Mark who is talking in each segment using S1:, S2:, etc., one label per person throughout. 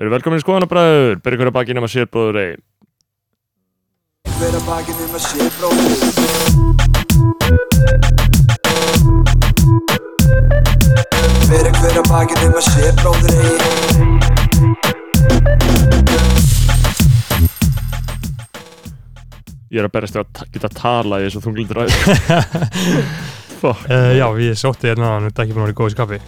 S1: Verið velkomin í skoðanabræður, ber ykkur að baki nema sér bróður ei.
S2: Vera bakið nema sér bróðir Vera hver að bakið nema sér bróðir eigi
S1: Ég er að berjast til að ta- geta að tala í þessu þunglindu ræðu. Fuck.
S3: Uh, já, ég sótti hérna að hann er ekki búin að vera í góðu skapi.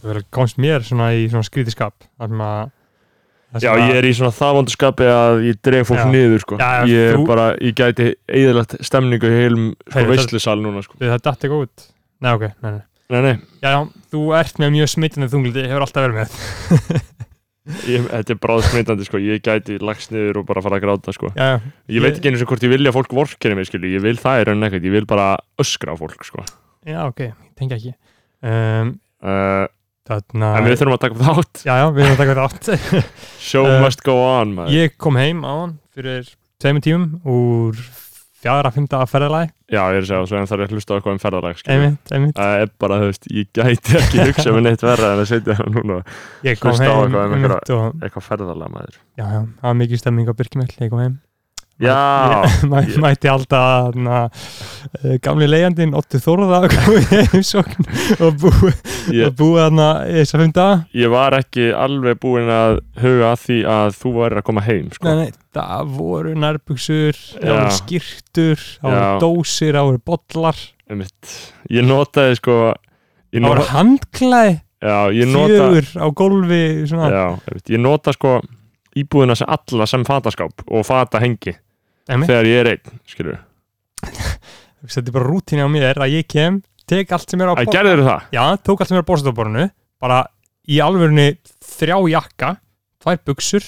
S3: Það verður komst mér svona í svona skríti skap. þar sem að- þar
S1: Já,
S3: sem að-
S1: ég er í svona þavondu skapi að ég dreg fólk
S3: Já.
S1: niður, sko.
S3: Já, já,
S1: ég er
S3: þú-
S1: bara, ég gæti eðalagt stemningu í heilum sko,
S3: Heyrðu, það-
S1: veistlusal núna, sko.
S3: Það datt eitthvað út. Nei, ok, nei, nei.
S1: Nei, nei,
S3: Já, já, þú ert með mjög smittandi þunglindi, hefur alltaf verið með.
S1: ég, þetta er bráðsmitandi, sko. Ég gæti lagst niður og bara fara að gráta, sko.
S3: Já, já,
S1: Ég, veit ekki einu sem hvort ég vilja að fólk vorkeri mig, skilju. Ég vil það í raunin ekkert. Ég vil bara öskra á fólk, sko.
S3: já, ok, ég tengi ekki. Um,
S1: Uh,
S3: þarna...
S1: en við þurfum að taka upp þátt.
S3: Já, já, við erum að taka þetta átt.
S1: Show
S3: Eh,
S1: must go on, maður.
S3: ég kom heim á hann fyrir tveimur tímum úr fjara, fymta ferðalagi.
S1: Já, ég er að segja, svo en það er að hlusta á eitthvað um ferðarlag, skilju.
S3: Einmitt, einmitt.
S1: Það er bara, þú veist, ég gæti ekki hugsa mér neitt verra en að setja það núna
S3: Ég kom
S1: hlusta á
S3: heim,
S1: eitthvað um
S3: einmitt, og
S1: eitthvað ferðalega maður.
S3: já, já, það var mikið stemming á Birkimell, ég kom heim.
S1: Já,
S3: Ég- mæ,
S1: ég-
S3: mætti alltaf na, gamli leiðandinn Ottu Þórða og komið í heimsókn og búið
S1: ég,
S3: og búið þarna í þess að funda
S1: ég var ekki alveg búinn að huga að því að þú væri að koma heim, sko.
S3: nei, nei, það voru nærbuksur það
S1: Já.
S3: voru skýrtur það voru
S1: Já.
S3: dósir, það voru bollar
S1: Einmitt. Ég notaði, sko, ég,
S3: það
S1: no,
S3: voru handklæði,
S1: já, ég nota,
S3: fjögur á gólfi svona,
S1: já, einmitt, ég nota, sko, íbúðina sem alla sem fataskáp og fata hengi
S3: Einmitt.
S1: þegar ég er einn, skilur.
S3: þetta er bara rútinni á mér að ég kem tek allt sem er á
S1: Æ,
S3: bo-
S1: gerður það?
S3: já, tók allt sem er á borðstofuborðinu bara í alvörunni þrjá jakka tvær buksur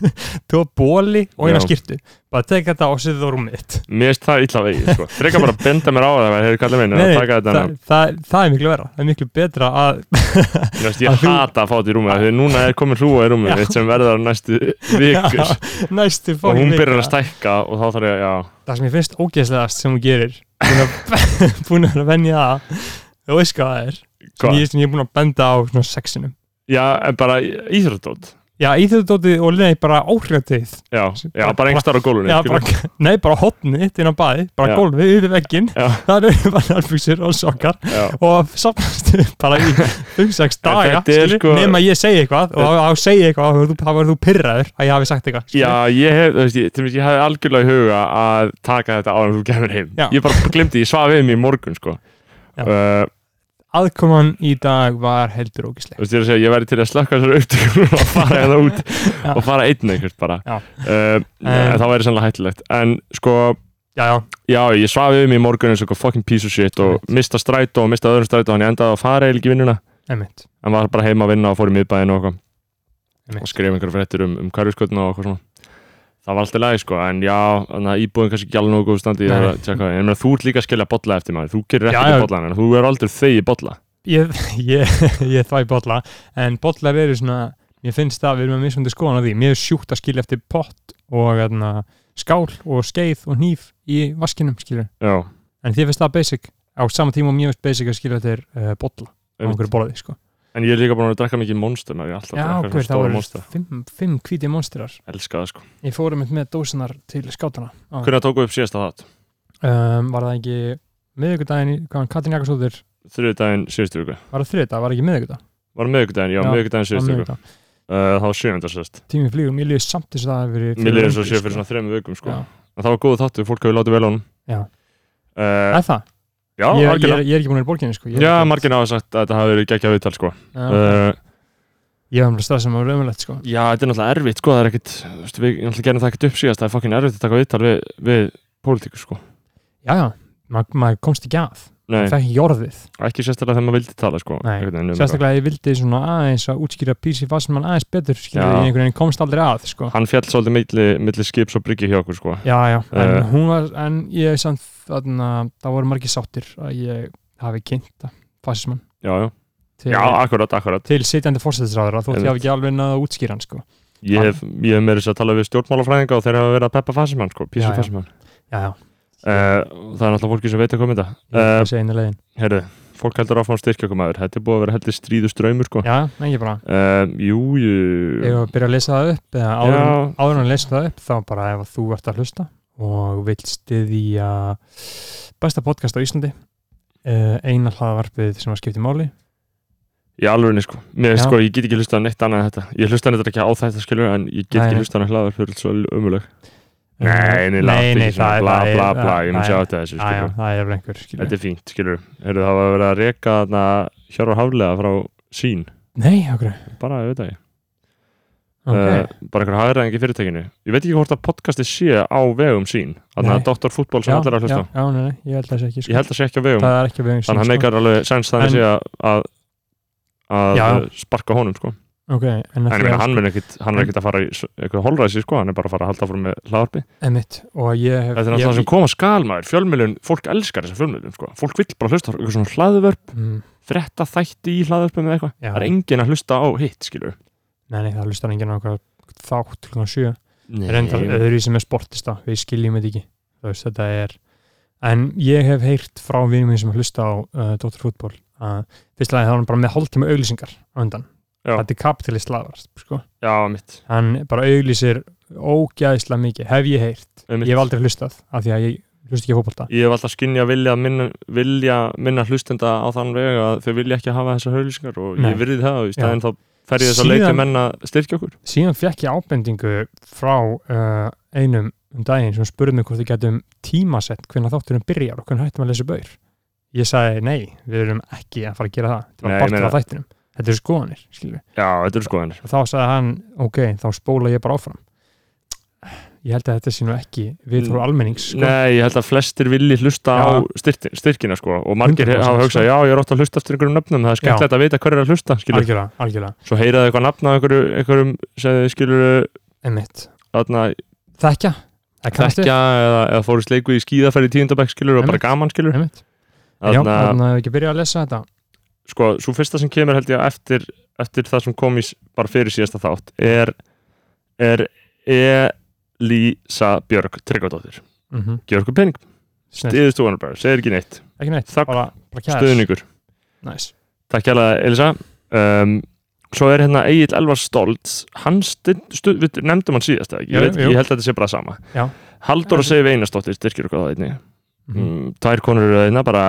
S3: tvo bóli og eina
S1: Já.
S3: skýrtu bara tek þetta og setja það á rúmið þitt
S1: Mér finnst það illa vegið, sko. Freka bara að benda mér á það, hefur kallið minni,
S3: Nei,
S1: að
S3: nei,
S1: taka þetta
S3: það, það, það er miklu vera það er miklu betra að
S1: Þú veist, ég
S3: Að þú-
S1: hata að fá þetta í rúmið af því að núna er komin hrúa í rúmið
S3: Já.
S1: mitt sem verður á næstu vikur
S3: næstu
S1: og hún
S3: fucking
S1: byrjar að
S3: vika.
S1: stækka og þá þarf ég að,
S3: það sem ég finnst ógeðslegast sem hún gerir búin að, búin að vera að venja það þú veist hvað það er
S1: já,
S3: sem
S1: hvað?
S3: ég, sem ég er búin að benda á svona sexinum
S1: Já, en bara íþróttótt,
S3: já, í þau dótið og leði bara áhrifatið
S1: já, já, bara einhvers staðar á gólunni.
S3: já, bara, nei, bara hotnið inn á baði bara
S1: Já.
S3: gólfið yfir vegginn
S1: Já.
S3: það eru bara albuksir og sokkar
S1: já,
S3: og safnast upp bara í 5-6 daga
S1: þetta er
S3: skilur,
S1: sko-
S3: nema ég segi eitthvað og þá segi ég eitthvað og þá verður þú pyrraður að ég hafi sagt eitthvað skilur.
S1: já, ég hef, þú veist, ég, til dæmis, ég hef algjörlega í huga að taka þetta á en þú kemur heim.
S3: Já.
S1: Ég bara glemdi, ég svaf við mig í morgun, sko.
S3: Já.
S1: Uh,
S3: aðkoman í dag var heldur ógisleg
S1: þú veist, ég er að segja, ég væri til að slökka þessar upptökum og fara hérna út
S3: Já.
S1: og fara einn einhvert bara.
S3: Já.
S1: Uh, en það væri sannlega hættulegt. En, sko,
S3: já, já,
S1: Já, ég svaf yfir mig í morgun eins og eitthvað fucking piece of shit og mista strætó og mista öðrum strætó þannig ég endaði að fara eiginlega ekki í vinnuna
S3: einmitt
S1: en var bara heima að vinna og fór í miðbæðin og eitthvað
S3: Einmitt.
S1: og skrif einhverja fréttir um, um hverfiskotna og eitthvað svona það var alltaf lægi sko, en já þannig að íbúðin kannski ekki alveg nógu góð standi
S3: Nei.
S1: þegar að tjekka það, en ég meina, þú ert líka að skilja bolla eftir maður, þú gerir
S3: Já,
S1: ekki
S3: já.
S1: til bolla en þú er aldrei þegi bolla
S3: ég, ég, ég þvæ bolla en bolla verið svona mér finnst það að við erum að mismundi skoðan á því mér er sjúkt að skilja eftir pott og atna, skál og skeið og hníf í vaskinum skilur
S1: Já,
S3: en þið finnst það basic á sama tíma og mér finnst basic að skilja eftir uh, bolla á
S1: einmitt.
S3: einhverju borði sko
S1: en ég er líka búin að drekka mikið monster maður, ég er alltaf
S3: já,
S1: að drekka svona
S3: hver, það
S1: stóra
S3: voru
S1: monster
S3: fimm, fimm hvítið monstrar
S1: elska það sko,
S3: ég fórum með dósinar til skátana á-
S1: hvernig tóku upp síðasta þátt?
S3: um, var það ekki miðvikudaginn, í- hvað, Katrín Jakobsdóttir
S1: Þriðjudaginn síðustu viku.
S3: var það þriðdag, var það ekki miðvikudag
S1: Var miðvikudaginn? Já,
S3: Já,
S1: miðvikudaginn
S3: Var
S1: síðustu viku.
S3: miðvikudag.
S1: Uh, það var sjöfunda sérst.
S3: tími flýgur, mér líður samt þess að það hefur verið
S1: Mér leiði eins og sé fyrir svona þremmu vikum sko.
S3: Já.
S1: En það var góð þáttu, fólk hefur látið vel á hann
S3: Já.
S1: uh,
S3: er það,
S1: Já,
S3: ég, ég,
S1: margina
S3: er, ég er ekki búin að vera í borginni sko. Ég er
S1: Já,
S3: ekki-
S1: margina hafa sagt að þetta hafi verið geggjað viðtal sko.
S3: Já,
S1: uh,
S3: ég var bara stressað með raunverulegt sko.
S1: Já, þetta er náttúrulega erfitt sko, það er ekkit þú veist, Við náttúrulega gerum það ekkit upp síðast, það er fokkin erfitt að taka viðtal við, við pólitíku sko.
S3: já, já, ma- maður komst ekki að
S1: Nei,
S3: það fekk ekki orðið,
S1: ekki sérstaklega þegar maður vildi tala sko,
S3: Nei,
S1: einhvern veginn um eitthvað.
S3: sérstaklega að ég vildi svona aðeins að útskýra písi fastmann aðeins betur skilur,
S1: Já.
S3: ég einhvern veginn komst aldrei að sko.
S1: Hann fjall svolítið milli, milli skips og bryggju hjá okkur sko.
S3: já, já, en
S1: Eh.
S3: hún var en ég samt, þarna, það voru margir sáttir að ég hafi kynnt fastmann
S1: Já, já,
S3: til,
S1: já, akkurat, akkurat
S3: til sitjandi fórsættisráður þótt ég
S1: Einmitt.
S3: hafi ekki alveg náða útskýran sko.
S1: Ég hef, ég hef meira þess að tala við stjórnmálafræðinga og þeir hafa verið að peppa fasimann sko, písu
S3: Já, já.
S1: fasimann uh,
S3: já, já,
S1: Það er náttúrulega fólki sem veit að koma þetta
S3: ég
S1: uh,
S3: uh, segi einu leiðin
S1: Herðu, fólk heldur áfram að styrkja okkur maður þetta er búið að vera heldur stríðu ströymur sko.
S3: já, ekki bara
S1: um, jú, jú
S3: Ef að byrja að lesa það upp eða áður
S1: Já.
S3: áður en að lesa það upp þá bara ef að þú ert að hlusta og vill styðja besta podcast á Íslandi eh, eina hlaðavarpið sem að skipti máli
S1: í alvegni sko. Mér,
S3: Já.
S1: sko, ég get ekki hlusta neitt annað en þetta ég hlusta neitt ekki á þetta skilur en ég get
S3: Nei,
S1: ekki
S3: nei.
S1: hlusta neitt hlaðar fyrir svo ömuleg
S3: Eh,
S1: nei, nei, nei,
S3: nei,
S1: nei
S3: það
S1: bla
S3: er- það er-
S1: bla bla,
S3: það-
S1: ég mun
S3: það
S1: sjá
S3: er-
S1: þetta þessu
S3: já, já,
S1: skilur
S3: það er vel einhver skilur.
S1: þetta er fínt, skilur Heyrðu, það var að vera að reka þarna Hjörvar Haflega frá sín
S3: Nei, okkur
S1: bara, ég veit það ekki
S3: okay.
S1: uh, bara einhver hagræðing í fyrirtækinu ég veit ekki hvort að podcasti sé á vegum sín þannig
S3: Nei.
S1: að Dr. Fútbol sem allir er að
S3: já,
S1: hlusta á.
S3: já, nei, nei, ég held þessi ekki sko.
S1: ég held að sé ekki á vegum
S3: það er ekki veginn sko.
S1: þannig að hann meikar alveg sens þannig
S3: En-
S1: sé að að, að
S3: Já.
S1: sparka honum sko.
S3: ok,
S1: en
S3: en
S1: ég
S3: að
S1: meina
S3: því
S1: hann, mun ekkit, hann er ekkit að fara í s- eitthvað holræsi sko, hann er bara að fara að halda fórum með hlaðarpi
S3: að emitt og ég hef
S1: þetta er náttúrulega það sem koma skalmaður, fjölmiðlun fólk elskar þessa fjölmiðlun, sko. fólk vill bara hlusta á eitthvað svona hlaðvörp,
S3: mm,
S1: fretta þætti í hlaðvörpum eða eitthvað,
S3: Já.
S1: það er engin að hlusta á hitt skilur
S3: nei, nei, það hlustar enginn á okkur þátt klukkan sjö
S1: Nei,
S3: reyndar eh. öðruvísi með sportista við skiljum þetta ekki þú veist, þetta er en ég hef heyrt frá vinum minn sem hlusta á uh, Dóttur fútból að fyrst lagi þá er hann bara með hálftíma auglýsingar á undan
S1: Já.
S3: þetta er kapitalist lagvart sko.
S1: já, mitt,
S3: hann bara auglýsir ógæðislega mikið hef ég heyrt,
S1: Einmitt.
S3: ég hef aldrei hlustað af því að ég hlust ekki á fótbolta
S1: ég hef alltaf skynja vilja minna, vilja minna hlustenda á þann veg að þau vilja ekki hafa þessar hauglýsingar og
S3: Nei.
S1: ég virði það og í
S3: Já.
S1: staðinn þá fer ég þess að
S3: Síðan-
S1: leita menn að styrkja okkur
S3: síðan fekk ég ábendingu frá uh, einum um daginn sem spurði mig hvort við getum tímasett hvernig þátturum byrjar og hvernig hættum að lesa baur ég sagði nei, við erum ekki að fara að gera það þetta
S1: Nei,
S3: var partur
S1: meina-
S3: af þættinum, þetta eru skoðanir skilur.
S1: já, þetta er skoðanir
S3: og þá sagði hann, ok, þá spóla ég bara áfram ég held að þetta sé nú ekki við þóru almennings sko.
S1: Mm, Nei, ég held að flestir vilji hlusta
S3: Já.
S1: á styrti, styrkina sko og margir
S3: 100%
S1: hafa hugsað,
S3: sko.
S1: já ég er ótt að hlusta eftir einhverjum nöfnum, það er
S3: Já.
S1: skemmtilegt að vita hverju er að hlusta, skilur,
S3: algjörlega, algjörlega,
S1: svo heyraðu eitthvað nafn af einhverju, einhverjum sem þið skilur
S3: einmitt
S1: þarna
S3: þekkja, það kannast við
S1: þekkja eða, eða fóru sleiku í skíðaferð í tíundabæk skilur og bara
S3: Einmitt.
S1: gaman skilur
S3: einmitt, já,
S1: þarna,
S3: þannig að við ekki byrja að lesa þetta
S1: sko, svo fyrsta sem kemur held ég að eftir, eftir það sem kom í s- bara fyrir síðasta þátt er, er Elísa Björg Tryggvadóttir,
S3: mm
S1: Gjörgu Penning
S3: Snill,
S1: yður stúanur bara, segir ekki neitt
S3: ekki neitt,
S1: Þögn.
S3: bara, bara kæðis
S1: stuðningur
S3: nice.
S1: Takk hérlega Elisa um, Svo er hérna Egil Elvar Stoltz Hann stund, stund, við nefndum hann síðast eða ekki?
S3: Jú,
S1: ég, veit,
S3: jú.
S1: ég held að þetta sé bara það
S3: Já.
S1: sama Haldur og Seif Einarsdóttir styrkir okkur það einni
S3: mm
S1: mm, Tvær konur eru einna bara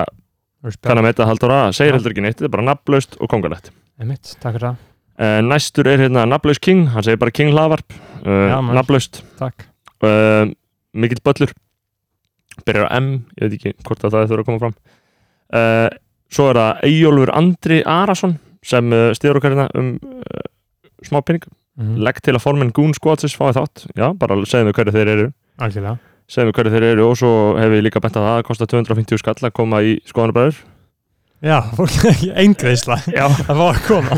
S1: kann að meita Haldur að segir
S3: Já.
S1: heldur ekki neitt Þetta er bara nafnlaust og kongalegt
S3: Einmitt, takk fyrir það,
S1: uh, Næstur er hérna nafnlaust King Hann segir bara King Lavarp uh,
S3: Já, maður.
S1: Nafnlaust
S3: takk
S1: uh, Mikill Böllur Byrjar á M, ég veit ekki hvort að það þurfa að koma fram uh, Svo er það Eyjólfur Andri Arason sem uh, stiður okkar hérna um uh, smá pinning
S3: mm.
S1: Legg til að formin Goon Squadsis fái þátt Já, bara segðum við hverju þeir eru
S3: Algjörlega,
S1: segðum við hverju þeir eru og svo hef ég líka bent að það að kosta 250 skall að koma í skoðanabræður
S3: já, eingreisla
S1: Já,
S3: það var að koma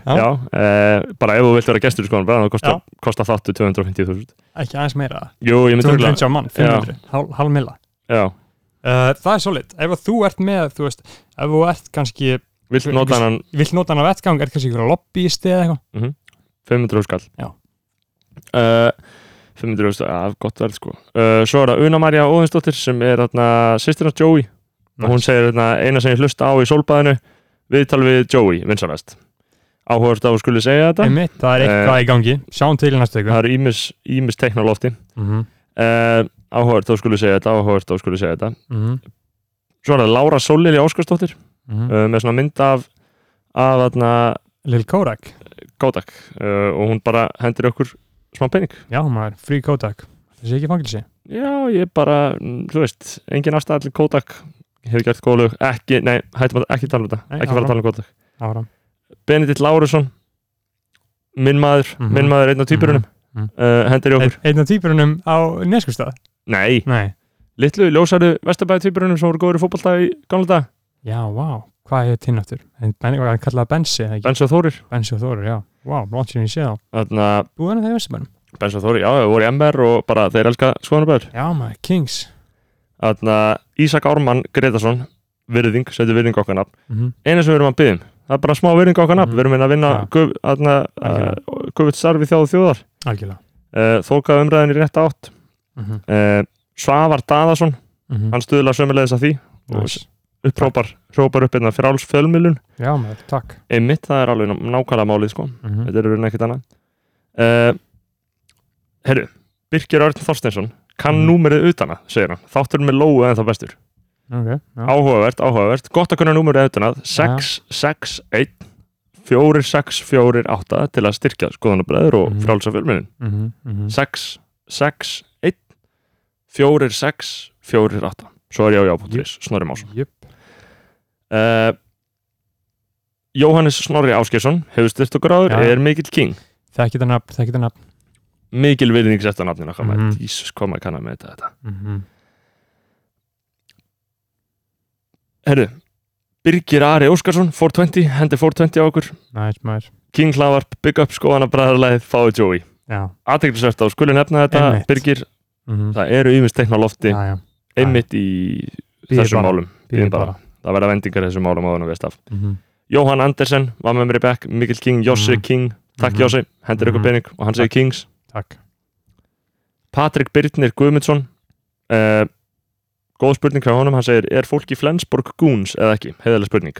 S3: Já.
S1: já uh, bara ef þú vilt vera gestur í skoðanabræður þá kosta,
S3: Já.
S1: kosta þáttu 250.000
S3: ekki aðeins meira,
S1: Jú, ég myndi örugglega-
S3: 250 á mann 500, hálf hál milla
S1: Já,
S3: uh, það er svolít, ef að þú ert með þú veist, ef þú ert kannski
S1: vilt nota hann
S3: vill nota hann á vettgang, ert kannski ykkur á lobbyisti eða eitthvað
S1: 500 skall
S3: Já.
S1: uh, 500 skall, ja, gott verð sko uh, Svo er það Una Marja Óðinsdóttir sem er þarna sýstirna Joey og hún segir þarna eina sem ég hlusta á í sólbæðinu viðtal við Joey, vinsanast Áhugast að hún skuli segja þetta
S3: Einmitt, það er eitthvað í gangi, sjáum til í næstu ykkur
S1: Það er ímis, ímis teknolófti
S3: mm -hmm.
S1: uh, Áhugast að hún skuli segja þetta Áhugast að hún skuli segja þetta
S3: mm -hmm.
S1: Svo er það Lára Sólili Óskarsdóttir
S3: Mm. mhm.
S1: uh, með svona mynd af af þarna
S3: Eh, Lil Kodak,
S1: Kodak uh, og hún bara hendir okkur smá pening
S3: já maður, free Kodak það sé ekki fangilsi,
S1: Já, ég bara, mm, þú veist, engin afstæðall Kodak hefur gert góð lög, ekki, nei, hættum að ekki tala um þetta,
S3: Nei,
S1: ekki fara að
S3: áfram.
S1: tala um Kodak.
S3: áram
S1: Benedikt Lárusson, minn maður,
S3: Mhm.
S1: minn maður einn af týpurunum,
S3: Mhm.
S1: uh, hendur í okkur.
S3: einn af týpurunum á neskustad
S1: Nei,
S3: nei,
S1: litlu, ljósaru, vestabæði týpurunum sem voru góður í fótballta í gamla dag,
S3: já, vá hvað er tinnáttur, hann hann kallaði Bensi eða ekki,
S1: Bensi og Þórir.
S3: Bensi og Þórir, já vá, langt sér ég sé þá,
S1: Þannig að
S3: búin að það í Vesturbænum
S1: Bensi og Þórir, já, þau voru í MR og bara þeir elska skoðanabæður.
S3: já maður, Kings
S1: Þannig að Ísak Ármann Gretarsson, virðing, setur virðing okkar nafn.
S3: mm -hmm.
S1: eina sem við erum að byggja um það er bara smá virðing okkar nafn,
S3: Mhm.
S1: við erum hérna að vinna
S3: Já.
S1: guf- þarna,
S3: Algjörlega.
S1: uh, gufut starfi þjóðu þjóðar
S3: algjörlega
S1: uh, þókað umræðin í rétt átt
S3: mm -hmm.
S1: uh, Svavar Daðason,
S3: Mm
S1: hann stuðlar sömulegis að því
S3: nice.
S1: upprópar hrópar upp einna fráls fjölmilun
S3: já maður, takk
S1: einmitt, það er alveg ná- nákvæmlega málið sko
S3: mm
S1: þetta er raun ekkert annað uh, Herru, Birkir Örn Þorsteinsson kann
S3: Mhm.
S1: númerið utan að, segir hann þáttur með lóu en það bestur
S3: ok, já,
S1: áhugavert, áhugavert, gott að kunna númerið utan að 661 4648 til að styrkja skoðanabræður og
S3: Mhm.
S1: frálsa fjölmilun
S3: mhm, mhm.
S1: 6, 6, 1 4, 6, 4, 8 svo er ég á já.is, Snorri Másson
S3: Jöp.
S1: uh, Jóhannes Snorri Áskjesson hefur styrt okkur áður,
S3: Já.
S1: er mikill king
S3: þekkir það nafn, þekkir það nafn
S1: mikil virðing sett á nafninu okkar maður.
S3: Mhm.
S1: Jesus, hvað maður kann að með þetta
S3: Mhm.
S1: Herru, Birgir Ari Óskarsson 420, hendi 420 á okkur
S3: næs maður,
S1: King Hlavarp, Big Up, Skoðana Bræðarlæð Fáðu Joey,
S3: já
S1: aðteglisvert á skuli nefna þetta
S3: Einmitt.
S1: Birgir,
S3: mhm.
S1: það eru yfirst teikna á lofti
S3: já, já,
S1: einmitt í
S3: Bíðið
S1: þessum
S3: bara.
S1: málum
S3: býðum
S1: Bíðum bara.
S3: bara
S1: það verða vendingar í þessum málum áður en við staf
S3: Mhm.
S1: Jóhann Andersen var með mér í bekk, Mikkel King, Jossi
S3: Mhm.
S1: King Takk
S3: Mhm.
S1: Jossi, hendur ykkur
S3: Mhm.
S1: pening og hann segir Kings
S3: takk,
S1: Patrik Birnir Guðmundsson uh, Góð spurning frá honum, hann segir Er fólk í Flensborg gúns eða ekki? Heiðalega spurning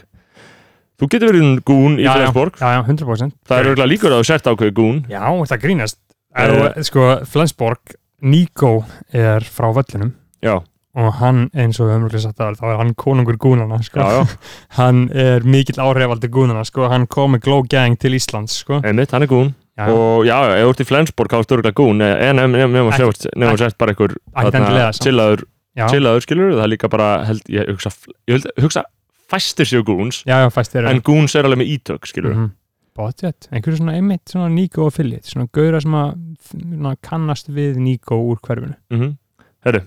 S1: Þú getur verið um gún í
S3: Já, já,
S1: Flensborg
S3: já, já, 100%
S1: Það er auðvitað líkur að þú sért ákveðu gún
S3: Já, það grínast
S1: Eh.
S3: uh, Sko, Flensborg, Nico er frá vellinum
S1: Já,
S3: og hann, eins og við höfum ömruglega sagt það þá er hann konungur gúnana sko.
S1: já, já,
S3: hann er mikill áhrifaldi gúnana sko. hann kom með Glow Gang til Íslands sko.
S1: einmitt, hann er gún
S3: Já,
S1: Og já, já, ef þú ert í Flensborg, þá ertu auðvitað gún En nefnum
S3: Ekki-
S1: að sért bara einhver
S3: Ekkert
S1: þarna,
S3: endilega, samt.
S1: Chillaður,
S3: sko. já,
S1: chillaður skilur Það er líka bara, held, ég hugsa Ég held, hugsa fæstir séu gúns
S3: já, já, fæst þeir
S1: En gúns er alveg með ítök, skilur
S3: -hmm. Botjet, einhverju svona einmitt svona Nico affiliate, svona gauðra sem að svona, kannast við Nico úr hverfinu
S1: mm Herru,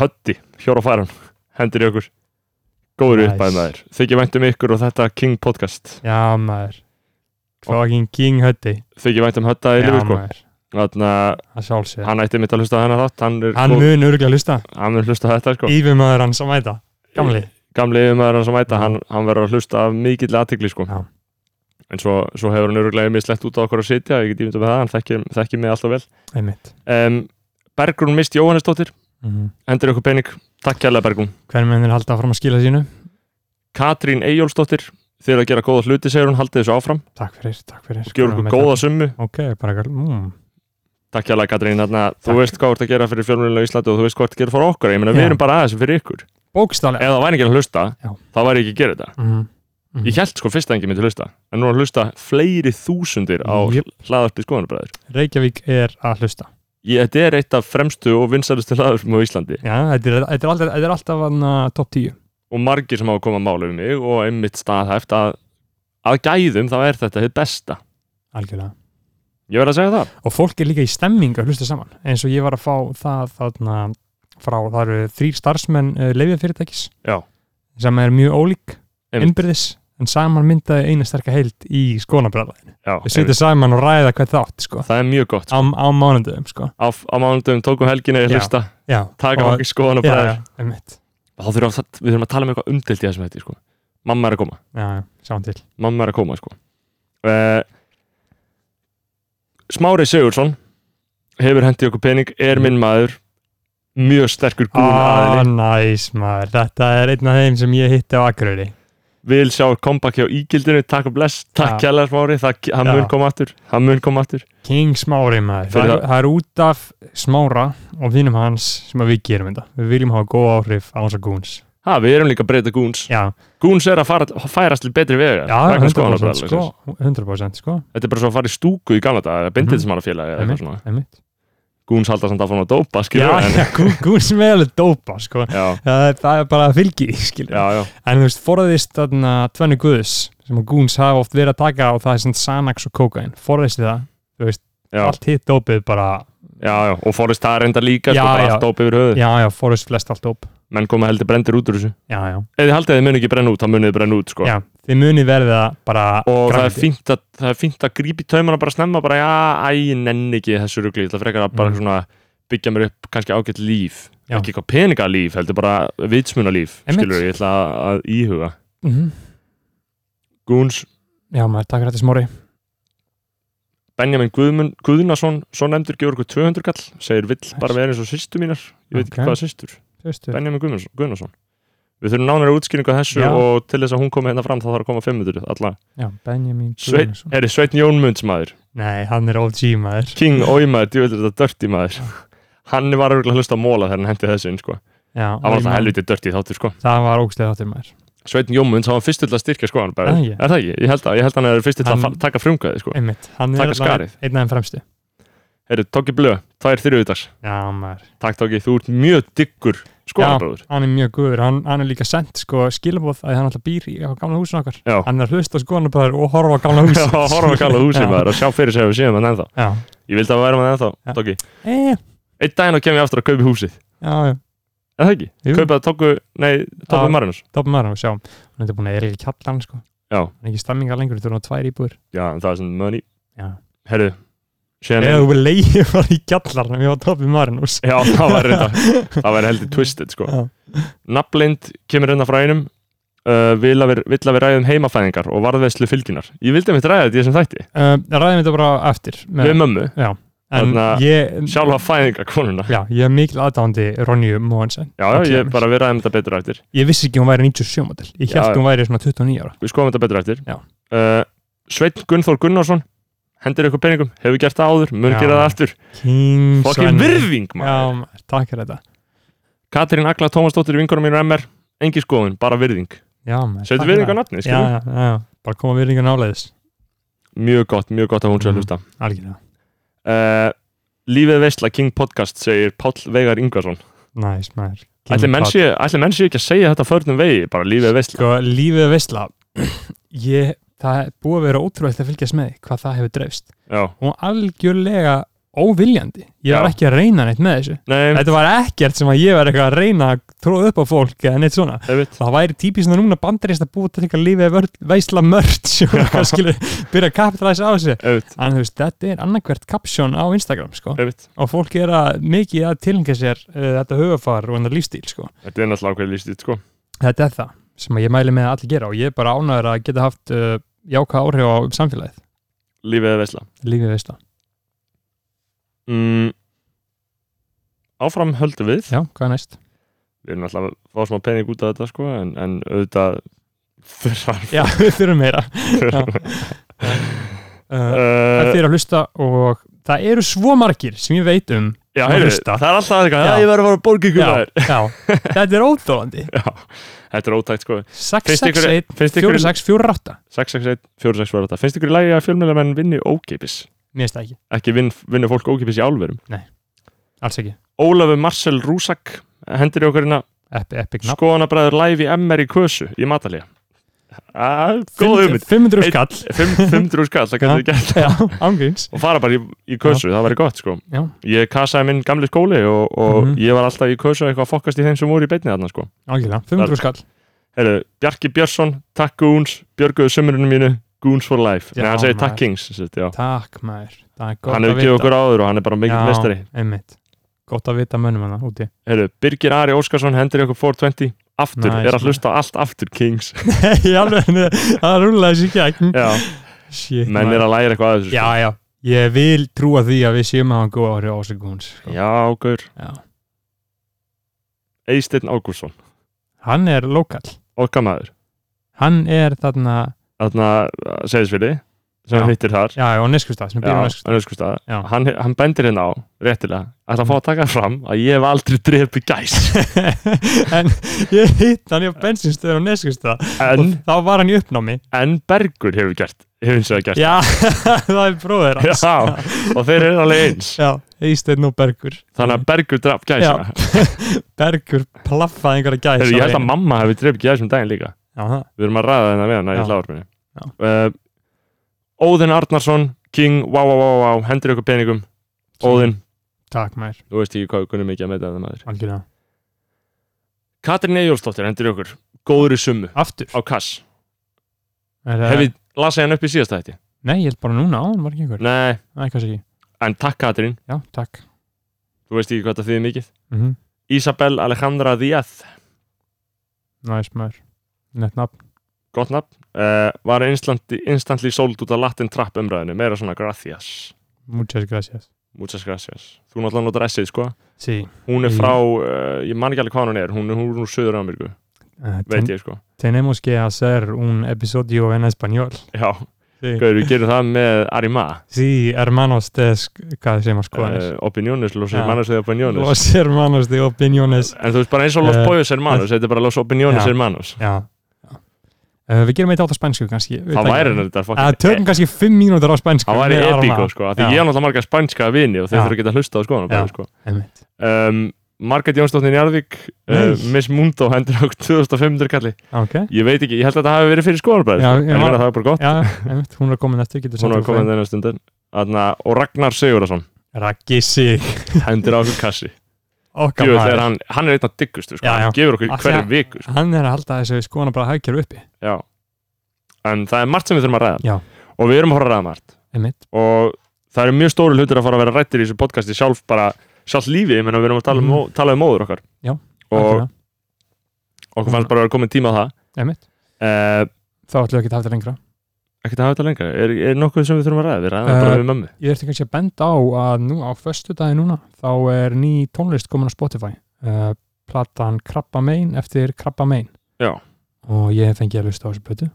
S1: Hötti, Hjóra Færan hendur í okkur góður nice.
S3: Nice.
S1: uppæðin maður, þykir vænt um ykkur og þetta King podcast,
S3: Já, maður Fucking King Huddy
S1: þykir vænt um Hötta í
S3: Já,
S1: lifu sko,
S3: maður,
S1: þannig að
S3: það sjálfsög
S1: hann ætti mitt að hlusta á þennan þátt, hann er
S3: Hann
S1: góð-
S3: mun örgulega hlusta
S1: hann mun hlusta á þetta sko
S3: Ífumæður hans að mæta Gamli
S1: gamli yfirmaður hans að mæta, hann, hann verður að hlusta af mikill aðtikli sko
S3: Já.
S1: en svo, svo hefur hann öruglega mislegt út á okkur að sitja, ég get ímynda með það, hann þekkir, þekkir mig alltaf vel
S3: Einmitt
S1: um, Bergrún mist Jóhannesdóttir,
S3: mm -hmm.
S1: hendur ykkur pening takk kærlega Bergrún
S3: Hvernig mennir halda áfram að skila sínu?
S1: Katrín Eyjólfsdóttir, þið eru að gera góða hluti segir hún, haldið þessu áfram
S3: Takk fyrir, takk fyrir
S1: gefur okkur góða summu
S3: Ok, bara ekki mm.
S1: Takk hjá Katrín, þarna, þú
S3: Takk.
S1: veist hvað þú ert að gera fyrir fjölmjölinna í Íslandi og þú veist hvað þú ert að gera fyrir okkur ég meina, við
S3: Já.
S1: erum bara aðeins fyrir ykkur ef
S3: Bókstálega
S1: það væri ekki að hlusta,
S3: Já.
S1: þá væri ég ekki að gera þetta
S3: mm. Mhm.
S1: ég held sko fyrst að enginn myndi hlusta en nú er að hlusta fleiri þúsundir á
S3: Jöp.
S1: yep. hlaðarpi skoðanabræður
S3: Reykjavík er að hlusta
S1: ég, þetta er eitt af fremstu og vinsælustu hlaðarpum á Íslandi
S3: Já, þetta er, þetta er alltaf, þetta er alltaf uh, top 10
S1: og margir sem hafa komað málu um mig og einmitt staðhæft að að gæðum þá er þetta hitt besta
S3: Algjörlega
S1: ég verð að segja það
S3: og fólk er líka í stemming að hlusta saman eins og ég var að fá það þarna frá, það eru þrýr starfsmenn uh, leifjafyrirtækis
S1: Já.
S3: sem er mjög ólík
S1: Einmitt.
S3: innbyrðis en saman myndaði eina sterka heild í skónabræðlæðinu
S1: Já,
S3: við setjum
S1: einmitt.
S3: saman og ræða hvað þátt sko,
S1: það er mjög gott
S3: á, á mánundum sko.
S1: á, á mánudum tókum helgina í
S3: Já.
S1: hlusta
S3: já,
S1: taka
S3: Og-
S1: okkur skoðanabræður
S3: já, einmitt
S1: þá þurfum við að- við þurfum að tala um eitthvað umdelt í þessum hætti sko. mamma er að koma,
S3: já, já, sjáum til
S1: mamma er að koma sko. uh, Smári Sigursson hefur hendi okkur pening, er minn maður mjög sterkur gún
S3: ah,
S1: aðli
S3: næs maður, þetta er einn af þeim sem ég hitti á Akureyri
S1: vil sjá comeback hjá ígildinu, takk og bless takk
S3: Já.
S1: kjærlega Smári, það, hann
S3: Já.
S1: mun koma aftur hann mun koma aftur,
S3: King Smári maður
S1: Fyrir
S3: það,
S1: það-
S3: er- það er út af Smára og vinum hans sem að við gerum þetta við viljum hafa góð áhrif á hans og gúns
S1: ha, við erum líka að breyta gúns
S3: já,
S1: gúns er að fara, færast til betri vega
S3: Já,
S1: vegna
S3: 100%
S1: skoðanabræðarlagsins.
S3: sko, Mhm. 100% sko,
S1: þetta er bara svo að fara í stúku í gamla dag bindindismannafélagi mm
S3: Einmitt.
S1: -hmm.
S3: einmitt
S1: gúns halda samt áfram að dópa
S3: Já,
S1: skilur, en,
S3: já, gú- gún sem er alveg dópa sko.
S1: já,
S3: það, er- það er bara að fylgi því, skilur
S1: já, já,
S3: En þú veist, forðist þarna tvenni guðs sem að gúns hafa oft verið að taka og það er sem Sanax og Kokain, forðist þið það
S1: já.
S3: allt hitt dópið bara,
S1: Já, já, og Forrest það er enda líka
S3: Já,
S1: sko, bara
S3: já.
S1: allt dóp yfir höfuð
S3: já, já, forðist flest allt dóp
S1: menn koma heldur brendir út úr þessu
S3: Já, já,
S1: ef þið haldið að þið muni ekki brenna út, þá munið þið brenna út sko.
S3: já, þið munið verða bara
S1: og það er,
S3: grænmeti.
S1: fínt að, það er fínt að grípi taumana bara snemma, bara já, æ, ég nenni ekki þessu rugli, ég ætla frekar að bara
S3: Mm.
S1: svona byggja mér upp kannski ágætt líf
S3: Já.
S1: ekki eitthvað peningalíf, heldur bara vitsmunalíf,
S3: Einmitt.
S1: skilur ég ætla að, að íhuga
S3: Mhm.
S1: Gúns,
S3: Já, maður takkar þetta smári
S1: Benjamin Guðmun, Guðnason svo nefndur gefur okkur 200 kall segir vill bara vera eins og sýstu mínar, ég veit
S3: Ok.
S1: ekki hvað sýstur
S3: Veistu,
S1: Benjamin Guðmunds- Guðnason Við þurfum nánari útskýringu að þessu
S3: Já.
S1: og til þess að hún komi hérna fram þá þarf að koma 500 allan.
S3: Já, Benjamin
S1: Sveinn,
S3: Guðmundsson.
S1: er þið Sveinn Jónmunds maður?
S3: Nei, hann er old G maður
S1: King Ói maður, djúvillir þetta dirty maður. Hann var örugglega að hlusta á móla þegar hann hendi þessu inn, sko.
S3: Já,
S1: Það var
S3: ég man-
S1: alltaf helviti Sko, dirty þáttur, sko.
S3: Það var ógstlega þáttir maður
S1: Sveinn Jónmunds, hann var fyrst til að styrkja, sko, hann bara.
S3: Ah, já.
S1: Er það ekki? Ég held að, ég held að hann er fyrst til að
S3: Hann- Eh.
S1: fa- taka frumkvæði, sko.
S3: Einmitt, hann er
S1: Taka
S3: allavega
S1: skarið.
S3: einn af þeim fremstu
S1: Herru, Tóki Blö, tvær þriðudags.
S3: Já, maður
S1: Takk Tóki, þú ert mjög diggur skoðanbróður.
S3: Hann er mjög guður, hann, hann er líka sent sko skilabóð að hann alltaf býr í á gamla húsin okkar
S1: Já.
S3: Hann er að hlusta skoðanabræður og horfa á gamla húsin
S1: Já, horfa að kalla húsið maður og sjá fyrir sig að við séum hann ennþá.
S3: Já,
S1: Ég vildi að við værum hann ennþá,
S3: Já.
S1: Tóki.
S3: e,
S1: Einn daginn og kem ég aftur að kaupi húsið.
S3: já, já,
S1: Er það ekki?
S3: Jú. Ah.
S1: Kaupið að tóku, nei, tóku
S3: Já.
S1: Marinus.
S3: toppum maður og sjá Hann er búin að er ekki kallan sko
S1: Já.
S3: Hann er ekki stemminga lengur, þú er hann tvær íbúður
S1: Já, en það er svona money.
S3: Já.
S1: Herru, síðan
S3: Eða þú vil leiði bara í kjallarnum, ég var toppum Marinus
S1: Já, það var reynda, það var heldur twisted, sko.
S3: Já.
S1: Nafnlind kemur hérna frá einum, uh, vill að við vill að við ræðum heimafæðingar og varðveðslu fylginar. Ég vildi að við ræða þetta í þessum þætti.
S3: Uh, Ræðum þetta bara eftir með-
S1: Við mömmu,
S3: En
S1: þarna-
S3: ég,
S1: sjálfa fæðingakonuna.
S3: já, ég er mikil aðdándi Ronju Móhensen
S1: Já, já,
S3: Ok.
S1: ég bara við ræðum þetta betur eftir.
S3: Ég vissi ekki að hún væri 97 model Ég
S1: Já,
S3: held
S1: já.
S3: hún væri svona 29 ára
S1: Við skoðum þetta betur eftir.
S3: Já.
S1: Uh, Sveinn Gunnþór Gunnarsson, hendir ykkur peningum, hefur gert það áður, mun
S3: Já.
S1: gera það aftur.
S3: King
S1: Fokkin virðing, maður.
S3: Já, maður, takk fyrir þetta
S1: Katrín Agla Tómasdóttir, vinkonum mínur MR, engi skoðun, bara virðing.
S3: Já, maður,
S1: Setur
S3: takk
S1: virðing á
S3: fyrir
S1: nafni,
S3: það. Já,
S1: skiljum.
S3: já, já, já, bara koma virðingar náleðis
S1: Mjög gott, mjög gott að hún sé að
S3: Mm.
S1: hlusta.
S3: Algjörlega,
S1: Uh, Lífið veistla King Podcast segir Páll Veigar Ingvarsson
S3: næs, maður King
S1: Ætli menn
S3: Pod.
S1: séu ætli menn séu ekki að segja þetta förnum vegi, bara lífið veistla
S3: Sko, lífið að veistla Ég, það er búið að vera ótrúvægt að fylgjast með því hvað það hefur dreifst
S1: Já,
S3: og algjörlega óviljandi Ég var
S1: Já.
S3: ekki að reyna neitt með þessu
S1: nei,
S3: Þetta var ekkert sem að ég var eitthvað að reyna að tróða upp á fólk eða neitt svona
S1: einmitt
S3: það væri típist að núna bandarist að búa til eitthvað lífið að veisla mörd sem skilur byrja að kapitalæsa á þessu
S1: Einmitt,
S3: en þú veist, þetta er annarkvært kapsjón á Instagram sko.
S1: einmitt
S3: og fólk er að mikið að tilhenga sér uh, þetta hugafar og þetta lífstíl sko.
S1: Þetta er náttúrulega ákveðið líst sko
S3: þetta er það sem ég mæli með að allir gera og ég er bara ánæður að geta haft uh, jákvæð áhrif á samfélagið,
S1: Lífið veistla
S3: lífið að veisla
S1: mm, Áfram höldum við
S3: já, hvað er næst?
S1: Við erum náttúrulega að fá smá pening út af þetta sko En, en auðvitað þurrar
S3: já, við þurfum meira uh, það
S1: uh,
S3: er að hlusta og það eru svo margir sem ég veit um
S1: Já,
S3: að
S1: heyrðu,
S3: hlusta.
S1: það er alltaf eitthvað
S3: Já.
S1: "Já, Ég verður að fara að borga ykkur
S3: já,
S1: þær
S3: já, þetta er óþólandi
S1: Þetta er ótækt sko Finnst ykkur-
S3: 661
S1: Finnst ykkur
S3: 4648
S1: 661, 461 var þetta Finnst ykkur í lagi að fjölmjölumenn vinni ógeipis?
S3: Mér finnst það ekki,
S1: Ekki vinn, vinni fólk ógeipis í álverum
S3: alls ekki
S1: Ólafur Marcel Rúsak hendur í okkur hérna
S3: Epi- Epic nafn
S1: Skoðanabræður live í MR í Kösu í matalíja Sko, Góð
S3: Fimm-
S1: hugmynd
S3: 500 skall
S1: 500 skall, það getur þið gert
S3: Já, ángríns
S1: og fara bara í, í Kösu, það væri gott sko
S3: Já.
S1: Ég kasaði minn gamli skóli og, og
S3: Mhm.
S1: ég var alltaf í Kösu eitthvað að fokkast í þeim sem voru í beinni þarna sko
S3: Ángrína, 500 skall
S1: Heyrðu, Bjarki Björnsson, takk Goons Björguðu sömurinu mínu, Goons for life
S3: Já,
S1: Nei, hann segir
S3: maður.
S1: takk Kings, sem sagt, já
S3: Takk maður, það er gott
S1: hann hefur
S3: að
S1: gefið
S3: vita
S1: okkur áður og hann er bara mikill
S3: Já,
S1: mestari
S3: Einmitt, gott að vita mönnum hana úti
S1: Heru, Birgir Ari Óskarsson hendur í okkur 420 aftur,
S3: Nice,
S1: er að
S3: man.
S1: hlusta á allt aftur Kings
S3: Nei, alveg, það rúlaði sér gegn
S1: já,
S3: Shit,
S1: menn er að læra eitthvað að þessu
S3: Já,
S1: sko.
S3: já, ég vil trúa því að við séum að hafa góð áhrif á sko. sig gúns
S1: sko. já gaur,
S3: Já.
S1: Eisteinn Ágúrsson
S3: Hann er lokal,
S1: okkar maður,
S3: hann er þarna
S1: þarna segðisfili sem
S3: Já.
S1: hittir þar
S3: Já, já, á Neskustaf, sem
S1: Já,
S3: býr á
S1: hann,
S3: Neskustaf
S1: er sko stað.
S3: Já.
S1: hann, hann bendir hérna á, réttilega að það fá að taka fram að ég hef aldrei drepi gæs
S3: En ég hitt hann í bensinstöður á Neskustaf
S1: en,
S3: og þá var hann í uppnámi
S1: en Bergur hefur gert hefur eins og það gert
S3: Já, það er bróðir hans
S1: Já, og þeir eru alveg eins
S3: Já, Eysteinn og Bergur
S1: þannig að Bergur draf gæsina
S3: Bergur plaffaði einhverja gæs
S1: Heru,
S3: á
S1: ég held að
S3: veginum.
S1: mamma hefur drefi gæsum um daginn líka
S3: Já, það.
S1: við erum að ræða þennan við hana í
S3: Já. Já.
S1: hláðarpinni uh, Óðinn Arnarsson King, wow, wow, wow, wow, hendur ykkur peningum Óðinn,
S3: Takk mær,
S1: þú veist ekki hvað við kunum mikið að meita þetta maður
S3: algjörlega
S1: Katrín Eyjólfsdóttir hendur ykkur, góðri summu
S3: Aftur
S1: á kass,
S3: er,
S1: hef ég lasið hann upp í síðasta hætti
S3: Nei, ég held bara núna á, hann var ekki einhver
S1: Nei,
S3: Nei, kannski ekki
S1: en takk Katrín,
S3: Já, takk
S1: þú veist ekki hvað það þýðir mikið
S3: mm -hmm.
S1: Isabel Alejandra Díaz
S3: Næs mær Nett nafn
S1: gott nafn, uh, var instantly, instantly sold út af Latin Trap umræðinu meira svona gracias,
S3: Muchas gracias
S1: muchas gracias þú náttúrulega notar essið sko
S3: Sí
S1: hún er eh,
S3: Mm.
S1: frá, uh, ég man ekki alveg hvað hún er hún, hún er úr Suður Ameríku
S3: Eh,
S1: veit
S3: ten-
S1: ég sko
S3: Tenemos que hacer un episodio en español.
S1: já,
S3: Sí,
S1: gauður, við gerum það með Arima
S3: sí hermanos de, sk- hvað segir maður skoðanir?
S1: uh, opiniones, los
S3: Já.
S1: hermanos de opiniones
S3: Los hermanos de opiniones.
S1: en þú veist bara eins og los
S3: Eh,
S1: pollos hermanos þetta er bara los opiniones
S3: Já.
S1: hermanos
S3: Já. já. Eh, við gerum eitthvað á spænsku kannski. Veit
S1: það
S3: ekki.
S1: væri þetta
S3: Að
S1: fucking-
S3: Ah,
S1: e-
S3: tökum kannski fimm mínútur á spænsku.
S1: það væri
S3: með Arma.
S1: epíko sko, af því
S3: Já.
S1: ég er náttúrulega marga spænska vini og þeir
S3: Já.
S1: þurfa að geta hlusta á skoðan
S3: Já.
S1: bara, sko.
S3: Einmitt.
S1: um, Margaret Jónsdóttir Njarðvík uh,
S3: Nei.
S1: Miss Mundo hendur á 2500 kalli
S3: Ok.
S1: ég veit ekki, ég held að það hafi verið fyrir skoðanbræð
S3: Já,
S1: en
S3: ég
S1: ég
S3: var-
S1: meina það er bara gott,
S3: Já, einmitt, hún er komin eftir, getur
S1: hún
S3: sagt
S1: hafi
S3: okkur
S1: komið þennan stundin Þarna, og Ragnar Sigurðarsson
S3: það. Raggi sig,
S1: hendur á okkur kassi
S3: okkar
S1: Jú,
S3: maður.
S1: hann, hann er einn af diggustu sko.
S3: Já, já.
S1: hann gefur okkur
S3: Af því
S1: hverju
S3: að-
S1: viku sko.
S3: Hann er að halda þessu skoðan bara hagkjör uppi.
S1: Já. en það er margt sem við þurfum að ræða
S3: Já.
S1: og við erum að fara að ræða margt
S3: Einmitt.
S1: og það eru mjög stóru hlutir að fara að vera rættir í þessu podcasti sjálf bara, sjálf lífi, ég menna við erum að tala, um,
S3: Mhm.
S1: tala um móður okkar
S3: Já,
S1: og
S3: Algjörlega. Mhm.
S1: okkur fannst bara að vera komin tíma á það
S3: Einmitt.
S1: uh,
S3: Þá ætlum við ekki að hafa þetta lengra.
S1: ekkert að hafa þetta lengra, er, er nokkuð sem við þurfum að ræða við ræðum uh,
S3: Eh,
S1: bara við mömmu
S3: Ég ertu kannski að benda á að nú á föstu dagi núna þá er ný tónlist komin á Spotify uh, platan Krabba Mein eftir Krabba Mein
S1: Já.
S3: og ég hef fengið að lusta á þessu plötu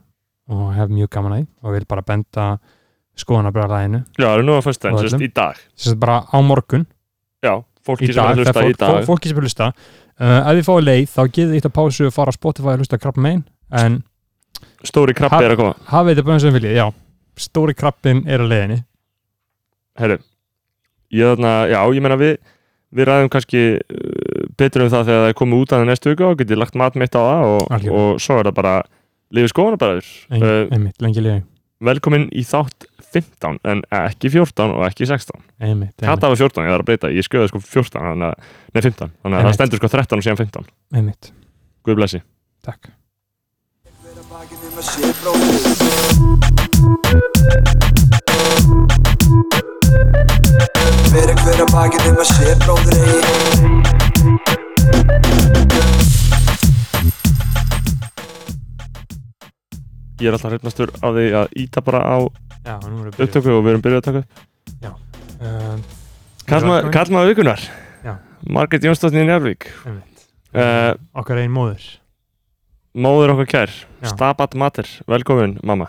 S3: og hef mjög gaman að því og vil bara benda skoðanabræðalæðinu
S1: já, það er nú að fyrst
S3: Og
S1: enn, sérst
S3: öllum.
S1: í dag
S3: sem sagt bara á morgun
S1: já, fólki
S3: í
S1: sem er
S3: dag,
S1: að
S3: þegar
S1: hlusta í
S3: fólk,
S1: dag
S3: fólk, fólki sem er að hlusta uh, ef þið fáið leið þá getið eitt að pásu og fara á Spotify að hlusta á Krabba Mein en
S1: stóri krabbi
S3: Ha-
S1: er að koma
S3: hafið þetta bara eins og viljið, já stóri krabbin er á leiðinni
S1: herru, ég þarna já, ég menna við við ræðum kannski uh, betur um það þegar það er komið út að það næstu viku og getið lagt mat mitt á það og,
S3: Algjörlega.
S1: og svo er það bara lífið skoðanabæður
S3: en,
S1: uh,
S3: einmitt, lengi leiði
S1: velkomin í þátt 15 en ekki 14 og ekki 16
S3: einmitt, einmitt,
S1: Kata var 14, ég þarf að breyta, ég skjöði sko 14 þannig að, nei 15, þannig að
S3: Einmitt.
S1: það stendur sko 13 og síðan 15,
S3: einmitt,
S1: guð blessi
S3: takk
S2: Vera bakið nema sé blóð Fyrir hver að bakið nema sé bróður eigi
S1: Ég er alltaf hreifnastur af því að íta bara á
S3: Já, nú erum við
S1: upptöku og við erum byrjuð að taka upp.
S3: uh,
S1: Kallma-
S3: Velkomin.
S1: Kallmaður vikunar
S3: Já.
S1: Margrét Jónsdóttir Njárvík
S3: Einmitt.
S1: Eh,
S3: Okkar einn móður
S1: Móður okkar kær,
S3: Já.
S1: Stabat Mater Velkomin mamma,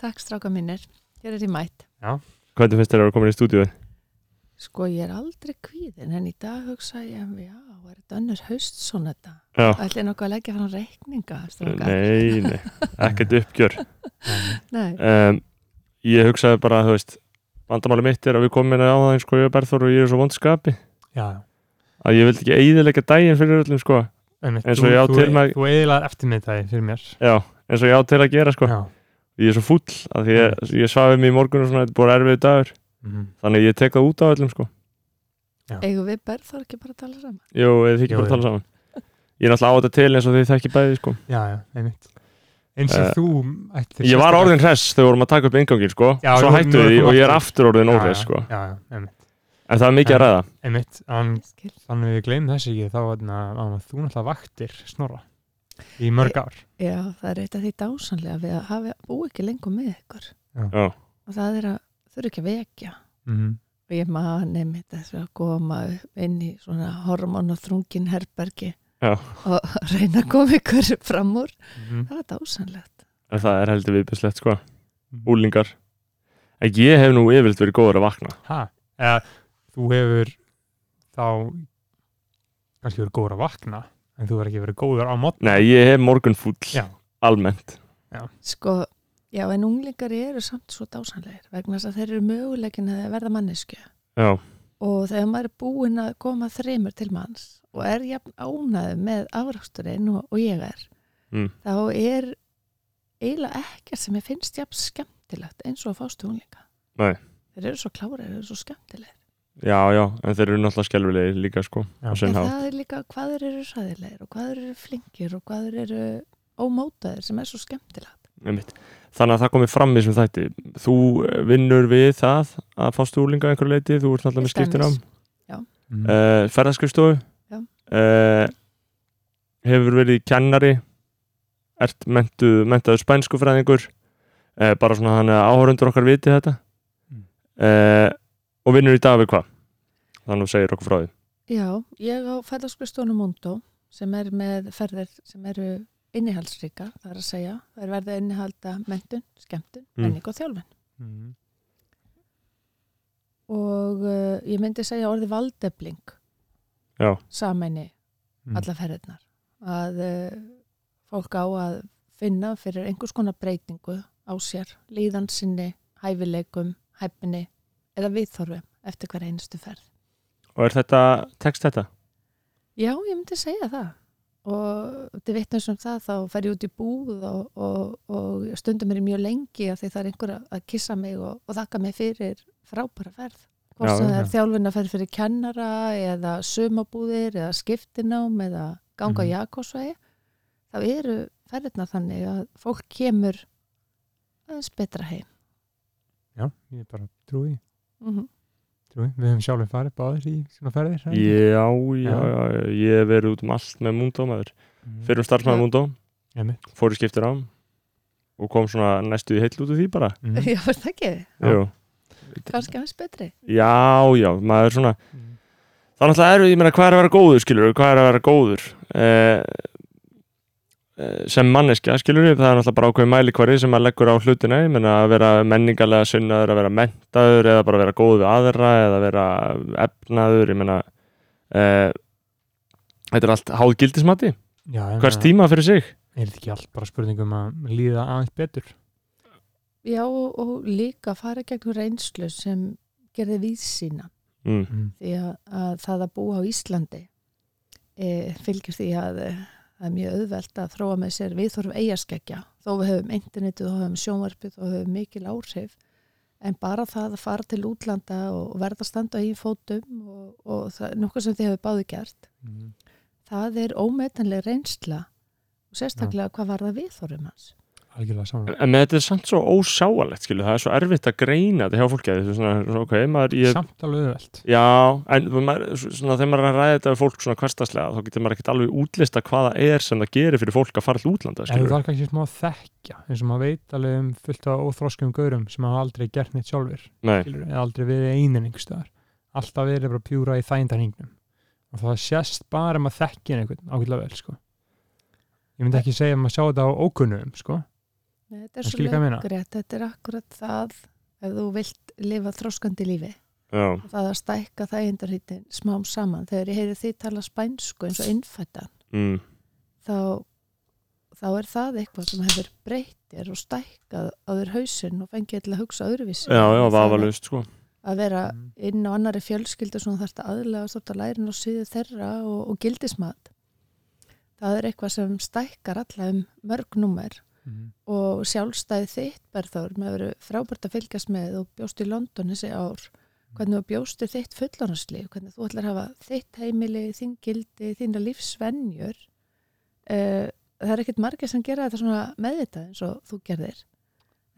S4: Takk stráka mínir, hér er ég mætt.
S1: hvernig finnst þér að vera komin í stúdíu?
S4: Sko ég er aldrei kvíðin en í dag hugsa ég, já, er þetta önnur haust svona þetta?
S1: Já,
S4: Ætli nokkuð að leggja fram reikninga, stráka?
S1: nei, nei, ekkert uppgjör
S4: Nei.
S1: um, ég hugsaði bara þú veist, vandamáli mitt er að við komum hérna á það eins og ég er berþór og ég er svo vondskapi
S3: Já,
S1: að ég vildi ekki eiðilega daginn fyrir öllum sko,
S3: einmitt
S1: Eins og ég á
S3: Þú-
S1: til
S3: þú-
S1: með-
S3: Þú eiginlega eftirmiðdagi fyrir mér
S1: já, eins og ég á til að gera sko,
S3: Já
S1: ég er svo fúll að því ég, ég svafi mig í morgun og svona, þetta er búin erfið dagur
S3: Mhm.
S1: þannig að ég tek það út á öllum sko
S4: Eigum við berðar ekki bara að tala saman?
S1: jú, eða þið ekki
S3: Jú,
S1: bara að
S3: jú.
S1: tala saman ég er náttúrulega á þetta til eins og þið þekki bæði sko
S3: Já, já, einmitt Eins og
S1: Eh,
S3: þú ættir
S1: ég var
S3: sérstaklega-
S1: orðin hress þegar við vorum að taka upp ingangin sko,
S3: Já,
S1: svo
S3: nú- nú
S1: hættu
S3: er
S1: við því
S3: komið
S1: og ég er
S3: aftur.
S1: aftur orðin
S3: Já,
S1: óhress
S3: já,
S1: sko,
S3: Já, já, einmitt
S1: en það er mikið að ræða
S3: Einmitt, en
S4: Ég skil.
S3: þannig við gleymum þessi ekki þá þarna, að þú náttúrulega vaktir snorra í mörg ár
S4: Já, það er eitt af því dásanlega við að hafa bú ekki lengur með ykkur.
S1: Já.
S4: Og það er að þurfa ekki að vekja.
S3: Mhm.
S4: Og ég mani mitt þessu að koma upp inn í svona hormon og þrungin herbergi
S1: Já.
S4: og reyna að koma ykkur fram úr.
S3: Mhm.
S4: Það var dásanlegt.
S1: en það er heldur viðbjörnslegt sko,
S3: Mm.
S1: úlingar en ég hef nú yfirlt verið góður að vakna
S3: Ha, eða þú hefur þá kannski verið góður að vakna en þú verður ekki verið góður á mót
S1: Nei, ég hef morgun fúll
S3: Já.
S1: Almennt
S4: Sko, já, en unglingar eru samt svo dásanleir vegna þess að þeir eru möguleikin að verða mannesku
S1: Já,
S4: og þegar maður er búinn að koma þreymur til manns og er jafn ánæðu með afraksturinn og, og ég er
S1: Mm.
S4: þá er eiginlega ekkert sem ég finnst jafn skemmtilegt eins og að fástu unglinga
S1: Nei.
S4: Þeir eru svo klárir, þeir eru svo skemmtilegir
S1: já, já, en þeir eru náttúrulega skelfilegir líka sko
S3: Já.
S1: á
S4: En
S1: sinn hátt.
S4: það er líka hvað þeir eru sæðilegir og hvað þeir eru flinkir og hvað þeir eru ómótaðir sem er svo skemmtilegt
S1: Einmitt. Þannig að það komið fram í sem þætti Þú eh, vinnur við það að fá stúlinga einhverju leiti, þú ert náttúrulega með
S4: Til dæmis.
S1: skiptinám
S3: Mhm.
S1: uh, Ferðaskrifstofu
S4: Já.
S1: uh, Hefur verið kennari Ert mentu, mentaður spænskufræðingur uh, bara svona þannig að áhörundur okkar viti þetta
S3: Mm.
S1: uh, og vinnur í dag við hvað þannig að þú segir okkur frá því
S4: Já, ég á ferðarskristónu Mondo sem er með ferðir sem eru innihaldsríka, það er að segja það er verið að innihalda mentun, skemmtun
S1: Mm.
S4: menning og þjálfun
S3: Mm.
S4: og uh, ég myndi segja orði valdefling
S1: Já.
S4: sameini
S3: Mm.
S4: alla ferðirnar að uh, fólk á að finna fyrir einhvers konar breytingu á sér, líðan sinni hæfileikum, hæfni eða viðþorfum eftir hver einustu ferð
S1: Og er þetta, tekst þetta?
S4: Já, ég myndi segja það og til vitnum sem það þá fer ég út í búð og, og, og stundum er ég mjög lengi af því það er einhver að- að kissa mig og, og þakka mig fyrir frábæra ferð hvort
S1: Já,
S4: sem það
S3: já.
S4: er þjálfin að ferð fyrir kennara eða sumabúðir eða skiptinám eða ganga mm
S3: Mhm.
S4: Jakobsvegi þá eru ferðirna þannig að fólk kemur aðeins betra heim
S3: Já, ég bara trúi, því,
S4: mm -hmm.
S3: trúi. því. Við hefum sjálfur farið báðir í svona ferðir. er það ekki?
S1: Já, já,
S3: Já.
S1: já, já, ég hef verið út um allt með múndómaður.
S3: Mm.
S1: Fyrir um starfsmaður
S4: Já.
S1: múndó,
S3: Einmitt.
S1: fór í skiptir ám og kom svona næstu í heill út úr því bara.
S3: Mm.
S4: Já, var það ekki?
S3: Já.
S1: Jú.
S4: Kannski aðeins betri
S1: Já, já, maður svona
S3: Mm.
S1: Það náttúrulega eru, ég meina, hvað er að vera góður, skilur hvað er að vera góður eh, eh, sem manneskja, skilur það er náttúrulega bara ákveðin mælikvari sem maður leggur á hlutina ég meina, að vera menningarlega sunnaður að vera mentaður eða bara vera góð við aðra eða vera efnaður ég meina eh, þetta er allt háð gildismati
S3: Já, en
S1: hvers
S3: að-
S1: tíma fyrir sig
S3: Er þetta ekki allt bara spurningum að líða aðeins betur?
S4: Já, og, og líka fara gegnum reynslu sem gerði víðsýna
S1: mm,
S3: Mm.
S4: því að, að það að búa á Íslandi e, fylgir því að eh, það er mjög auðvelt að þróa með sér við þurfum eigaskeggja þó við höfum internetið, þó höfum sjónvarpið þó höfum mikil áhrif en bara það að fara til útlanda og og verða að standa í fótum og, og það er nokkuð sem þið hefur báði gert
S3: Mm.
S4: það er ómetanleg reynsla og sérstaklega hvað var það við þurfum hans
S3: Algjörlega saman.
S1: en með þetta er samt svo ósjáalegt, skilur það er svo erfitt að greina þetta hjá fólki þetta er svona, svona, ok, maður, ég,
S3: Samt alveg auðvelt.
S1: Já, en þú- maður, svona, þegar maður er að ræða þetta við fólk svona hverstaslega þá getur maður ekkert alveg útlista hvaða er sem það gerir fyrir fólk að fara til útlanda
S3: En þú
S1: skilurðu.
S3: þarf kannski smá að þekkja, eins og maður veit alveg um fullt af óþróskum gaurum sem hafa aldrei gert neitt sjálfur.
S1: Nei,
S3: skilur, eða aldrei verið einir einhverstaðar alltaf verið bara pjúra í þægindarhingnum og það sést bara um að þekki einhvern ákveðlega vel sko. ég myndi ekki segja að maður sjá þetta á ókunnum sko.
S4: Nei, þetta er
S3: Það
S4: svo
S3: skilur hvað ég meina.
S4: löggrétt, þetta er akkurat það ef þú vilt lifa þróskandi lífi
S1: já,
S4: það að stækka þægindarhýttin smám saman. Þegar ég heyri því tala spænsku eins og innfættan
S1: mm,
S4: þá, þá er það eitthvað sem hefur breyttir og stækkað á þér hausinn og fengið til að hugsa öðruvísi.
S1: já, já,
S4: Það er
S1: vafalaust sko
S4: Að vera
S3: Mm.
S4: inn á annari fjölskyldu sem þarf að aðlega stótt að lærin og síðu þeirra og, og gildismat. Það er eitthvað sem stækkar alla um mörg númer
S3: Mhm.
S4: og sjálfstæði þitt Berþór, með verið frábært að fylgjast með og bjóst í London þessi ár hvernig þú bjóst í þitt fullorðanslíf hvernig þú ætlar að hafa þitt heimili þín gildi, þína lífsvenjur uh, það er ekkert margir sem gera þetta svona meðvitað eins og þú gerðir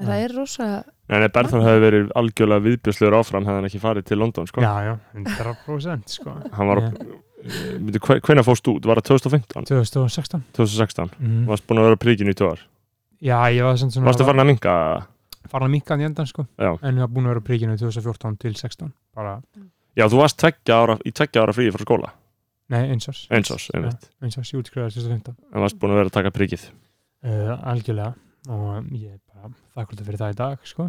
S4: en það
S3: Nei.
S4: er rosa
S1: En Berðan hefði verið algjörlega viðbjörslegur áfram hefði hann ekki farið til London sko
S3: já, já, 100% sko.
S1: Hann var,
S3: Já.
S1: myndi, hvenær fórst út? Var það 2015?
S3: 2016
S1: 2016?
S3: mm.
S1: Varst búin að vera á príkinu í tjóðar?
S3: já, ég var sem svona
S1: Varstu farin að minga?
S3: farin að minka hann í endan sko.
S1: Já.
S3: en ég var búin að vera á príkinu 2014 til 16 bara,
S1: Já, þú varst tveggja ára, í tveggja ára fríi frá skóla
S3: nei, eins árs
S1: eins ás, einmitt,
S3: Já, eins árs, ég útskrifaði 2015
S1: en varst búin að vera að taka príkið
S3: uh, algjörlega og ég er bara þakklúta fyrir það í dag sko.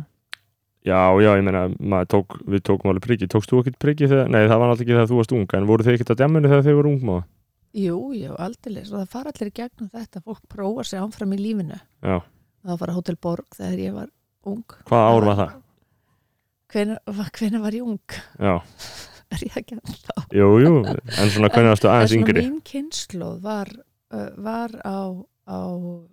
S1: Já, já, ég meina, maður tók, við tókum alveg prikið, tókst þú ekkert prikið þegar, nei það var náttúrulega ekki þegar þú varst ung, en voru þið ekkert að demminu þegar þið voru ung maður?
S4: jú, jú, aldrei, og það fara allir í gegnum þetta fólk prófa sig ánfram í lífinu
S1: Já,
S4: það var að Hotel Borg þegar ég var ung
S1: hvað ár var það?
S4: hvenær var ég ung?
S1: Já,
S4: er ég ekki að þá?
S1: jú, jú, en svona hvernig varstu
S4: Það
S1: aðeins
S4: svona
S1: yngri?
S4: mín kynnslóð var, uh, var á, á,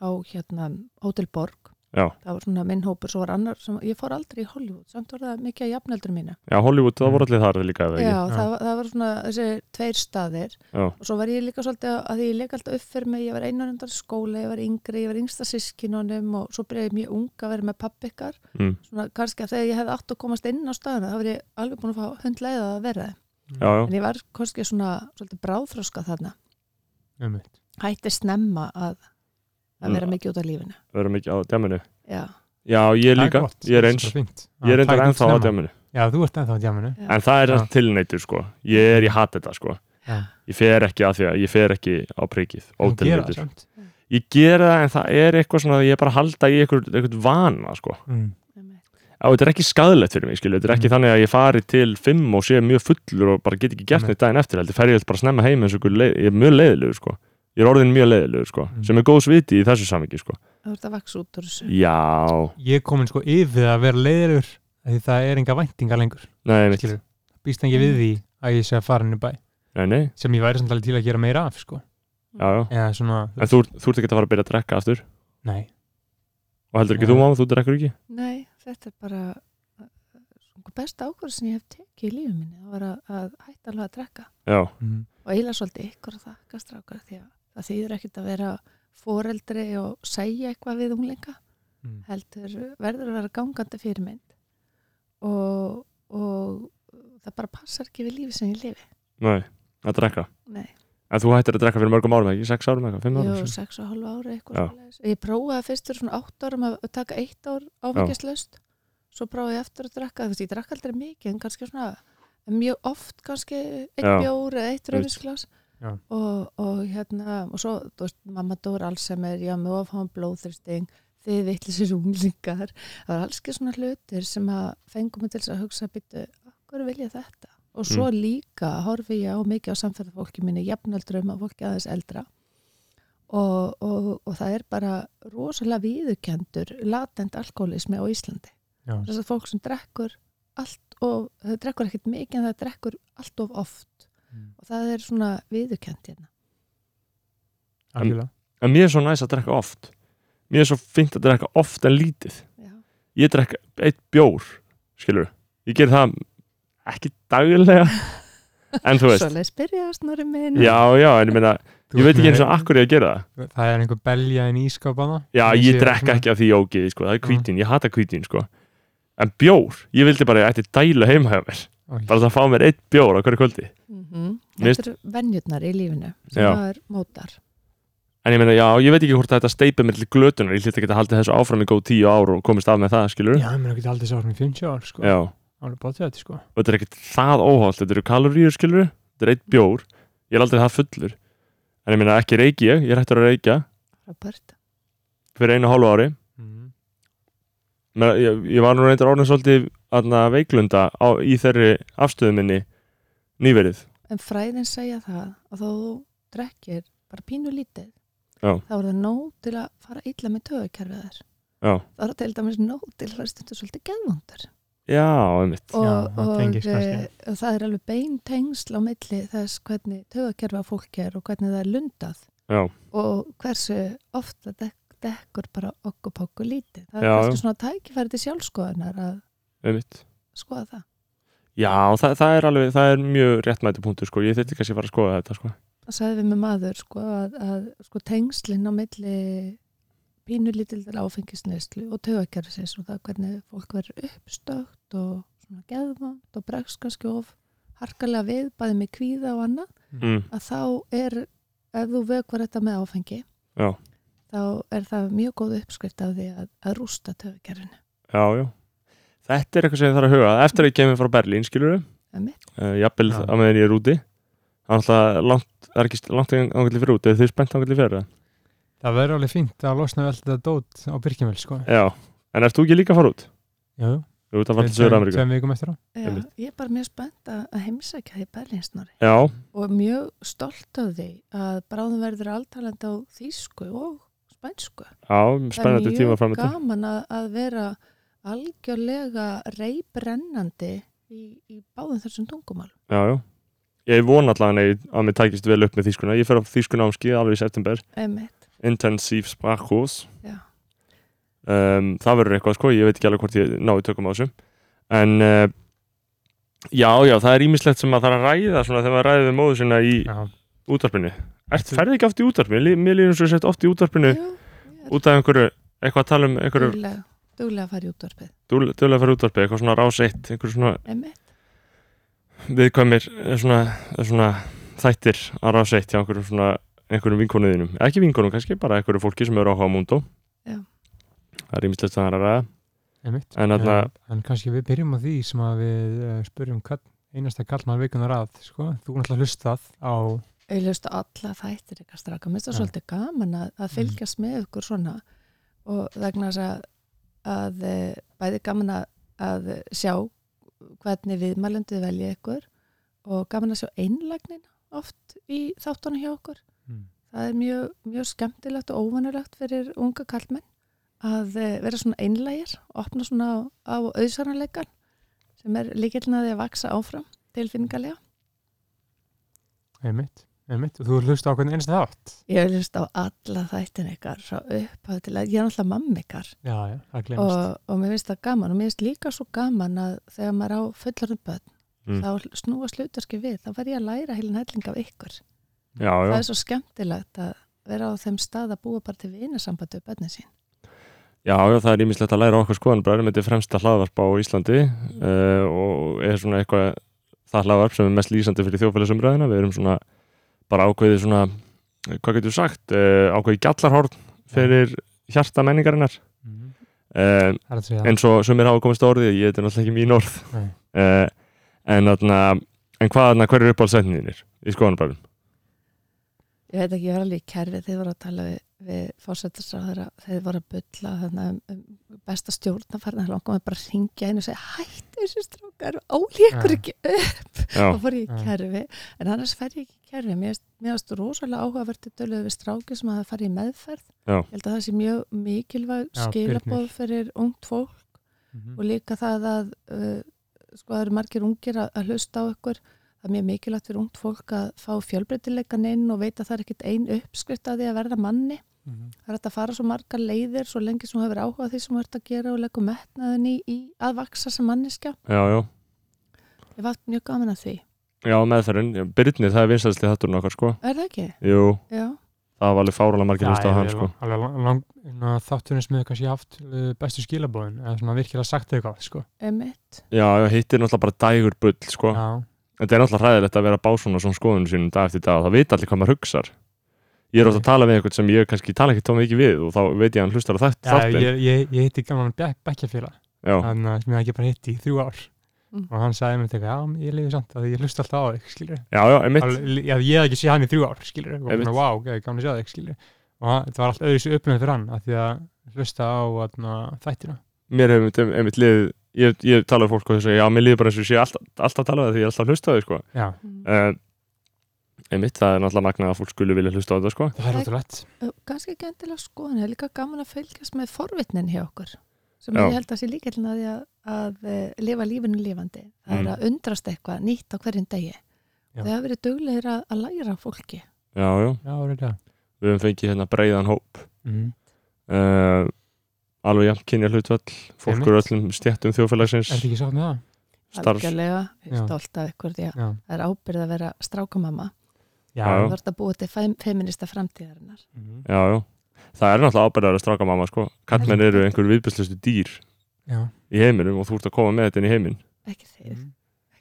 S4: á hérna, Hotel Borg.
S1: Já.
S4: Það var svona minn hópur, svo var annar, sem, ég fór aldrei í Hollywood, samt var það mikið að jafneldur mína.
S1: Já, Hollywood, það voru allir þar líka, eða
S4: Já,
S1: ekki?
S4: það, var- það var svona þessi tveir staðir
S1: Já.
S4: og svo var ég líka svolítið að- að því ég leik alltaf upp fyrir mig, ég var einan undan skóla, ég var yngri, ég var yngsta sískinunum og svo byrjaði ég mjög ung að vera með pappi ykkar.
S1: Mm.
S4: Svona kannski að þegar ég hefði átt að komast inn á staðina, þá var ég alveg búin að fá hundleiða að vera. þeim.
S1: Já, já,
S4: En ég var kannski svona svolítið bráþroska þarna.
S3: um
S4: hætti snemma að, að
S1: Mm.
S4: vera mikið út af lífinu.
S1: vera mikið á demminu.
S4: Já,
S1: Já, ég
S3: Það
S1: líka,
S3: gott,
S1: ég er
S3: það
S1: eins,
S3: bara fínt.
S1: ég er
S3: Já,
S1: reyndar
S3: tæknir
S1: ennþá á
S3: snemma.
S1: demminu.
S3: Já, þú ert ennþá á djamminu
S4: Já.
S1: En það er
S3: Já.
S1: allt tilneitur, sko, ég er, ég hatt þetta, sko,
S3: Já.
S1: ég fer ekki að því að, ég fer ekki á prikið,
S3: Þú gerir það
S1: ótilneitur.
S3: samt.
S1: ég gera það en það er eitthvað svona að ég er bara að halda í eitthvað, eitthvað vana sko.
S3: Mm.
S1: á, þetta er ekki skadlegt fyrir mig skilur. þetta er
S3: Mhm.
S1: ekki þannig að ég fari til 5 og sé mjög fullur og bara get ekki gert
S3: Nei.
S1: neitt daginn eftir heldur fer ég bara snemma heim eins og einhver leið, ég er mjög leiðilegur sko. ég er orðin mjög leiðilegur sko.
S3: Mm.
S1: sem er góðs viti í þessu samingi sko.
S4: þú ert að vaksa út úr þessu
S1: já,
S3: ég er komin sko yfir að vera leiðilegur af því það er enga væntingar lengur
S1: nei, mitt,
S3: skilur, býst ekki við því að ég sé að fara henni bæ
S1: nei, nei
S3: sem ég væri samt alveg til að gera meira af sko.
S1: já, já.
S3: eða svona,
S1: en þú, þú ert ekki að fara að byrja að drekka aftur
S3: nei
S1: og heldur ekki
S3: Nei.
S1: þú máma, þú drekkur ekki
S4: Nei, þetta er bara eh, svona besta ákvörð sem ég hef tekið í lífið minni það var að, að hætta alveg að drekka
S1: já,
S3: mm.
S4: og eiginlega svolítið ykkur að þakka strákar því að það þýður ekkert að vera foreldri og segja eitthvað við unglinga
S3: Mm.
S4: heldur verður að vera gangandi fyrirmynd og, og það bara passar ekki við lífið sem ég lifi
S1: nei, að drekka
S4: Nei,
S1: en þú hættir að drekka fyrir mörgum árum ekki, 6 árum eitthvað, 5 árum
S4: jú,
S1: svo.
S4: sex og hálfa ári
S1: Já.
S4: eitthvað svoleiðis. ég prófaði fyrst fyrir svona átt árum að að taka eitt ár áfengislaust svo prófaði ég aftur að drakka þú veist, ég drakk aldrei mikið en kannski svona mjög oft kannski eitt
S1: Já.
S4: bjór eða eitt rauðinsglas
S3: Já.
S4: og, og hérna og svo, þú veist, mamma dór Alzheimer já, með ofháðan blóðþristing þið vittlisir unglingar það var allski svona hlutir sem að fengum mig til þess að hugsa býttu, hvað vil ég þetta og svo
S3: Mm.
S4: líka horfi ég á mikið á samferðafólki minni, jafnöldrum að fólki aðeins eldra og, og, og það er bara rosalega viðurkendur latent alkoholismi á Íslandi
S3: Já.
S4: þess að fólk sem drekkur allt og, það drekkur ekkert mikið en það drekkur allt of oft
S3: Mm.
S4: og það er svona viðurkend hérna
S3: algjörlega
S1: en mér er svo næs að drekka oft mér er svo fint að drekka oft en lítið
S4: já,
S1: ég drekk eitt bjór skilur, ég ger það ekki daglega en þú veist,
S4: svoleið spyrjaði snorri minn
S1: já já en ég meina,
S3: Þú
S1: ég veit
S3: ert
S1: ekki eins
S3: með-
S1: og akkur ég að gera það
S3: það er einhver belja inn í skápana
S1: já, ég drekk ekki af því ógið sko, það er hvítin, ég hata hvítin sko en bjór, ég vildi bara að ég ætti dæla heima hjá mér, bara það að fá mér eitt bjór á hverju kvöldi,
S4: mm
S1: Mér-
S4: þetta eru venjurnar í lífinu sem
S1: Já.
S4: það er mótar
S1: en ég meina já, ég veit ekki hvort þetta steipi mér til glötunar, ég hlýtti ekki að halda þessu áfram í góð tíu ár og komist af með það, skilur
S3: já, mér er ekki aldrei sárum í 50 ár sko.
S1: já.
S3: alveg bótið þetta sko.
S1: og þetta er ekkert það óholt, þetta eru kaloríur skilur þetta er eitt bjór, ég er aldrei það fullur en ég meina ekki reyki ég ég er hættur að reykja
S4: Robert.
S1: fyrir einu og hálfu ári
S3: mm.
S1: Men, ég, ég var nú reyndar orðin svolítið aðna, veiklunda á, í þeirri afstöðu minni nýverið
S4: en fræðin segja það að þó þú drekkir bara pínu lítið
S1: Já.
S4: þá er það nóg til að fara illa með töðukerfið þær
S1: já,
S4: þá er það til dæmis nóg til að vera stundu svolítið geðvondur
S1: já, einmitt
S4: og,
S3: Já, það
S4: og,
S3: tengist
S4: eh,
S3: kannski.
S4: og það er alveg bein tengsl á milli þess hvernig tögakerfa fólk er og hvernig það er lundað
S1: já,
S4: og hversu oft það dek- dekkur bara okkur pókur lítið það er
S1: Já,
S4: kannski
S1: já.
S4: svona tækifæri til sjálfskoðunar að
S1: einmitt
S4: skoða það
S1: já, það, það er alveg, það er mjög réttmæti punktur sko, ég þyrfti kannski að fara að skoða þetta sko
S4: það sagði við með maður sko, að, að sko, tengslinn á milli pínulítil áfengisneislu og tögakerfisins og það hvernig fólk verður uppstökt og svona geðvand og bregst kannski of harkalega við bæði með kvíða og annað
S1: mm.
S4: að þá er ef þú vökvar þetta með áfengi
S1: Já.
S4: þá er það mjög góð uppskrift af því að, að rústa töfukerfinu
S1: já, já þetta er eitthvað sem ég þarf að huga að. eftir að ég kemur frá Berlín, skilur uh, jafnvel
S3: Já.
S1: að meðan ég er úti það er alltaf langt, það er ekki st- langt ángætli fyrir úti, þau er spennt ángætli fyrir það
S3: það verður alveg fínt að losna vel þetta dót á Birkimel sko.
S1: já, en ert þú ekki líka að fara út?
S3: já, já.
S1: Þú ert að fara til
S3: Tveim-
S1: Söður Ameríku
S3: tveim vikum eftir á
S4: Já,
S1: Einmitt.
S4: ég er bara mjög spennt að að heimsækja því Berlinsnari
S1: já,
S4: og mjög stolt af því að bráðum verður alltalandi á þýsku og spænsku
S1: já, spennandi
S4: það er
S1: tíma
S4: mjög
S1: fram með
S4: gaman að, að vera algjörlega reybrennandi í, í báðum þessum tungumál
S1: já, já ég vona allan að að mér tækist vel upp með þýskuna ég fer á þýskuna ámski alveg í september
S4: Emmett,
S1: Intensiv Sprachkurs
S4: Já.
S1: um, það verður eitthvað sko, ég veit ekki alveg hvort ég náðu tökum á þessu en uh, já, já, það er ímislegt sem maður þarf að ræða svona þegar maður ræðið við móðu sinna í,
S3: já,
S1: útarpinu Ert, færðu ekki oft í útarpinu? Lí- Mér líður eins og ég sett oft í útarpinu
S4: jú,
S1: út af einhverju, eitthvað að tala um einhverju
S4: duglega, duglega að fara í útvarpið
S1: dögulega fyrir útarpi, eitthvað svona rás eitt einhverju svona
S4: Emmett,
S1: viðkvæmir eh, svona, eh, svona þættir að rás eitt hjá einhverjum svona einhverjum vinkonuðinum, ekki vinkonum kannski bara einhverju fólki sem eru áhuga á múndó
S4: Já.
S1: Það er ímislegt að það er að ræða
S3: einmitt Eh,
S1: En þarna-
S3: en, en kannski við byrjum á því eh, sem að við uh, spurjum hvern einasta kallmann vikunar að sko. þú náttúrulega hlustað á
S4: auðlust á alla þættir ykkar stráka, mér finnst það
S3: Já.
S4: svolítið gaman að, að fylgjast með ykkur svona og vegna þess að, að eh, bæði gaman að, að sjá hvernig viðmælendu velja ykkur og gaman að sjá einlagnin oft í þáttunum hjá okkur
S3: Mm.
S4: það er mjög, mjög skemmtilegt og óvanulegt fyrir unga kallmenn að eh, vera svona einlægir opna svona á, á auðsaranleikan sem er líkillin að því að vaksa áfram tilfinningalega.
S3: einmitt, einmitt og þú hlusta á hvern einst þátt
S4: Ég hef hlust á alla þættin ykkar frá upphaf til að ég er náttúrulega mamma ykkar
S3: já, já, það glemist
S4: og, og mér finnst það gaman og mér finnst líka svo gaman að þegar maður á fullarum börn
S1: Mm.
S4: þá snúa slutarski við, þá var ég að læra heilin helling af ykkur.
S1: já, já.
S4: Það er svo skemmtilegt að vera á þeim stað að búa bara til vinasambandi við börnin sín.
S1: Já, já, það er ímislegt að læra á okkur skoðan bara erum þetta fremsta hlaðvarp á Íslandi
S3: Mm.
S1: uh, og er svona eitthvað það hlaðvarp sem er mest lýsandi fyrir þjófælisumræðina við erum svona bara ákveðið svona, eh, hvað getur sagt uh, ákveðið gjallarhorn fyrir hjarta menningarinnar
S3: Mhm.
S1: uh,
S3: það er að segja
S1: eins og sumir hafa komist á orðið ég þetta er náttúrulega ekki mín orð
S3: Nei.
S1: uh, en, atna, en hvað atna, hver er uppáhaldsætninir í skoðanabærum?
S4: ég veit ekki, ég var alveg í kerfi þeir voru að tala við, við fórsetisráður þeir voru að bylla þarna, um, um besta stjórnafarna, þá langum við bara að ringja einu og segja, hættu þessu strákar ólíkur
S3: Já.
S4: ekki upp
S1: Já,
S4: þá fór ég í
S3: Já.
S4: kerfi, en annars fer ég ekki í kerfi mér finnst- mér varst rosalega áhugaverti dölöðu við stráki sem að það fari í meðferð
S1: Já.
S4: ég held að það sé mjög mikilvæg
S3: Já,
S4: skilabóð
S3: Birnir.
S4: fyrir ungt fólk
S3: Mhm.
S4: og líka það að uh, sko það eru margir ungir að, að hlusta á ykkur það er mjög mikilvægt fyrir ungt fólk að fá fjölbreytileikan inn og veit að það er ekkit ein uppskrift að því að verða manni
S3: Mhm.
S4: það er hægt að fara svo margar leiðir svo lengi sem þú hefur áhuga á því sem þú ert að gera og leggur metnaðin í, í að vaksa sem manniska
S1: já, já,
S4: ég var mjög gaman að því,
S1: já meðferðin Já, Byrnir, það er vinsælsli hatturinn okkar sko
S4: er það ekki?
S1: Jú,
S4: Já,
S1: það var alveg fáralega margir
S3: Já,
S1: hlust á
S3: ég-
S1: hann
S3: ég-
S1: sko
S3: alveg lang- lang- ná, þátturinn sem hefur kannski haft uh, bestu skilabóðin eða svona virkilega sagt eitthvað sko.
S4: emitt
S1: Já, já, hitt er náttúrulega bara dægur bull, sko.
S3: já,
S1: Þetta er náttúrulega hræðilegt að vera að bá svona svona skoðunum sínum dag eftir dag og það veit allir hvað maður hugsar. Ég er ofta að
S3: Mm.
S1: tala við einhvern sem ég kannski tala ekki tóma ekki við og þá veit ég að hann hlustar á þetta
S3: já
S1: þáttin.
S3: ég, ég, ég hitti gaman bekkjafélag
S1: Já,
S3: þannig að eh, sem ég hef ekki bara hitti í þrjú ár
S4: Mm.
S3: og hann sagði mér þetta já, ég lifi samt að ég hlusta alltaf á þig skilur
S1: já, já, einmitt.
S3: Alveg- Já, ég hef ekki séð hann í þrjú ár, skilur og
S1: Einmitt.
S3: svona, wow, ok, gaman að sjá þig, skilur og hann- þetta var allt öðru sér upplöðin fyrir hann að því að hlusta á atna, þættina
S1: Mér hefur einmitt, einmitt liðið, ég, ég tala við fólk og þess að já, mér liðið bara eins og ég sé alltaf, alltaf að tala við það því ég er alltaf að hlusta á þau, sko.
S3: Já,
S4: Mm.
S1: Uh, einmitt, það er náttúrulega magnað að fólk skulu vilja hlusta á þetta, sko.
S3: það er ótrúlegt
S4: Ganski ekki endilega skoðan, ég er líka gaman að fylgjast með forvitnin hjá okkur sem
S1: Já.
S4: ég held að sé líkillin að því að, að eh, lifa lífinu lifandi það
S1: Mm.
S4: er að undrast eitthvað nýtt á hverjum degi
S3: Já.
S4: það hefur verið duglegir að, að læra af fólki
S1: Já, já,
S3: Já, reyndar
S1: við höfum fengið hérna breiðan hóp.
S3: mm.
S1: Uh, alveg jafn kynja hlutvall, fólk úr
S3: Einmitt.
S1: öllum stjættum þjóðfélagsins,
S3: Er þetta ekki sátt með það?
S1: starf,
S4: algjörlega, ég
S3: Já.
S4: er stolt af ykkur því að
S3: Já,
S4: það er ábyrð að vera strákamamma
S3: já,
S1: Já.
S4: þú ert að búa til fem, feminista framtíðarinnar
S3: Mhm.
S1: Já, já. Það er náttúrulega ábyrðar að stráka mamma, sko. Kallmenn eru einhver viðbjörnslustu dýr
S3: já.
S1: í heiminum og þú ert að koma með þetta inn í heiminn.
S4: ekki þeir
S3: Mm.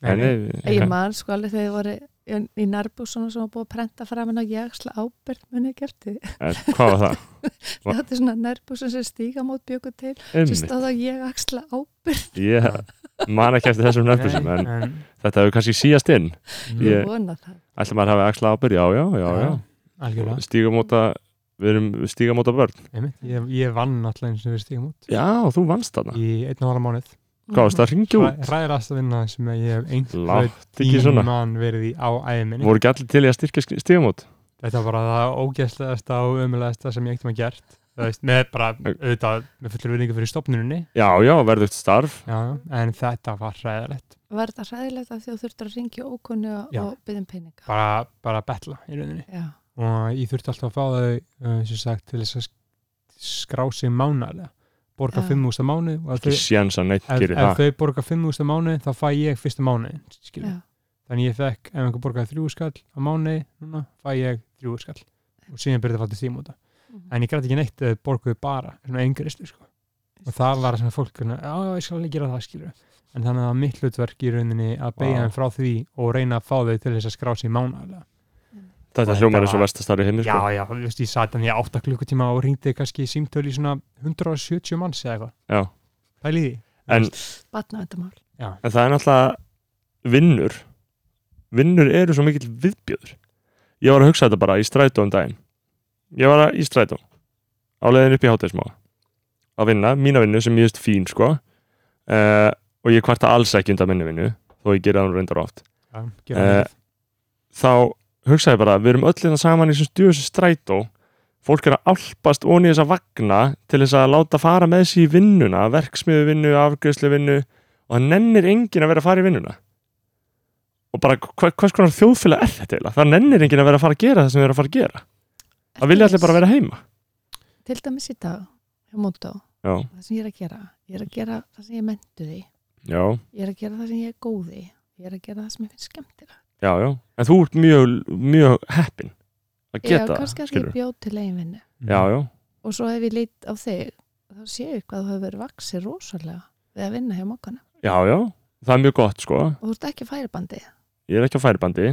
S1: En,
S3: Nei, nei.
S4: ég man sko alveg þegar þið voru í- í nærbúsunum sem var búið að prenta fram en á jaksla ábyrð muni ekki eftir því.
S1: en hvað var það? Va-
S4: það er svona nærbúsun sem stígamót bjöku til sem
S1: Einmitt.
S4: stóð á ég axla ábyrð
S1: Ég man ekki eftir þessum nöfnum, en
S3: en,
S1: þetta hefur kannski síast inn.
S3: mm,
S1: Ég-
S4: og vona það
S1: Ætla maður hafi axla ábyrð, já, já, já, já.
S3: Algjörlega,
S1: Stígamóta, við erum stígamóta börn.
S3: einmitt Ég, ég vann alltaf eins og við stígum út
S1: Já, þú vannst þarna.
S3: í einn og ára mánuð
S1: Hvað varst það að ringja út?
S3: Ræðilegast að vinna sem ég hef einhver
S1: Látt ekki svona.
S3: tíman verið í á æðminni
S1: Voru ekki allir til í að styrkja stígamót?
S3: Þetta var bara það ógeðslegasta og ömulegasta sem ég ekkert maður gert Það veist, með bara, auðvitað, með fullur vinningu fyrir stopnuninni
S1: Já, já, verðugt starf.
S3: Já, en þetta var ræðilegt
S4: var þetta hræðilegt af því að þú þurftur að ringja ókunni og,
S3: Já.
S4: og byggja um peninga
S3: bara, bara betla í rauninni
S4: já,
S3: og ég þurfti alltaf að fá þau uh, sem sagt, til þess að sk- skrá sig mánalega borga
S4: Já.
S3: 5.000 mánu og ef
S1: Ekki
S3: þau,
S1: séns að neitt
S3: ef,
S1: gerir það.
S3: ef þau borga 5.000 mánu þá fæ ég fyrsta mánu
S4: já,
S3: þannig ég fekk, ef einhver borgaði þrjú skall á mánu, núna, fæ ég þrjú skall og síðan byrjaði að fá til því múta
S4: Mhm.
S3: en ég græti ekki neitt, þau borguðu bara svona eingristu, sko og það var svona fólk svona, já, já, ég skal alveg gera það skilur en þannig að það var mitt hlutverk í rauninni að beigja
S1: Vá.
S3: þeim frá því og reyna að fá þau til þess að skrá sig mánalega
S1: Þetta
S3: Þetta
S1: hljómar eins og
S3: var-
S1: vestastar í heimi,
S3: já,
S1: sko.
S3: já, þú veist, ég sat hann í 8 klukkutíma og ringdi kannski í símtölu í svona 170 manns eða eitthvað
S1: Já.
S3: pæli í því,
S1: En
S4: batnavendamál
S3: já,
S1: en það er náttúrulega vinnur vinnur eru svo mikill viðbjöður ég var að hugsa þetta bara í strætó um daginn ég var að í strætó á leiðin upp í hátæðismá að vinna, mína vinnu sem ég veist fín sko uh, og ég kvarta alls ekki undan minni vinnu þó ég gera það nú reyndar oft
S3: Já, gera það.
S1: þá hugsaði ég bara, við erum öll þetta saman í þessum stjóðsum strætó fólk er að álpast onni þess að vagna til þess að láta fara með sér í vinnuna verksmiðuvinnu, afgjöðsluvinnu og það nennir enginn að vera að fara í vinnuna og bara hva, hvers konar þjóðfélag er þetta eiginlega? það nennir enginn að vera að fara að gera það sem við erum að fara að gera það vilja allir bara vera heima
S4: Til dæmis í dag, hjá Mondo,
S1: já,
S4: það sem ég er að gera, ég er að gera það sem ég mentu því,
S1: já,
S4: ég er að gera það sem ég er góð í, ég er að gera það sem ég finnst skemmtilega.
S1: já, já en þú ert mjög, mjög heppin að
S4: Ég
S1: geta
S4: kannski að því
S1: skilurðu.
S4: bjóð til eigin vinnu
S1: já,
S3: Mm.
S1: já,
S4: og svo ef ég lít á þig, þá séu ég hvað þú hefur verið vaksið rosalega við að vinna hjá mokkana.
S1: já, já það er mjög gott sko
S4: Og þú ert ekki á færibandi.
S1: ég er ekki á færibandi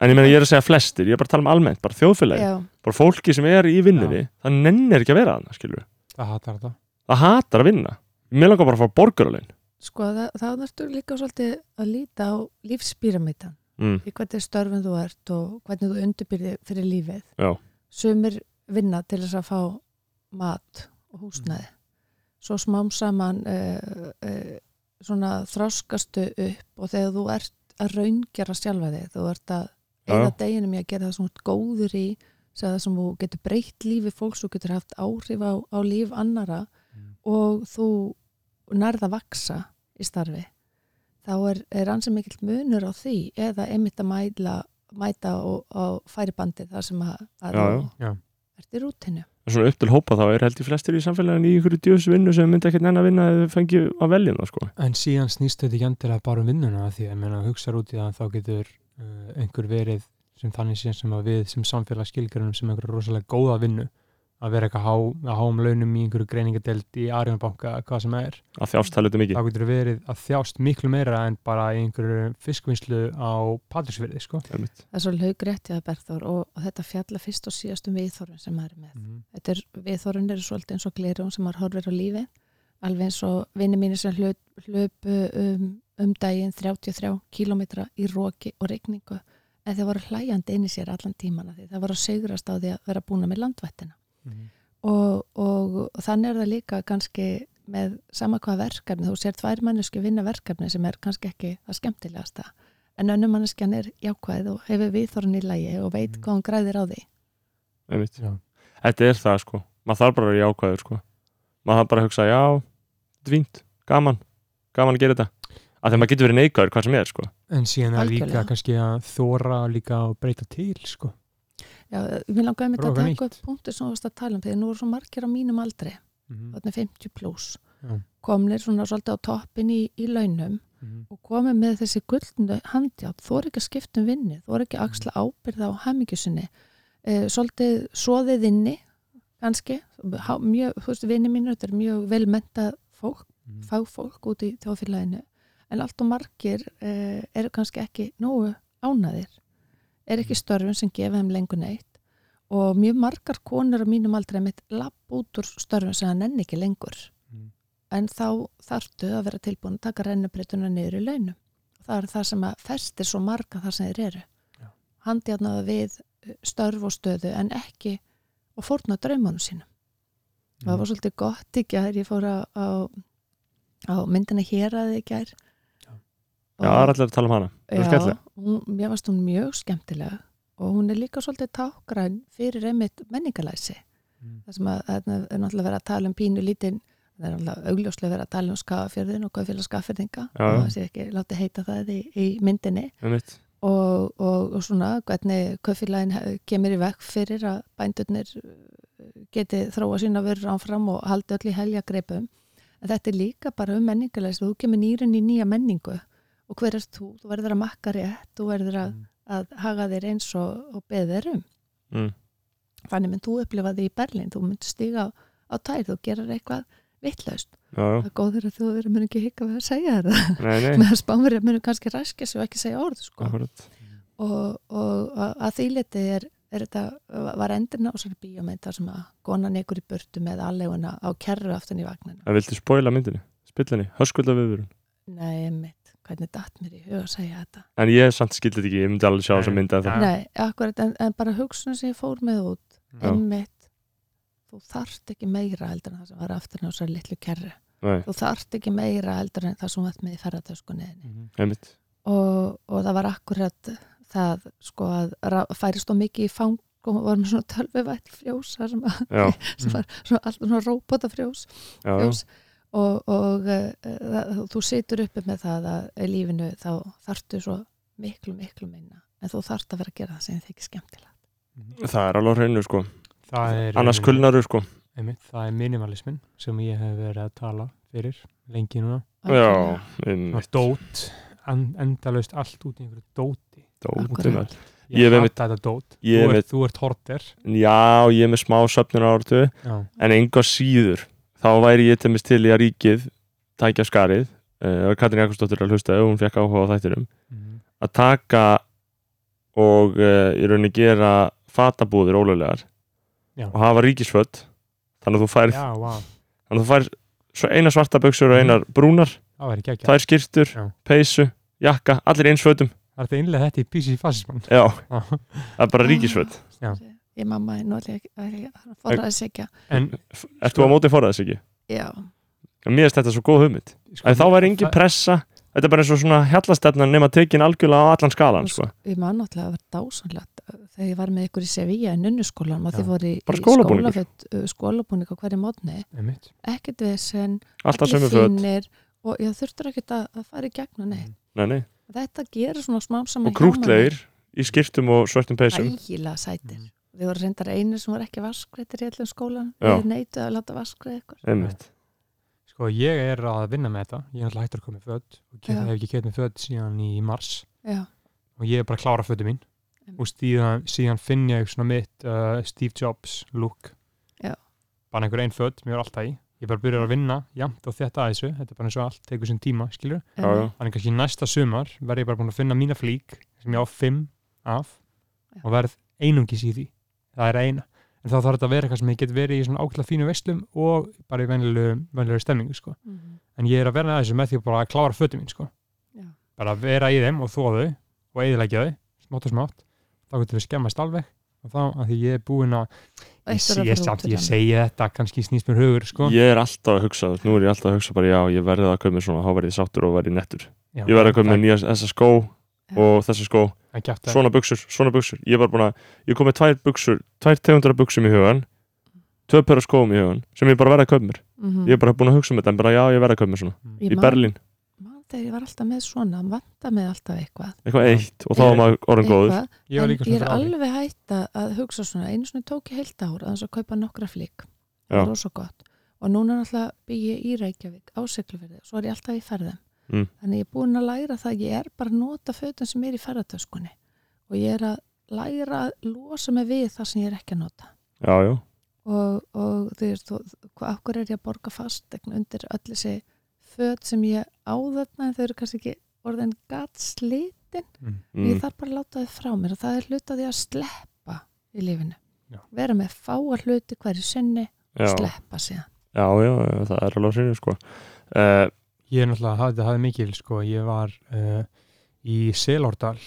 S1: en ég meina ég er að segja flestir, ég er bara að tala um almennt bara þjóðfélagi,
S4: Já,
S1: bara fólki sem er í vinnunni það nennir ekki að vera þarna, skilur
S3: það hattar þetta
S1: það hatar að vinna mér langar bara að fá borgaralinn
S4: sko það, þá þarfstu líka svolítið að líta á lífspíramitan
S1: mm,
S4: í hvernig störfum þú ert og hvernig þú undirbyrði fyrir lífið.
S1: Já.
S4: Sumir vinna til þess að fá mat og húsnæði.
S1: Mm.
S4: Svo smám saman uh, uh, svona þroskastu upp og þegar þú ert að raungjara sjálfa þig, þú ert að
S1: Já,
S4: eina
S1: já.
S4: deginum í að gera það sem þú ert góður í sem það sem þú getur breytt lífi fólks þú getur haft áhrif á, á líf annara
S3: Mm.
S4: og þú nærð að vaksa í starfi þá er, er ansi mikill munur á því eða einmitt að mæla, mæta og, og færi bandi þar sem að, að
S1: Já,
S4: þú
S3: já. Já.
S4: ert í rútinu
S1: En svona upp til hópa þá er held í flestir í samfélaginu í ykkur djöfs vinnu sem myndi ekkert nenn að vinna eða fengi að velja það sko
S3: En síðan snýst þetta ekki endilega bara um vinnuna af því að meina, hugsa út í það að þá getur uh, einhver verið sem þannig síðan sem að við sem samfélag skilgjörnum sem einhverja rosalega góða vinnu að vera eitthvað há, að háum launum í einhverju greiningadelt í Arjónabanka, hvað sem er
S1: að þjást það litur mikið,
S3: þá getur verið að þjást miklu meira en bara í einhverju fiskvinnslu á Patrísfyrði, sko
S1: það er mitt
S4: það er svo laugrétti að Berþór og, og þetta fjalla fyrst og síðast um viðþorfin sem maður er með
S3: mm.
S4: þetta er, viðþorun eru svolítið eins og glirjum sem maður horfir á lífi alveg eins og vinni mínir sem hlup, hlupu um, um daginn 33 kílómetra í roki og regningu en þeir voru hlæjandi inn í sér allan tímana því það voru að segrast á því að vera búna með landvættina
S3: Mm.
S4: og, og, og þannig er það líka kannski með sama hvað verkefni þú sér tvær manneski vinna verkefni sem er kannski ekki það skemmtilegasta en önnum manneskjan er jákvæð og hefur viðþorun í lægi og veit
S3: Mm.
S4: hvað hún græðir á því
S1: Einmitt.
S3: Já.
S1: Þetta er það sko maður þarf bara að vera jákvæður sko maður þarf bara að hugsa já, þetta er fínt, gaman gaman að gera þetta að þegar maður getur verið neikvæður hvað sem er sko
S3: En síðan er líka
S4: Algjörlega.
S3: kannski að þóra líka og breyta til, sko
S4: Já, mér langaði mér að
S3: Prófa
S4: taka
S3: nýtt.
S4: upp punktu sem þú varst að tala um þegar nú eru svo margir á mínum aldri,
S3: mm.
S4: þarna 50 pluss
S3: Já.
S4: komnir svona svolítið á toppin í, í launum
S3: Mm.
S4: og komið með þessi guldnu handjátt, þú er ekki að skipta um vinnu þú er ekki að axla ábyrða á hamingisunni e, svolítið svoðið inni kannski, Há, mjög, þú veist, vinni mínur, þetta er mjög velmentað fólk,
S3: Mm.
S4: fagfólk út í þjóðfélaginu, en allt og margir e, eru kannski ekki nógu ánaðir, er ekki störfum sem gefa þeim lengur neitt og mjög margar konur á mínum aldrei mitt lapp út úr störfum sem hann enn ekki lengur
S3: Mm.
S4: en þá þarftu að vera tilbúin að taka rennubreituna niður í launum og það er það sem að festir svo marga þar sem þeir eru
S3: Já.
S4: handjarnaða við eh, störf og stöðu en ekki og fórna draumanum sínum og það var svolítið gott í gær ég fór á, á, á myndina hér að þið gær
S1: Já, það er allir að tala um hana Það er
S4: já,
S1: skemmtileg.
S4: hún, mér varst hún mjög skemmtilega og hún er líka svolítið tákgræn fyrir einmitt menningalæsi
S3: Mm.
S4: það sem að það er náttúrulega verið að tala um pínu lítinn það er náttúrulega augljóslega verið að tala um skafafjörðin og hvað fyrir skafafjörðinga
S1: Já.
S4: og það sé ekki látið heita það í, í myndinni
S1: Einmitt.
S4: og, og, og svona hvernig kaufélagin he- kemur í vekk fyrir að bændurnir uh, geti þróa sína vörur ánfram og haldi öll í helja greipum en þetta er líka bara um menningalæs þú kemur nýrun í nýja menningu og hver er þú, þú verður að makka rétt þú verður að,
S3: Mm.
S4: að haga þér eins og, og beðir um
S1: Mm.
S4: þannig mynd þú upplifa því í Berlín þú mynd stiga á, á tær, þú gerir eitthvað vittlaust,
S1: Já, já.
S4: það er góður að þú verður mun ekki hika við að segja þér það
S1: Nei, nei,
S4: meðan spánverið munum kannski ræskja sig og ekki segja orð sko
S1: akkurat
S4: og, og að- að því liti er, er þetta var endurinn á sér bíómynd þar sem að konan ykkur í burtu með alleguna á kerru aftan í vagnina
S1: Það viltu spoila myndinni, spillinni, höskulda viðvörun
S4: Nei, mitt, hvernig datt mér í huga að segja þetta
S1: en ég samt skildi þetta ekki, ég myndi alveg sjá
S3: Nei,
S1: þessa mynd ennþá.
S3: Já.
S4: Nei, akkurat, en, en bara hugsun sem ég fór með út
S1: Já.
S4: einmitt, þú þarft ekki meira heldur en það sem var aftur á sér litlu kerri
S1: Nei,
S4: þú þarft ekki meira heldur en það sem var með í ferðartöskunni þinni.
S1: einmitt.
S4: og, og það var akkurat það sko að ra- færist þó mikið í fang og var með svona tölvivætt frjós þar sem, að,
S1: Já,
S4: sem var svona, alltaf svona róbótafrjós
S1: Mm. já, já.
S4: ljós og, og uh, það, þú situr uppi með það að í lífinu þá þarftu svo miklu, miklu minna en þú þarft að vera að gera það sem þið ekki skemmtilega
S1: það er alveg á hreinu sko,
S3: það er
S1: annars
S3: einmitt-
S1: kulnaru sko
S3: einmitt, það er minimalismin sem ég hef verið að tala fyrir lengi núna
S1: Já,
S4: Algjörlega.
S3: Svona
S1: einmitt,
S3: dót, en, endalaust allt út í einhverju dóti
S1: dóti
S4: Akkurat.
S1: maður. Ég
S3: ég
S1: hef
S3: hata
S1: einmitt-
S3: þetta dót
S1: ég
S3: þú,
S1: hef
S3: ert, þú ert horter
S1: Já, ég er með smá söfnur á orðu
S3: já,
S1: en enga síður þá væri ég til til í að ríkið tækja skarið uh, Katrin Jakobsdóttir er að hlusta ef hún fekk áhuga á þættinum
S3: Mhm.
S1: að taka og uh, í rauninni gera fatabúðir ólegulegar
S3: Já.
S1: og hafa ríkisfött þannig að þú fær,
S3: já, vá,
S1: þannig að þú fær svo eina svarta buksur og einar brúnar
S3: það væri ekki ekki
S1: þær skýrtur,
S3: Já.
S1: peysu, jakka allir einsfötum,
S3: það er þetta innlega þetta í písi fasismann
S1: já,
S3: Já.
S1: það
S4: Ah.
S1: er bara ríkisfött
S3: Já.
S4: ég mamma er náttúrulega að forraði sig ekki
S3: en
S1: Ert þú á móti forðaðis ekki?
S4: já,
S1: Mér finnst þetta svo góð hugmynd
S3: sko,
S1: En þá væri engin
S3: það-
S1: pressa Þetta er bara eins og svona hjallastefnan nema tekin algjörlega á allan skalan sko.
S4: ég man náttúrulega að vera dásanlegt þegar ég var með ykkur í Sevilla í nunnuskólan og
S3: Já.
S4: þið voru í,
S1: Bara
S4: í
S1: skólabúningur.
S4: skólaföt, uh, skólabúning á hverju mótni
S3: einmitt,
S4: ekkert vesen,
S1: Alltaf
S4: allir
S1: sömu föt
S4: fínir og ég þurftur ekkert að, að fara í gegnum
S3: Mm.
S4: neitt
S1: nei, nei.
S4: þetta gerir svona smám saman
S1: Og krútlegir í skiptum og svörtum peysum
S4: ægilega sætir
S3: Mhm.
S4: við vorum reyndar einu sem var ekki vaskreitir í allum skólan,
S1: Já.
S4: við neituð að láta vaskreið eitthvað,
S1: Einmitt.
S3: sko ég er að vinna með þetta ég er alltaf hættur að koma með föt og
S4: Já.
S3: ég hef ekki keitt með föt síðan í mars
S4: já,
S3: og ég er bara að klára fötu mín
S4: Einmitt.
S3: og síðan, síðan finn ég svona mitt uh, Steve Jobs look
S4: Já.
S3: bara einhver einn föt, mér er alltaf í ég er bara að byrja að vinna, jæmt og þetta að þessu þetta er bara eins og allt, tekur sinn tíma, skilur
S1: Já, já.
S3: þannig kannski næsta sumar verð ég bara búin að finna mína flík sem ég á fimm af
S4: Já.
S3: og verð einungis í því það er eina, en þá þarf þetta að vera eitthvað sem ég get verið í svona ákveðlega fínu veslum og bara í venjulegu, venjulegu stemmingu sko.
S4: Mhm.
S3: en ég er að verða að þessu með því bara að klára fötu mín sko.
S4: Já.
S3: bara að vera í þeim og þóa þau og eðilegja þau, smátt og smátt þá getur við skemmast alveg og þá að því ég er búin að
S4: Og
S3: ég,
S4: eitt er
S3: sé,
S4: að
S3: ég,
S4: fara
S3: samt,
S4: út fyrir
S3: ég
S4: hann.
S3: segi þetta, kannski snýst mér hugur sko.
S1: Ég er alltaf að hugsa, þú veist, nú er ég alltaf að hugsa bara já, ég verði að kaupa mér svona, þá verði ég sáttur og verði ég nettur
S3: Já,
S1: Ég verði að kaupa mér
S3: það-
S1: nýja þessa skó og þessa skó,
S3: það kjafta-
S1: svona buksur, svona buksur Ég er bara búin að, ég kom með tvær buksur tvær tegundara buksum í hugan tvö pera skóum í hugan, sem ég bara verði að kaupa mér
S4: Mhm.
S1: Ég er bara búin að hugsa um þetta, en bara já, ég verði að kaupa mér svona
S4: Ég
S1: Í
S4: man-
S1: Berlín,
S4: man þegar ég var alltaf með svona, vanda með alltaf eitthvað,
S1: eitthvað
S3: Já.
S1: eitt og þá var maður orðin góður
S4: eitthvað
S3: ég var
S4: en
S3: líka
S4: ég
S3: svona
S4: er
S3: fyrir ári.
S4: alveg hætt að- að hugsa svona, einu svona tók ég heilt ár að þess að kaupa nokkra flík, það
S1: Já.
S4: var rosa gott og núna náttúrulega bygg ég í Reykjavík á Siglufirði, svo er ég alltaf í ferðum
S1: Mm.
S4: þannig ég er búin að læra það að ég er bara að nota fötum sem er í ferðartöskunni og ég er að læra að losa mig við það sem ég er ekki að nota
S1: Já, já,
S4: og, og þú veist, þú- hvað akkur er ég að borga fastegn undir öll þessi föt sem ég á þarna en þau eru kannski ekki orðin gatslitin mm.
S1: mm,
S4: ég þarf bara að láta þau frá mér og það er hluta því að sleppa í lífinu
S3: Já.
S4: vera með fáa hluti hverju sinni
S1: já,
S4: sleppa síðan
S1: já, já, já, það er alveg sinu sko. uh,
S3: ég er náttúrulega, hafði- þetta hafði mikil sko. ég var uh, í Selordal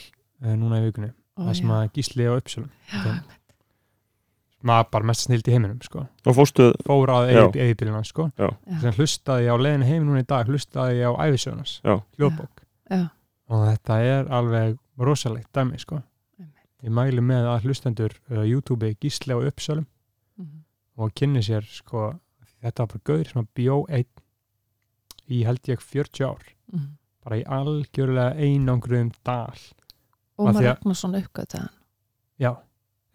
S3: uh, núna í vikunni
S4: Ó,
S3: það sem
S4: já.
S3: að gísli á Uppsölum
S4: Já,
S3: maður bara mest snild í heiminum sko.
S1: Og fórstu
S3: fór
S1: Já.
S3: að eðibilina sko.
S4: já.
S3: sem hlustaði ég á leiðinu heim núna í dag hlustaði ég á æfisögunars
S1: Já.
S3: hljóðbók
S4: Já.
S3: og þetta er alveg rosalegt dæmi sko.
S4: Einmitt.
S3: ég mæli með að hlustendur uh, YouTube gísli á uppsölum
S4: Mhm.
S3: og kynni sér sko, þetta var bara gauður sem að bjó einn í held ég 40 ár
S4: Mhm.
S3: bara í algjörlega einangruðum dal Af
S4: Ómar
S3: því að-
S4: Ragnarsson uppgötu hann
S3: já,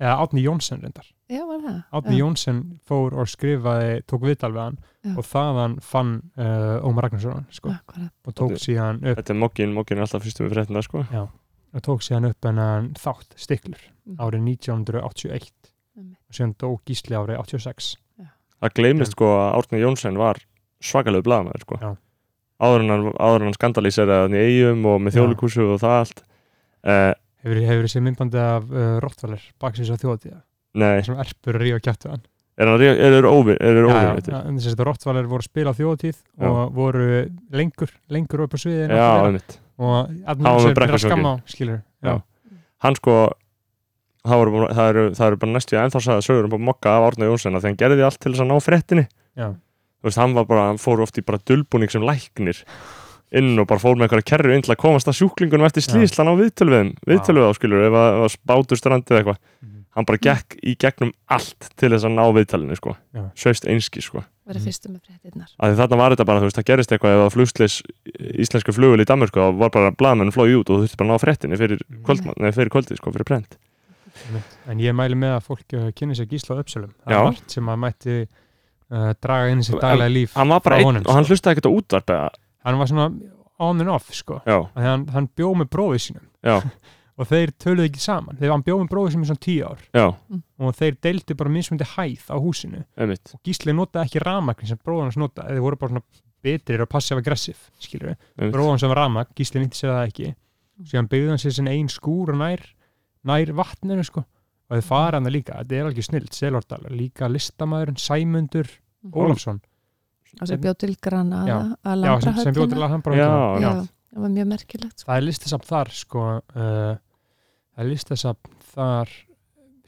S3: eða Átni Jónsson reyndar
S4: já, var það
S3: Átni
S4: Já.
S3: Jónsson fór og skrifaði tók viðtal við hann
S4: Já.
S3: og þaðan fann uh, Ómar Ragnarsson hann, sko,
S4: Akkúrat.
S3: og tók
S1: Þetta
S3: síðan uh, upp
S1: Þetta er mokkin, mokkin er alltaf fyrstu með fréttina sko.
S3: og tók síðan upp hennan þátt stiklur
S4: Mhm.
S3: árið 1981
S4: Einmitt.
S3: og síðan dó Gísli árið 86
S1: Það gleymist sko að Árni Jónsson var svakalegu blaðamæður sko.
S3: Já.
S1: áður en hann, áður en hann skandalíseraði hann í eigum og með
S3: Já.
S1: þjóðlikúsu og það allt uh,
S3: hefur, hefur þessi myndbandi af uh, Rottvaler baksins á þjóðatíða
S1: Nei,
S3: sem erpur að rífa kjættu hann
S1: er hann ríð- eru óvin er, er óvin
S3: já, en þessi Rottvaler voru að spila á þjóðatíð og voru lengur lengur upp á sviðin
S1: já, einmitt
S3: og
S1: Hann var
S3: allir
S1: með
S3: er að
S1: brekkusökin.
S3: skamma á skilur
S1: Já. hann sko það eru, búin- það eru, það eru bara næstu í að ennþá sagði sögur um bara mokka af Árna Jónsson að þegar hann gerði allt til þess að ná fréttinni
S3: Já.
S1: þú veist, hann var bara, hann fór oft í bara dulbúning sem læknir inn og bara fór með einhverja kerru inn til að komast að sjúklingunum eftir slíslan á viðtölviðum viðtölvið á skilur, ef að, ef að bátur strandi eða eitthvað,
S3: Mhm.
S1: hann bara gekk í gegnum allt til þess að ná viðtalinu sko,
S3: Já.
S1: sveist einski sko
S4: verið
S3: Mm.
S4: fyrstu með fréttinnar
S1: að þarna var þetta bara, þú veist, það gerist eitthvað ef að flugslis íslensku flugul í Danmörku þá var bara blaðmenn flóið út og þú þurfti bara að ná fréttinni fyrir, kvöldma, nei, fyrir kvöldið, sko, fyrir prent
S3: en ég mæli með að fólk eh, kynni sér gísla á uppsölum það
S1: Já.
S3: er margt sem að mætti uh, draga inn í sér daglega líf
S1: hann var bara
S3: frá
S1: einn
S3: honum,
S1: og hann
S3: sko.
S1: hlustaði ekkert á útvarp eða,
S3: hann var svona on and off sko
S1: já,
S3: Af því að hann, hann bjó með bróðið sínum
S1: já,
S3: og þeir töluðu ekki saman þegar hann bjó með bróðið sínum í svona tíu ár
S1: já,
S3: og þeir deildu bara mismundi hæð á húsinu
S1: einmitt
S3: og Gísli notaði ekki ramakni sem bróðan hans notaði þeir voru bara svona betrir og passið aggressiv skilur við,
S1: Einmitt.
S3: bróðan sem var ramak Gísli nýtti sér það ekki síðan byggði hann sér sinna ein skúr og nær nær vatninu sko og þau fara hann líka, þetta er alveg snilt, Selordal líka listamaðurinn Sæmundur Ólafsson,
S4: Mhm. og sem bjóð til Grana
S3: Já.
S4: að
S3: já, sem, sem bjóð til
S4: Lambrahöllina
S3: að hann
S1: já,
S3: bara
S1: já,
S4: Já, það var mjög merkilegt sko.
S3: það er listasamt þar sko uh, það er listasamt þar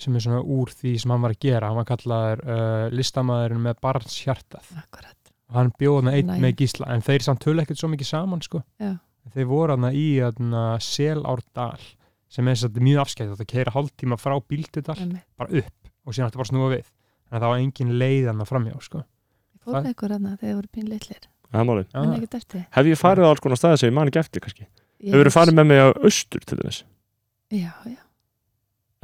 S3: sem er svona úr því sem hann var að gera hann var kallaður uh, listamaðurinn með barnshjartað
S4: akkurat,
S3: og hann bjóð hann einn
S4: Næ.
S3: með gísla en þeir samt tölu ekkert svo mikið saman sko
S4: Já.
S3: þeir voru hann í aðna, Selárdal sem er satt, mjög afskætt það keira hálftíma frá Bíldudal
S4: emmi
S3: bara upp og síðan ætti bara að snúa við en það var engin leið hann að framjá sko
S4: ég fór með ykkur hana þegar voru pín litlir
S1: það er málið
S4: en ekkert eftir
S1: Hef ég farið á alls konar staði sem ég man ekki eftir kannski
S4: Ég
S1: Hefur þú
S4: hugsa-
S1: farið með mig á austur til þess
S4: já, já,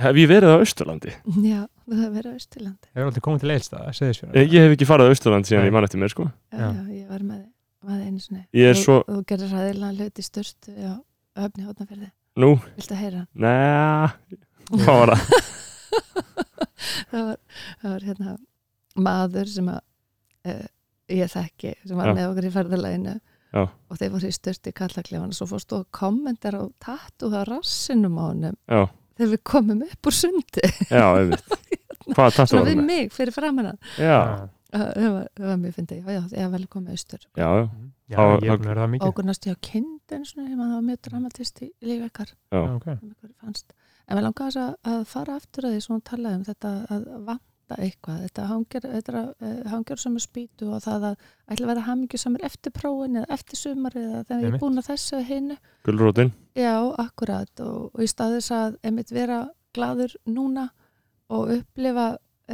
S1: Hef ég verið á austurlandi
S4: já, þú hefur verið á Ístilandi
S3: hefur aldrei komið til leilstaða, segðis fyrir
S1: Ég hef ekki farið á austurlandi síðan
S3: Nei.
S1: ég man eftir mér, sko
S4: já,
S3: Já.
S4: já, ég var með með einu sinni
S1: Ég er
S4: Þú-
S1: svo-
S4: þú gerir ræðilega hluti stört já, höfni hótnaferði,
S1: Nú,
S4: viltu að heyra
S1: næ, hvað var það?
S4: það var, það var hérna maður sem að uh, ég þekki, sem var
S1: Já.
S4: með okkur í ferðalæginu
S1: Já.
S4: og þeir voru í styrti kallaklefana, svo fórst þú að kommentar á tattúða rassinum á honum
S1: Já,
S4: þegar við komum upp úr sundi
S1: já, einmitt Hvað tattu
S4: svona
S1: var
S4: við
S1: það?
S4: mig fyrir framann hann.
S1: Já,
S4: það það var, það var mjög fyndið, já, já, ég var vel komið austur
S1: já, já, Þá-
S3: já, ég er búin að vera það mikið
S4: águr næstu hjá kindin svona, sem að það var mjög dramatist í lífi ykkar
S1: Já.
S3: okay.
S4: sem ykkur fannst. En mér langaði þess að- að fara aftur að því svona talaði um þetta að vanda eitthvað, þetta hangjör, þetta er að, eh, hangjör sem er spýtu og það að ætla að vera hamingju sem er eftir prófin eða eftir sumarið eða þegar ég er
S3: Einmitt.
S4: búin að þessu og hinu.
S1: gulrótin
S4: Já, akkurat og, og í staðis að einmitt vera gladur núna og upplifa,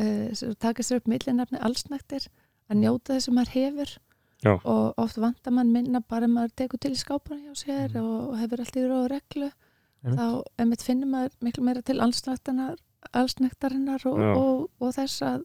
S4: eh, sem taka sér upp millinafni allsnættir, að njóta þess sem maður hefur
S1: Já.
S4: og oft vantar mann minna bara ef maður tekur til skápana hjá sér
S3: Mhm.
S4: og hefur allt í rá og reglu
S3: Einmitt.
S4: þá einmitt finnir maður miklu meira til allsnættarinnar, allsnættarinnar og,
S1: Já.
S4: og, og þess að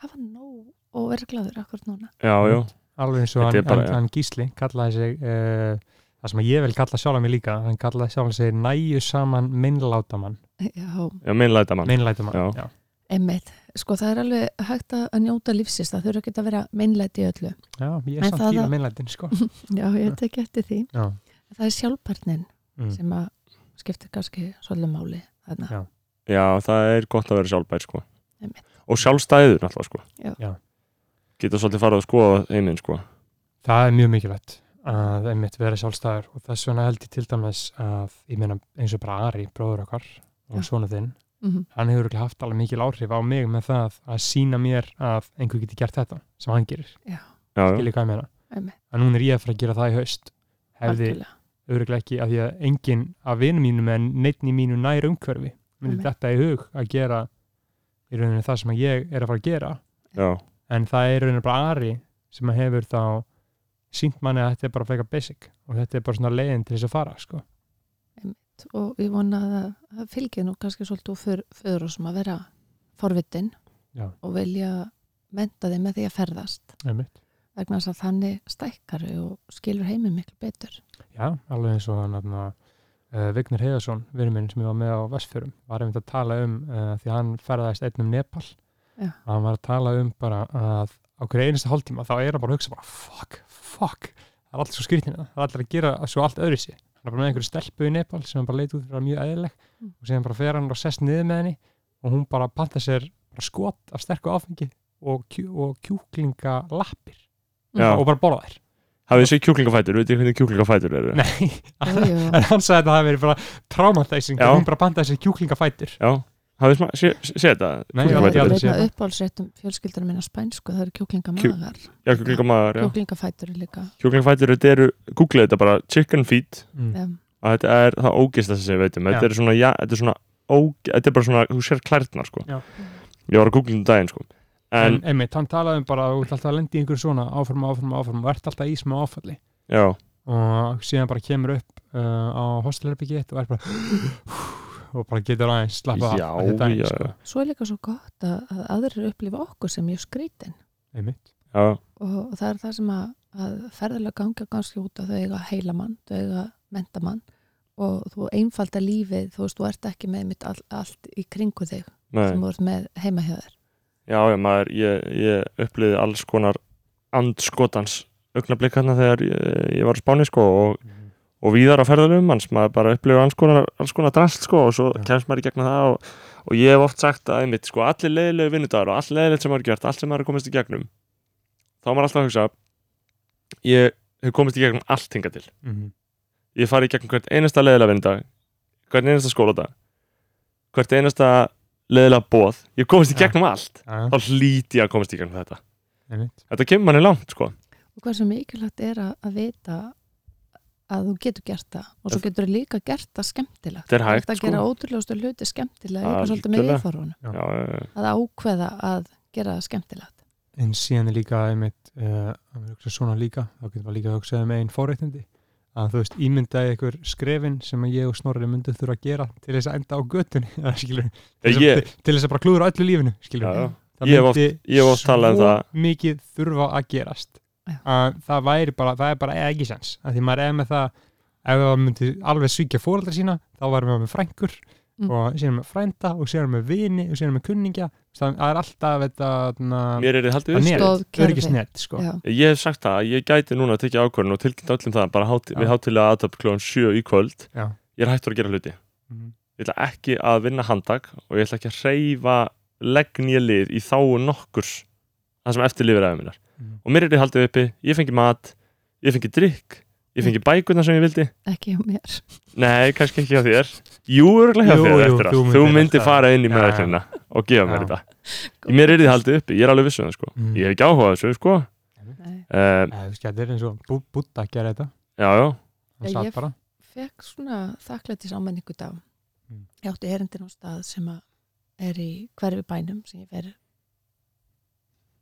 S4: hafa nóg og vera gladur akkurat núna.
S1: Já, já,
S3: alveg eins og
S1: Þetta er
S3: hann,
S1: bara-
S3: hann, hann Gísli kallaði sig uh, það sem ég vil kalla sjálf mig líka hann kallaði sjálf sig næju saman minnlátamann
S4: Já,
S1: já, meinlæta mann
S3: minnlætamann
S1: Já.
S3: já.
S4: einmitt. Sko það er alveg hægt að að njóta lífsins, það þurfa ekki að vera meinlæti í öllu.
S3: já, ég
S4: En
S3: er samt
S4: það
S3: fíla
S4: að-
S3: minnlætin sko
S4: Já, ég tek eftir því.
S3: já,
S4: Það er sjálfbarnin
S3: mm.
S4: sem að skiptir kannski svolítið máli þarna.
S3: Já.
S1: Já, það er gott að vera sjálfbær sko.
S4: Einmitt.
S1: og sjálfstæður náttúrulega sko.
S4: Já.
S3: Já.
S1: geta svolítið farið að skoða heiminn sko.
S3: það er mjög mikilvægt að einmitt vera sjálfstæður og þess vegna held ég til dæmis að ég meina eins og bara Ari, bróður okkar
S4: Já.
S3: og svona þinn,
S4: Mm
S3: hann hefur örugglega haft alveg mikil áhrif á mig með það að sína mér að einhver geti gert þetta sem hann gerir,
S1: já, já.
S3: skilja hvað ég meina
S4: Einmitt,
S3: að núna er ég að fara að gera það í haust hefði
S4: algjörlega.
S3: auðvitað ekki af því að enginn af vinum mínum en neittn í mínu nær umhverfi myndi
S4: Einmitt.
S3: þetta í hug að gera í rauninu það sem að ég er að fara að gera
S1: Já.
S3: en það er í rauninu bara Ari sem að hefur þá sínt manni að þetta er bara fleika basic og þetta er bara svona leiðin til þess að fara sko.
S4: Og ég vona að það fylgir nú kannski svolítið úr för- föður og sem að vera forvitin
S3: Já.
S4: og velja menta þig með því að ferðast
S3: Einmitt.
S4: vegna þess að þannig stækkar og skilur heiminn miklu betur.
S3: já, alveg eins og hann uh, Vignir Heiðarsson, vinnur minn sem ég var með á Vestfjörum, var einmitt að tala um uh, því að hann ferðaðist einn um Nepal
S4: Já.
S3: og hann var að tala um bara að á hverju einasta hálftíma þá er hann bara að hugsa bara fuck, fuck, það er allt svo skrýtin það er allir að gera svo allt öðru sér hann er bara með einhverju stelpu í Nepal sem hann bara leit út fyrir að vera mjög eðileg
S4: Mm.
S3: og síðan bara fer hann og sest niður með henni og hún bara panta sér bara skot af sterku áfengi og, kjú, og kjúklinga lappir
S1: Já.
S3: og bara borða þær
S1: Hafið þið séð kjúklingafætur, veitir hvernig kjúklingafætur eru?
S3: Nei,
S4: Jú, jú.
S3: en hann sagði að það hafi verið bara traumatizing,
S1: Já.
S3: hún bara bandaði sér kjúklingafætur
S1: Já, hafið þið sé- sé- séð þetta?
S3: Nei, veit
S4: Já, það
S1: Kjúklingafætur?
S3: ég
S4: er
S3: aldrei séð
S4: einn af
S3: það.
S4: Hérna uppáhaldsréttum fjölskyldar minna spænsku, það eru kjúklingamagar,
S1: Já, kjúklingamaður, já.
S4: kjúklingafætur líka.
S1: Kjúklingafætur, þetta eru, googlið þetta bara chicken feet
S3: mm.
S4: Um,
S1: að þetta er það ógist að segja veitum þetta
S3: Já.
S1: er svona, já, þetta er svona óg, þetta er bara svona, þú sér klærtnar sko.
S3: Já.
S1: ég var að googla um daginn sko.
S3: En
S1: en,
S3: einmitt, hann talaði um bara að þú ert alltaf að lendi í einhverju svona áfram, áfram, áfram og ert alltaf í smá áfalli
S1: já,
S3: og síðan bara kemur upp uh, á hostelherbyggi eitt og er bara og bara getur aðeins slappa
S1: Já,
S3: af eftir daginn,
S1: já,
S3: sko.
S1: já.
S4: svo er líka svo gott að, að aðrir upplifa okkur sem mjög skrítin
S3: einmitt
S1: já,
S4: og, og það er það sem að, að ferðarlega ganga ganski út að þau eiga heilamann, þau eiga mentamann og þú einfalda lífið, þú veist, þú ert ekki með mitt all, allt í kringu þig sem
S1: nei,
S4: þú ert með heima hjá þér.
S1: já, já maður, ég, ég upplýði alls konar andskotans augnablik hérna þegar ég, ég var á Spáni sko, og,
S3: Mhm.
S1: og víðar á ferðalum manns, maður bara upplýði alls konar, alls konar drast sko, og svo
S3: Já.
S1: kemst maður í gegna það og, og ég hef oft sagt að einmitt, sko, allir leiðilegu vinnudagur og allt leiðilegt sem maður er gert, allt sem maður er komist í gegnum þá er maður alltaf að hugsa ég hef komist í gegnum allt hinga til
S3: Mhm.
S1: ég fari í gegnum hvert einasta leiðilega vinnudag hvert einasta skóladag hvert einasta leiðilega bóð ég komist í
S3: Já.
S1: gegnum allt
S3: Já,
S1: þá hlýti ég að komast í gegnum þetta
S3: einmitt
S1: þetta kemur manni langt sko
S4: Og hvað sem mikilvægt er að, að vita að þú getur gert það og svo getur þú líka gert það skemmtilegt.
S1: Þetta er hægt,
S4: Þú ert að
S1: sko.
S4: gera ótrúlegustu hluti skemmtilega, ég er svolítið með
S1: Algjörlega.
S4: viðþorfunum.
S1: já, já,
S4: Að ákveða að gera það skemmtilegt.
S3: en síðan er líka einmitt uh, að við hugsa svona líka, þá getum við líka að hugsa um einn forréttindi að þú veist, ímyndaði ykkur skrefin sem að ég og Snorri myndum þurfa að gera til þess að enda á göttunni eða skilur, til, þess
S1: Ég-
S3: að, til þess að bara klúður öllu lífinu skilur,
S1: já, já.
S3: það
S1: Ég hef oft-
S3: myndi
S1: ég hef oft talað um
S3: svo
S1: það.
S3: mikið þurfa að gerast
S4: Já.
S3: að það væri bara, það er bara ekki sens að því maður er með það ef það myndi alveg svíkja fóraldra sína þá varum við með frængur
S4: Mm.
S3: og síðan með frænda og síðan með vini og síðan með kunningja það er alltaf þetta na,
S1: mér er þið haldið
S3: að
S1: við
S3: net,
S4: Stoðkerfi.
S3: örgisnet sko.
S4: Já.
S1: ég hef sagt það, að ég gæti núna að tekja ákvörðun og tilkynna öllum það, bara hát,
S3: Já.
S1: við hátilega aðtöp klón 7 í kvöld,
S3: Já.
S1: ég er hættur að gera hluti
S3: Mhm.
S1: ég ætla ekki að vinna handag og ég ætla ekki að reyfa leggn ég lið í þá nokkurs það sem eftir lifir aðeins minnar
S3: Mhm.
S1: og mér er þið haldið uppi, ég fengi mat ég fengi drikk, ég fengi bækurna sem ég vildi
S4: Ekki hjá mér.
S1: nei, kannski ekki hjá þér jú, örugglega hjá
S3: Jú,
S1: þér
S3: jú,
S1: eftir allt,
S3: þú myndir
S1: þú myndir
S3: alltaf-
S1: fara inn í
S3: Já.
S1: meðaklina og gefa mér
S3: Já.
S1: þetta mér er þið haldið uppi, ég er alveg vissuð sko.
S3: Mhm.
S1: ég hef ekki áhugað þessu sko.
S4: Nei.
S1: uh,
S3: Eh, þú veist, Þetta er eins og Bú- Búdda að gera þetta
S1: já, já,
S3: hann
S4: Já,
S3: satt
S4: ég-
S3: bara
S4: fekk svona þakklættis ámenningu dag
S3: Mm.
S4: ég átti erindin á stað sem að er í hverfi bænum sem ég fer ég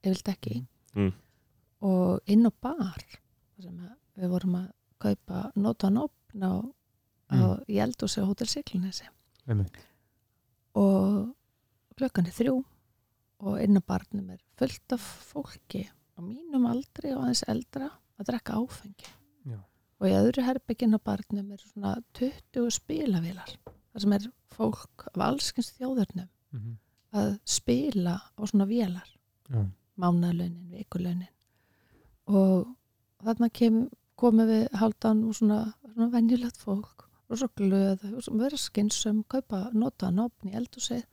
S4: vildi ekki í.
S1: Mm.
S4: og inn á bar þar sem að við vorum að kaupa nota nopn á, á
S3: Mm.
S4: í eldhúsi á Hotel Siklinesi
S3: Einmitt.
S4: og klukkan er þrjú og inn á barnum er fullt af fólki á mínum aldri og aðeins eldra að drekka áfengi
S3: Já.
S4: og í öðru herbygginn á barnum er svona 20 spilavilar þar sem er fólk af allskins þjóðarnum
S3: Mhm.
S4: að spila á svona vélar
S3: Já.
S4: mánalönin, vikulönin og þarna kem, komum við haldan og svona, svona venjulegt fólk og svo glöð, og svo vera skynsum kaupa nota nopn í eldhúsið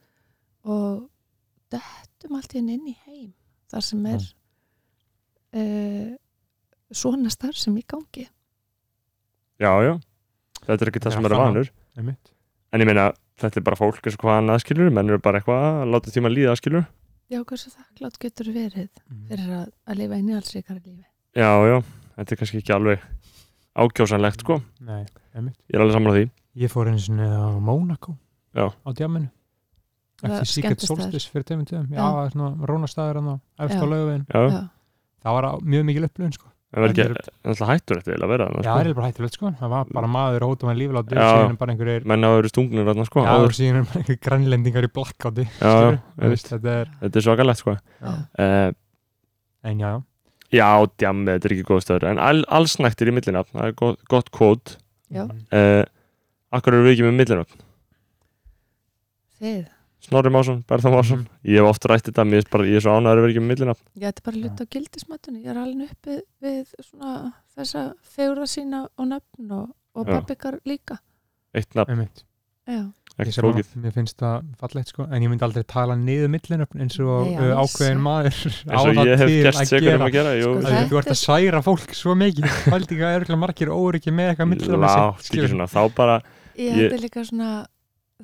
S4: og dettum allt í henni inn í heim þar sem er uh, svona starf sem í gangi
S1: já, já þetta er ekki það
S3: Þetta er
S1: sem er
S3: allt annað.
S1: vanur
S3: Einmitt.
S1: En ég meina, þetta er bara fólk eins og hvað annað skilur, menn eru bara eitthvað að láta tíma líða skilur.
S4: Já, hversu þakklátt getur verið
S3: Mhm.
S4: fyrir að, að lifa inn í alls ykkar lífi.
S1: Já, já, þetta er kannski ekki alveg ákjósanlegt, sko.
S3: Nei, einmitt.
S1: Ég er alveg saman á því.
S3: Ég fór eins og á Mónakó
S1: Já.
S3: á djáminu
S4: Það
S3: eftir Secret
S4: skemmtistaður.
S3: Solstice fyrir tveimur tíðum já,
S4: Já.
S3: það er svona rónastæður hann á eftir
S4: Já.
S3: á laugavegin
S1: Já,
S4: Já.
S3: það var á- mjög mikil upplöðin sko.
S1: en verður
S3: En
S1: ekki, en alltaf hættur þetta eiginlega að vera
S3: já,
S1: þarna,
S3: það
S1: sko.
S3: er bara hættilegt sko. það var bara maður hóta með líflátt
S1: Já.
S3: síðan er bara einhverjir
S1: Menn hafa verið stungnir þarna, sko.
S3: já,
S1: áður.
S3: og síðan er bara einhverjir grænlendingar í blackouti
S1: já,
S3: skilurðu.
S1: ég
S3: Þú veist, þetta er
S1: þetta er svakalegt, sko.
S3: já.
S1: Uh,
S3: en já, já,
S1: já, djammi, þetta er ekki góð stöður. En all, allsnæktir í millinafn, það er gott, gott kvót.
S4: Já.
S3: Mhm.
S1: Uh, akkur eru við ekki með millinafn?
S4: Þið,
S1: Snorri Másson, Berða Másson.
S3: Mm,
S1: Ég hef oft rætt þetta, mér finnst bara, ég er svo ánæður að vera ekki með millinafn.
S4: ég ætti bara að luta á gildismatunni. Ég er alveg uppið við svona þessa fegura sína og nöfn og, og
S1: Já.
S4: pappikar líka.
S1: Eitt nafn.
S3: einmitt
S4: Já.
S1: ekki
S3: Ég
S1: flókið
S3: sem að- Mér finnst það fallegt sko, en ég myndi aldrei tala niður millinöfn eins og
S4: Nei,
S3: Nei,
S4: alls
S3: ákveðin maður
S1: eins
S3: á
S1: og
S3: það
S1: ég hef
S3: til
S1: gert
S3: að
S1: segur um
S3: gera.
S1: að gera jú,
S4: Sko,
S3: Af því
S4: það-
S1: ég-
S3: Þú ert að særa fólk svo mikið, fældi ekki að örgulega margir óryggi með eitthvað
S1: látt
S3: millinöfn
S1: ekki svona þá bara
S4: Ég
S1: Ég-
S4: held ég líka svona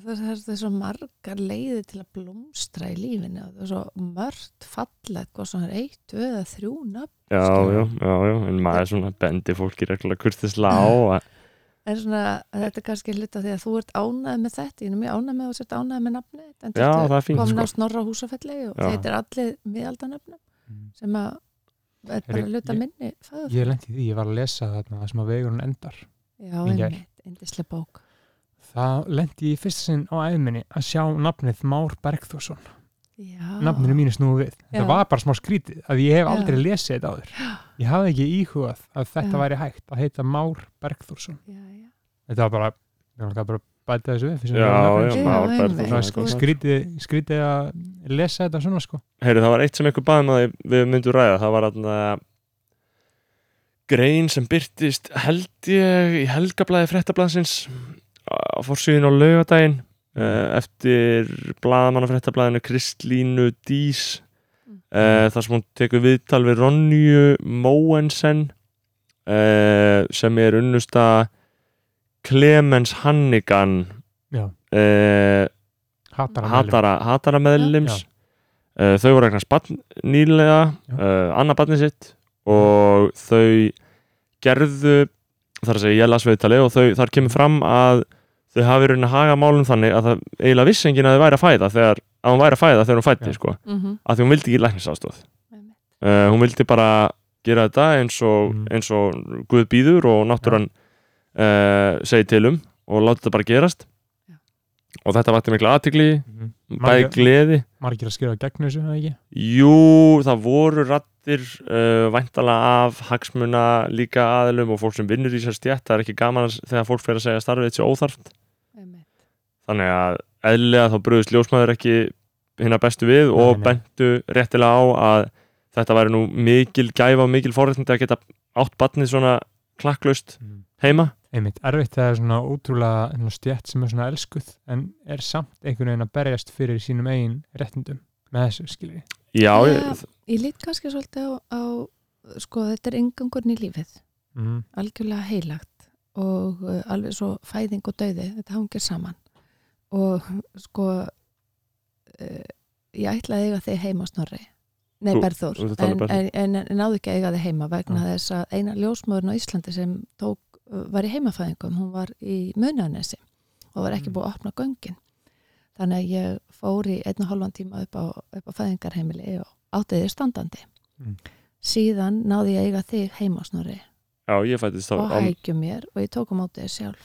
S4: það það er það er svo margar leiðir til að blómstra í lífinu og það er svo mörgt falleg og svona eitt, tvö eða þrjú nöfn
S1: já,
S4: Skilur.
S1: já, já, já, en maður svona bendi fólki reglulega kurtisla á að-
S4: en svona þetta er kannski hluta því að þú ert ánæð með þetta, ég er mjög ánæð með að þú sért ánæð með nafni en
S1: já, það er fínt
S4: kom
S1: sko
S4: ná snorra á húsafelli og
S1: Já.
S4: þetta er allir miðaldanöfnum sem að er bara
S3: Heyrðu,
S4: hluta
S3: ég-
S4: minni fæður.
S3: Mm. Ég lendi því, ég var að lesa þarna það sem að vegurinn endar.
S4: Já,
S3: Í gær.
S4: einmitt, indislega bók
S3: Það lendi ég í fyrsta sinn á æðminni að sjá nafnið Már Bergþórsson.
S4: Já,
S1: Ah.
S3: nafninu mínu snúið við.
S4: Já.
S3: Þetta var bara smá skrítið að ég hef
S4: Já.
S3: aldrei lesið þetta áður. Ég hafði ekki íhugað að þetta
S4: Já.
S3: væri hægt að heita Már Bergþórsson.
S4: já, já.
S3: Þetta var bara, ég var bara að bæta þessu við. fyrst sem
S1: já,
S3: ég var að
S1: já,
S3: lesa.
S4: Já,
S1: maður
S4: einmitt,
S1: berði
S3: Svona
S4: sko.
S3: sk- Skrítið, skrítið að lesa þetta svona sko.
S1: Heyri, það var eitt sem einhver baði með að við myndum ræða það var aðna grein sem byrtist held ég í helgablaði fréttablaðsins á fórsýðin á laugadaginn eh, eftir blaðamann á fréttablaðinu Kristlínu Dís
S4: Mm.
S1: uh, þar sem hún tekur viðtal við Ronju Móensen uh, sem er unnusta Clemens Hannigan
S3: Já.
S1: uh,
S3: Hattar að meðlum.
S1: hatara, hatara meðlims uh, þau voru eignast barn nýlega
S3: Já.
S1: uh, annað barnið sitt og þau gerðu þar að segja ég las viðtalið og þau, þar kemur fram að þau hafi raunin að haga málum þannig að það eiginlega vissi enginn að þau væri að fæða þegar, að hún væri að fæða þegar hún fætti
S3: Já.
S1: sko,
S4: Mm -hmm.
S1: að því hún vildi ekki læknisástóð uh, hún vildi bara gera þetta eins og,
S3: Mm.
S1: eins og Guð býður og náttúran uh, segi til um og láta þetta bara gerast
S4: Já.
S1: og þetta vakti mikla aðtigli
S3: Mhm.
S1: bæði
S3: Margir-
S1: gleði
S3: Margir að skrifa gegn þessu, það ekki?
S1: Jú, það voru rattir uh, væntala af hagsmuna líka aðilum og fólk sem vinnur í þessar stjætt það er ekki gaman að, þegar fólk fer að segja starfið þetta sé óþarft þannig að eðlilega þá bröðist ljósmaður ekki hérna bestu við og
S3: nei.
S1: bentu réttilega á að þetta væri nú mikil gæfa og mikil forréttindi að geta átt batnið svona klakklaust
S3: Mm.
S1: heima
S3: Einmitt, erfitt það er svona ótrúlega svona stjætt sem er svona elskuð en er samt einhvern veginn að berjast fyrir sínum eigin réttindum með þessu skilji.
S1: Já,
S4: Já.
S1: ég,
S4: Ég lít kannski svolítið á, á sko þetta er yngangurinn í lífið
S3: Mm.
S4: algjörlega heilagt og uh, alveg svo fæðing og dauði þetta hangir saman og sko uh, ég ætlaði að eiga þig heima snorri nei
S1: Þú-
S4: Berðór
S1: þú ert að tala um
S4: en,
S1: Berþór.
S4: en, en, en náðu ekki að eiga þig heima vegna
S3: Já.
S4: þess að eina ljósmöðurinn á Íslandi sem tók, uh, var í heimafæðingum hún var í munanesi og var ekki
S3: Mm.
S4: búið að opna göngin þannig að ég fór í einn og halvan tíma upp á, upp á fæðingarheimili og átti þig standandi
S3: Mm.
S4: síðan náði ég að eiga þig heima snorri
S1: já, ég fættist
S4: og
S1: á, á
S4: hækju mér og ég tók á móti þér sjálf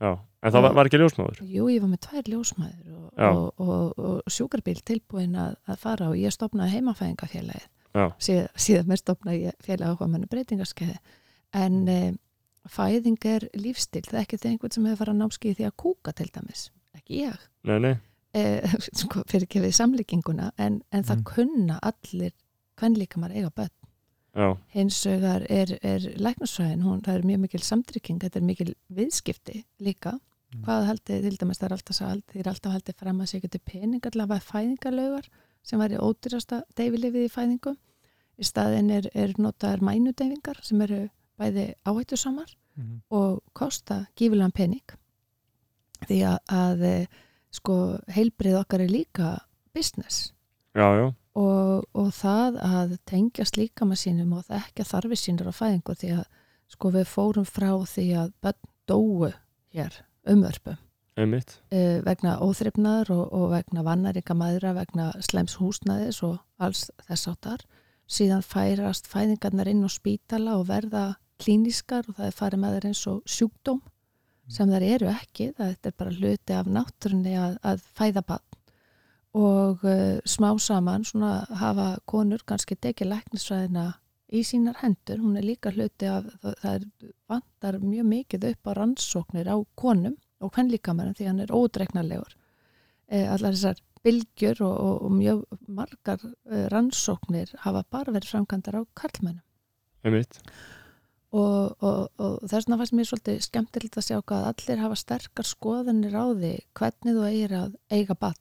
S1: já. En það var, var ekki ljósmaður
S4: Jú, ég var með tvær ljósmæður og,
S1: Já.
S4: og, og, og sjúkrabíl tilbúin að, að fara og ég stopnaði heimafæðingafélagið
S1: Já.
S4: Síð, síðan mér stopnaði ég félagið áhuga menn breytingarskeiði en e, fæðing er lífstil það er ekki þegar einhvern sem hefur farað námskið því að kúka til dæmis, ekki ég
S1: Nei, nei,
S4: e, sko, fyrir ekki við samlíkinguna en, en það
S3: Mm.
S4: kunna allir kvenlíkamar eiga börn
S1: já,
S4: hins vegar er, er læknarsvæðin, hún, það er mjög mikil samtrygging, þetta er mikil viðskipti líka
S3: Mm.
S4: hvað haldið, til dæmis það er alltaf sagt, þið er alltaf haldið fram að sé geti pening allavega fæðingalögar sem væri ódýrasta deyfilifið í fæðingum í staðin er, er notaðar mænudeyfingar sem eru bæði áhættu samar
S1: Mhm.
S3: Mm.
S4: og kosta gífilegan pening því að, að eh, sko heilbrið okkar er líka business
S1: já, já
S4: og, og það að tengjast líkama sínum og þekkja þarfi sínur á fæðingu því að sko við fórum frá því að börn dóu hér um umörpum
S1: einmitt
S4: uh, vegna óþrifnaðar og, og vegna vannaringa maðura, vegna slems húsnaðis og alls þess áttar síðan færast fæðingarnar inn á spítala og verða klíniskar og það er farið með þeir eins og sjúkdóm sem þær eru ekki, það þetta er bara hluti af náttúrunni að, að fæða bann og uh, smá saman svona hafa konur kannski tekið læknisfræðina í sínar hendur, hún er líka hluti af það, það er vantar mjög mikið upp á rannsóknir á konum og kvennlíkamann því hann er ódreiknarlegur eh, allar þessar bylgjur og, og, og mjög margar eh, rannsóknir hafa bara verið framkvæmdar á karlmennum
S1: Einmitt,
S4: og, og, og þess vegna fannst mér svolítið skemmtilegt að sjá hvað allir hafa sterkar skoðanir á því hvernig þú eigir að eiga batn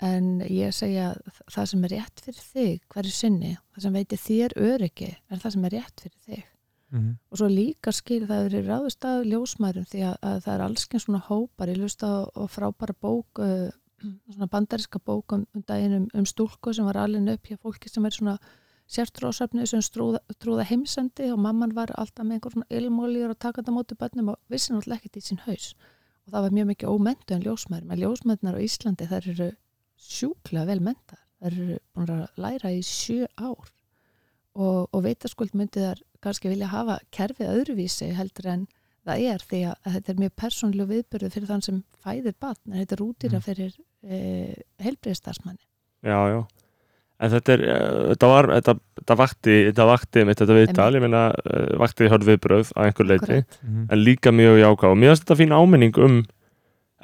S4: en ég segja að það sem er rétt fyrir þig hverju sinni, það sem veitir þér öryggi er það sem er rétt fyrir þig
S3: Mhm.
S4: og svo líka skil það eru ráðust að ljósmærum því að, að það er allsken svona hópar ég lust á á frábæra bók uh, svona bandariska bók um, um daginn um, um stúlku sem var alveg upp hjá fólki sem er svona sértrósafni sem trúða, trúða heimsendi og mamman var alltaf með einhver svona ilmólir og takandi á móti bönnum og vissi náttúrulega ekkert í sinn haus og það var mjög mikið ómentu en ljósmærum en ljósmærunar á Íslandi þær eru sjúklega vel menta þær eru búin að læra í sjö ár og, og veitaskuld myndi þar kannski vilja hafa kerfið öðruvísi heldur en það er því að að þetta er mjög persónlega viðbyrðu fyrir þann sem fæðir batn en þetta er útýra
S3: Mm.
S4: fyrir e, helbriðstarsmanni.
S1: já, já en þetta er, eh, þetta var þetta, þetta vakti, þetta vakti mitt þetta viðtal, ég meina eh, vakti hörð viðbröð að einhver leiti,
S3: Mhm.
S1: en líka mjög jáká og mér finnst þetta fín áminning um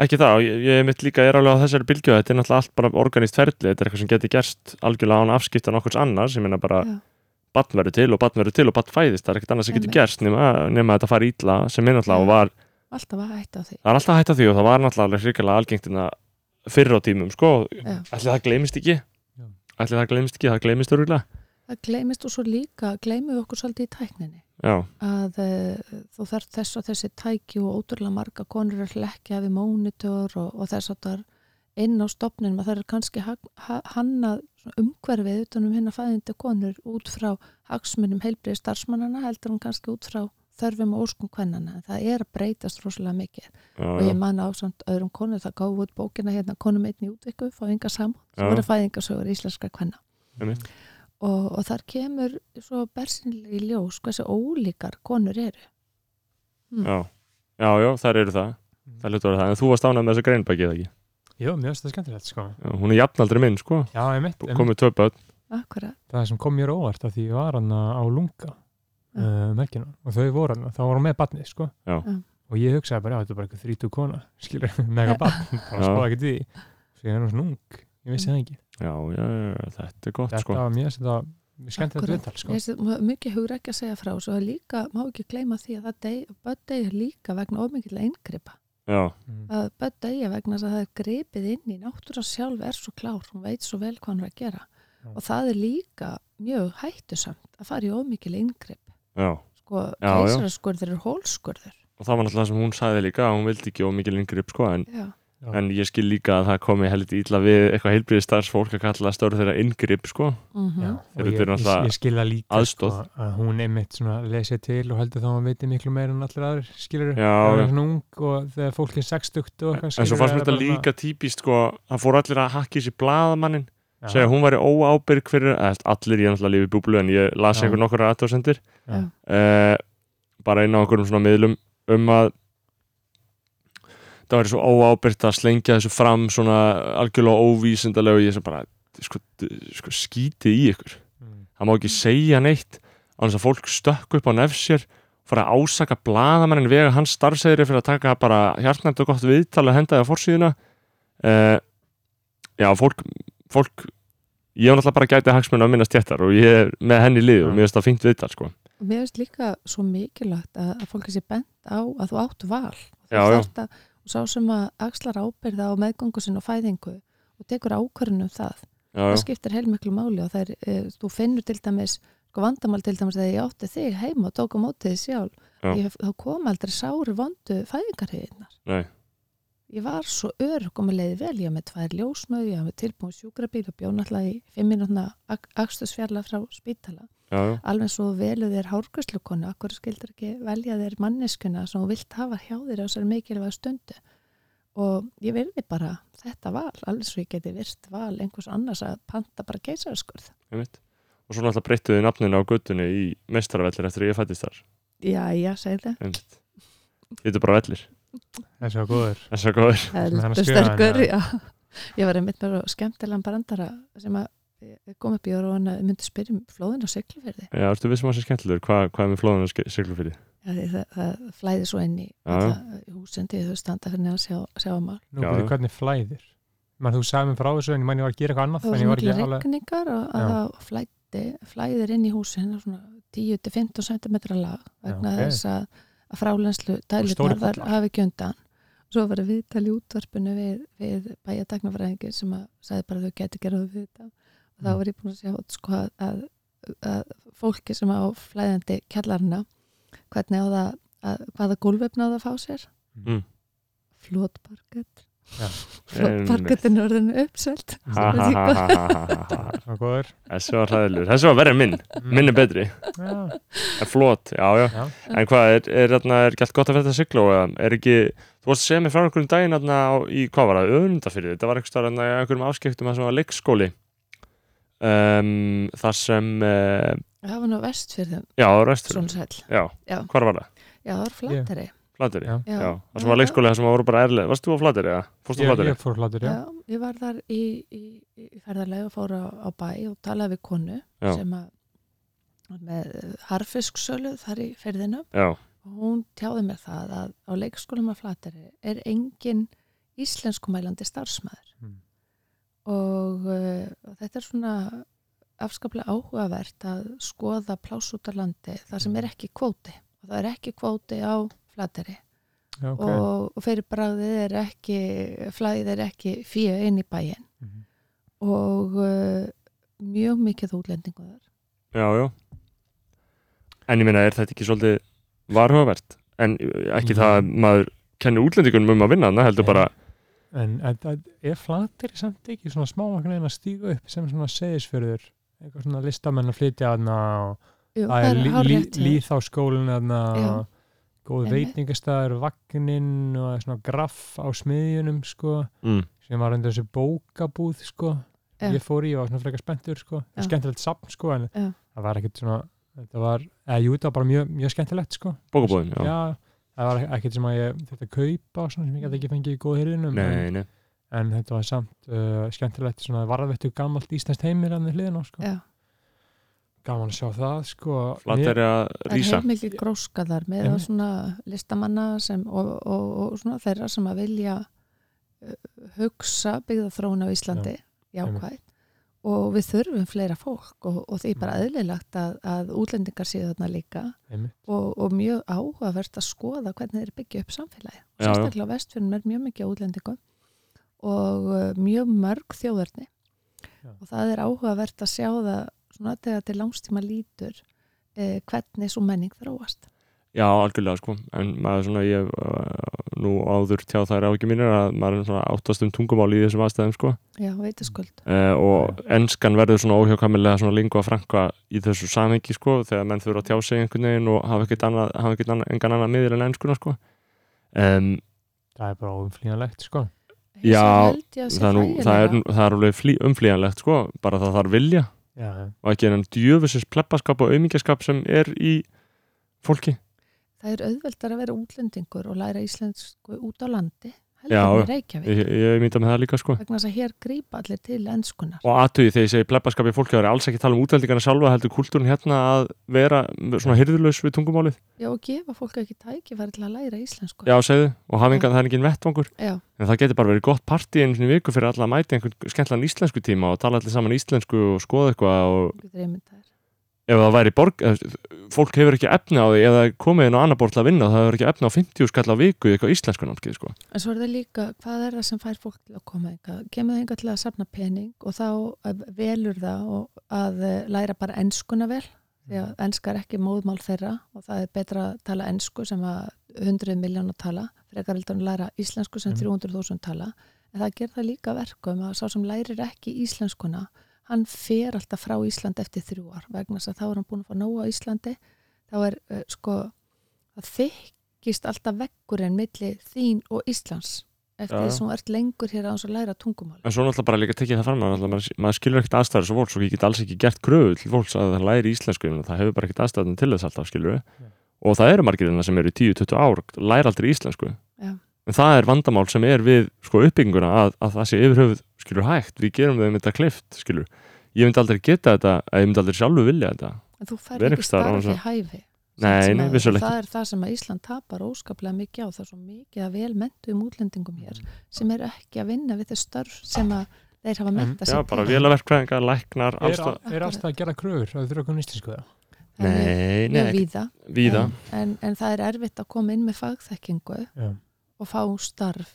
S1: ekki það, og ég, ég mitt líka er alveg á þessari bylgju að þetta er náttúrulega allt bara organíst ferli þetta er eitthvað sem geti gerst algjörlega án afskipta nokkurs annars, ég meina bara
S4: Já.
S1: batn verður til og batn verður til og batn fæðist, það er ekkert annars sem getur
S4: Einmitt.
S1: gerst nema, nema þetta fari ítla sem er náttúrulega og var
S4: Alltaf að hætta á því.
S1: það er alltaf hægt að því og það var náttúrulega alveg hrikalega algengtina fyrr á tímum sko,
S4: Já.
S1: allir það gleymist ekki
S3: Já.
S1: allir það gleymist ekki, það gleymist örgulega
S4: Það gleymist og svo líka gleymum við okkur svolítið í tækninni
S1: já,
S4: að e, þú þarf þess og þessi tæki og ótrúlega marga konur að hlekja við mónitor og, og þess að það er inn á stopninum að það er kannski hag- ha- hannað svona umhverfið utanum hérna fæðindi konur út frá hagsmunum heilbrið starfsmannana heldur hún kannski út frá þörfum og óskum kvennana það er að breytast rosalega mikið
S1: já,
S4: og
S1: já,
S4: ég man á samt öðrum konur það gáði út bókina hérna konum einn í útvikku fá ynga saman
S1: Já.
S4: sem voru fæðingasögur íslenska kvenna
S1: Einmitt.
S4: og, og þar kemur svo bersinlega í ljós hversu ólíkar konur eru Hm,
S1: já, já, já þar eru það það er hlutur að það, en þú varst ánað með þessa greinbækið ekki
S3: Jú, mér finnst það skemmtilegt sko.
S1: Já, hún er jafnaldri minn, sko
S3: Já, ég mitt,
S1: komið tvö börn,
S4: akkurat,
S3: það sem kom mér á óvart að því ég var hann á lunga
S4: Já.
S3: uh, merkina og þau voru hann, þá var hún með batnið sko.
S1: Já.
S4: Já.
S3: og ég hugsaði bara, já, þetta er bara eitthvað 30 kona skilur, mega batn, þá
S1: Já.
S3: spáði ekki því svo ég er nú svona ung, ég vissi það ekki
S1: já, já, já, þetta er gott,
S3: þetta
S1: sko
S3: var mér að þetta, mér skemmt þetta
S4: Akkurat.
S3: viðtal sko.
S4: Mér finnst þetta mikið hugur ekki að segja frá svo það er líka, má ekki gleyma því að það deg, börn degir líka vegna ómikið eingripa
S1: já,
S3: Mm.
S4: að börn degja vegna þess að það er gripið inn í náttúra sjálf er svo klár hún veit svo vel hvað hann er að gera
S3: Já.
S4: og það er líka mjög hættusamt að fara í ómikið eingrip
S1: já
S4: sko,
S1: Já, já.
S4: keisaraskurður er hólskurður
S1: og það var náttúrulega sem hún sagði líka að hún vildi ekki of mikið lengri upp, sko, en
S4: já,
S1: en ég skil líka að það komi heldur ítla við eitthvað heilbriðistars fólk að kalla störð þeirra inngrip sko
S4: mm
S3: Já,
S1: Þeir
S3: og ég,
S1: eru
S3: ég,
S1: náttúrulega
S3: ég skilja líka sko,
S1: aðstoð.
S3: að hún einmitt svona lesi til og heldur þá að hún veitir miklu meira en allir aðrir skilur
S1: Já,
S3: það
S1: já.
S3: er svona ung og þegar fólk er sextugt
S1: en
S3: og eitthvað
S1: svo
S3: skilurðu,
S1: fannst mér
S3: það er
S1: þetta
S3: bara svona-
S1: líka típist sko það fór allir að hakka í sér blaðamannin
S3: Já.
S1: segja að hún væri óábyrg fyrir eða, þú veist, allir ég náttúrulega lífi í búblu en ég las
S3: Já.
S1: einhver nokkur aðtóðsendir
S3: Já.
S1: uh, bara inn á einhverjum svona miðlum um að það væri svo óábyrgt að slengja þessu fram svona algjörlega óvísindalega og ég sem bara sko, sko skítið í ykkur
S3: Mm.
S1: það má ekki segja neitt á þess að fólk stökk upp á nefn sér fara að ásaka blaðamennin vega hans starfsegri fyrir að taka bara hjartnæmt og gott viðtal að henda það á forsíðuna uh, já, fólk, fólk ég var náttúrulega bara gætið hagsmunna á minna stjættar og ég er með henni í lið og
S3: Já.
S1: mér finnst það fínt viðtal sko.
S4: og mér finnst líka svo mikilvægt að, að fólki sé bent á að þú átt val þú
S1: Já, já.
S4: þarft að, og sá sem að axlar ábyrða á meðgöngu sinni og fæðingu og tekur ákvörðin um það
S1: já,
S4: það
S1: já,
S4: skiptir heilmiklu máli og það er, e, þú finnur til dæmis sko vandamál til dæmis þegar ég átti þig heima og tók á mótið þig
S1: Já.
S4: sjálf ég, þá kom aldrei sári vondu fæðingarhiðinnar
S1: Nei.
S4: ég var svo örg og mér leiði vel ég var með tvær ljósmöð, ég var með tilbúin sjúkrabíl og bjón alltaf í fimm minútna akstusfjarlag frá spítala
S1: já, já,
S4: alveg svo velu þér hárgurslukonu akkur skildur ekki velja þér manneskuna sem þú vilt hafa hjá þér á sér mikilvæg stundu og ég verði bara þetta val, alveg svo ég geti virt val einhvers annars að panta bara keisaraskurð
S1: einmitt og svo náttúrulega breyttuðu nafninu á göttunni í meistaravellir eftir að ég fættist þar
S4: Já, já, segðu
S1: einmitt Þetta er bara vellir,
S3: það er svo góður
S1: þess að góður
S4: það
S3: Með
S4: er
S3: hana
S4: lítið
S3: skrifaði
S4: sterkur
S3: hana.
S4: já. ég var einmitt með svo skemmtilegan brandara sem að eh, kom upp í orð og hann myndi spyrja um flóðin og sigluferði
S1: Já, ertu vissum að það sé skemmtilegur, Hva, hvað er með flóðun og siglufyrir?
S4: það, það, það flæði svo inn í
S1: Já, já.
S4: alla húsindi þau standa fyrir neðan sjá, sjáamál
S3: nú
S1: Já,
S3: byrju
S1: já.
S3: hvernig flæðir Man, þú sagði mér frá þessu en ég man ég var að gera eitthvað annað
S4: það var
S3: en
S4: svo
S3: ég var
S4: miklu
S3: ekki alveg
S4: regningar og að
S3: Já.
S4: það flætti, flæðir inn í húsin og hérna svona 10-15 cm lag vegna
S3: Já, ok.
S4: þess að, að frálenslu
S3: stórir
S4: dælutnar þar
S3: pollar.
S4: hafi ekki undan svo var viðtal í útvarpinu við, við bæjadagnafræðingi sem að sagði bara að þau geti gerað við þetta og þá
S3: Mm.
S4: var ég búin að sjá sko, að, að, að fólki sem á flæðandi kjallarna hvernig á það að, hvaða gólfefna á það að fá sér
S1: Mm.
S4: flotparkett
S3: Já.
S4: flotparkettin er orðin uppselt
S1: Ha, ha, ha, ha, ha, ha, ha.
S3: og góður Mm.
S1: Þessi var hræðilur, þessi var verið minn Minn er betri,
S3: já,
S1: en flott, já, já
S3: já.
S1: En hvað, er, er, er, er gælt gott að fyrir þetta sigla og eða er ekki, þú varst að segja mér frá einhverjum daginn þarna á- í, hvað var það, öfunda fyrir þetta var einhverjum, þarna í einhverjum afskektum að sem var leikskóli um, þar sem uh,
S4: það var nú vest fyrir þeim,
S1: já, restur,
S4: svona sæll
S1: já,
S4: Já.
S1: hvar var það?
S4: já, það var flattari
S1: Flateri,
S3: Já.
S1: já,
S4: Já.
S1: þar sem var leikskóli þar sem voru bara erlið, varst þú á Flateri, eða? Fórstu á
S3: Ég,
S1: Flateri?
S3: ég fór hlatur,
S4: Já.
S3: já.
S4: ég var þar í, í, í ferðarlega og fór á, á bæ og talaði við konu
S1: Já.
S4: sem að var með harfisksölu þar í ferðinu
S1: Já,
S4: og hún tjáði mér það að á leikskólum að flatari er engin íslenskumælandi starfsmæður
S3: Mm.
S4: og uh, þetta er svona afskaplega áhugavert að skoða pláss út af landi þar sem er ekki kvóti og það er ekki kvóti á flatari
S3: Já, ok.
S4: og, og fyrir bráðið er ekki flæðið er ekki fíu inn í bæin
S3: Mhm.
S4: og uh, mjög mikið útlendingu þar
S1: já, já En ég meina, er þetta ekki svolítið varhugavert? En eh, ekki
S3: Mm.
S1: það að maður kenni útlendingunum um að vinna hana, heldur
S3: Nei.
S1: bara
S3: En að, að, er flatir samt ekki svona smámakna en að stíga upp sem svona segisfjörður? Eitthvað svona listamenn að flytja aðna og
S4: Jú,
S3: að
S4: það
S3: lí,
S4: er
S3: lí,
S4: hárrétt hjá þér.
S3: líð á skólinn aðna
S4: Já.
S3: góð
S4: Einmitt.
S3: veitingastæður, vagninn og svona graff á smiðjunum sko
S1: mm,
S3: sem var undir þessi bókabúð sko
S4: Já.
S3: ég fór í og var svona frekar spenntur sko
S4: Já.
S3: skemmtilegt safn sko en
S4: Já.
S3: það var ekkert svona þetta var, eða jú þetta var bara mjög, mjög skemmtilegt sko
S1: bókabóðin, já.
S3: það var ekkert sem að ég þurfti að kaupa og svona sem ég gæti ekki fengið í góð hyrðinum
S1: Nei, nei,
S3: en þetta var samt uh, skemmtilegt svona varðvettu gamalt íslenskt heimir hann við hliðina á, sko.
S4: Já.
S3: gaman að sjá það sko
S1: Flateri að
S4: það er
S1: rísa
S4: heilmikið gróska þar með
S3: Einmitt.
S4: svona listamanna sem, og, og, og svona þeirra sem að vilja uh, hugsa byggða þróun á Íslandi jákvæð og við þurfum fleira fólk og, og því er
S3: Mm.
S4: bara eðlilegt að, að útlendingar séu þarna líka
S3: Einmitt.
S4: og, og mjög áhugavert að skoða hvernig þeir byggja upp samfélagi
S1: Já, já.
S4: sérstaklega á vestfjörnum er mjög mikið á útlendingum og uh, mjög mörg þjóðarni
S3: Já.
S4: og það er áhugavert að sjá það svona þegar til langstíma lítur eh, hvernig svo menning þróast
S1: Já, algjörlega sko, en maður svona ég uh, nú áður tjá þær áhyggjum mínir að maður er svona áttast um tungumál í þessum aðstæðum sko
S4: já, veitaskuld
S1: uh, og enskan verður svona óhjákamilega svona lingua franca í þessu samhengi sko þegar menn þurfa að tjá sig einhvern veginn og hafa ekkert annað, hafa ekkert annað, engan annað miðil en enskuna sko um,
S3: það er bara óumflýjanlegt sko
S1: Mm. Já, það, er
S4: það,
S1: nú, það, er, nú- það er alveg flý, umflýjanlegt sko, bara það þarf vilja
S3: já, já.
S1: og ekki enn djöfusins pleppaskap og aumingjaskap sem er í fólki
S4: það er auðveldar að vera útlendingur og læra íslensku út á landi
S1: Já,
S4: heldur
S1: já.
S4: með Reykjavík
S1: ég, ég mynda með það líka sko
S4: vegna þess að hér grípa allir til ennskunar
S1: og aðtöði þegar ég segi pleppaskap í fólki það er alls ekki að tala um útlendingarna sjálfa heldur kultúrin hérna að vera svona hyrðulegs við tungumálið
S4: já, og gefa fólk ekki tækifæri til að læra íslensku
S1: já segðu og hafa engan það er engin vettvangur
S4: Já,
S1: en það getur bara verið gott partí einu sinni í viku fyrir alla að mæta í einhvern skemmtlan íslensku tíma og tala allir saman íslensku og skoða eitthvað og
S4: þú getur einmyndað þér.
S1: ef það væri borg eða, fólk hefur ekki efni á því ef það er komið inn á annar borð til að vinna það hefur ekki efni á 50 skall á viku í eitthvað íslensku námskeið sko.
S4: En svo er það líka, hvað er það sem fær fólk til að koma einhvað? Kemur það einhvað til að safna pening og þá eh, velur það og- að eh, læra bara enskuna vel því að enska er ekki móðmál þeirra og það er betra að tala ensku sem að 100 miljón að tala frekar heldur en að læra íslensku sem
S3: Mhm.
S4: 300.000 tala en það ger það líka að verkum að sá sem lærir ekki íslenskuna hann fer alltaf frá Ísland eftir þrjú ár vegna þess að þá er hann búin að fá nóga á Íslandi þá er uh, sko það þykist alltaf veggurinn milli þín og Íslands eftir
S1: Já, já.
S4: þess að hún ert lengur hér að hans að læra tungumál
S1: en svo er náttúrulega bara líka tekið það fram að náttúrulega maður, maður skilur ekkert aðstæður svo fólks og ég get alls ekki gert kröfu til fólks að það læri íslensku en það hefur bara ekkert aðstæðan til þess alltaf skilur
S3: Já.
S1: og það eru margir margirina sem eru í 10-20 ár læri aldrei íslensku
S4: Já.
S1: en það er vandamál sem er við sko, uppbygginguna að, að það sé yfirhöfuð skilur hægt við gerum þeim þetta klift skilur ég myndi aldrei geta þetta eða ég myndi aldrei sjálfu vilja þetta
S4: en þú fær
S1: Vera
S4: ekki
S1: einhvers staðar án þess
S4: starfi
S1: að-
S4: hæfi
S1: Nei,
S4: Samt sem
S1: nei,
S4: áður.
S1: vissulega
S4: það er það sem að Ísland tapar óskaplega mikið á það er svo mikið að vel mentuðum útlendingum hér sem eru ekki að vinna við þau störf sem að þeir hafa
S3: En-
S4: mentað
S1: já, bara vélaverkfræðingar, læknar
S3: er,
S1: allstað
S3: er alltaf að gera kröfur að þurfa að koma íslensku það
S4: mjög-
S1: Nei,
S4: mjög
S1: nei,
S4: víða
S1: víða
S4: en, en það er erfitt að koma inn með fagþekkingu
S3: Já.
S4: og fá starf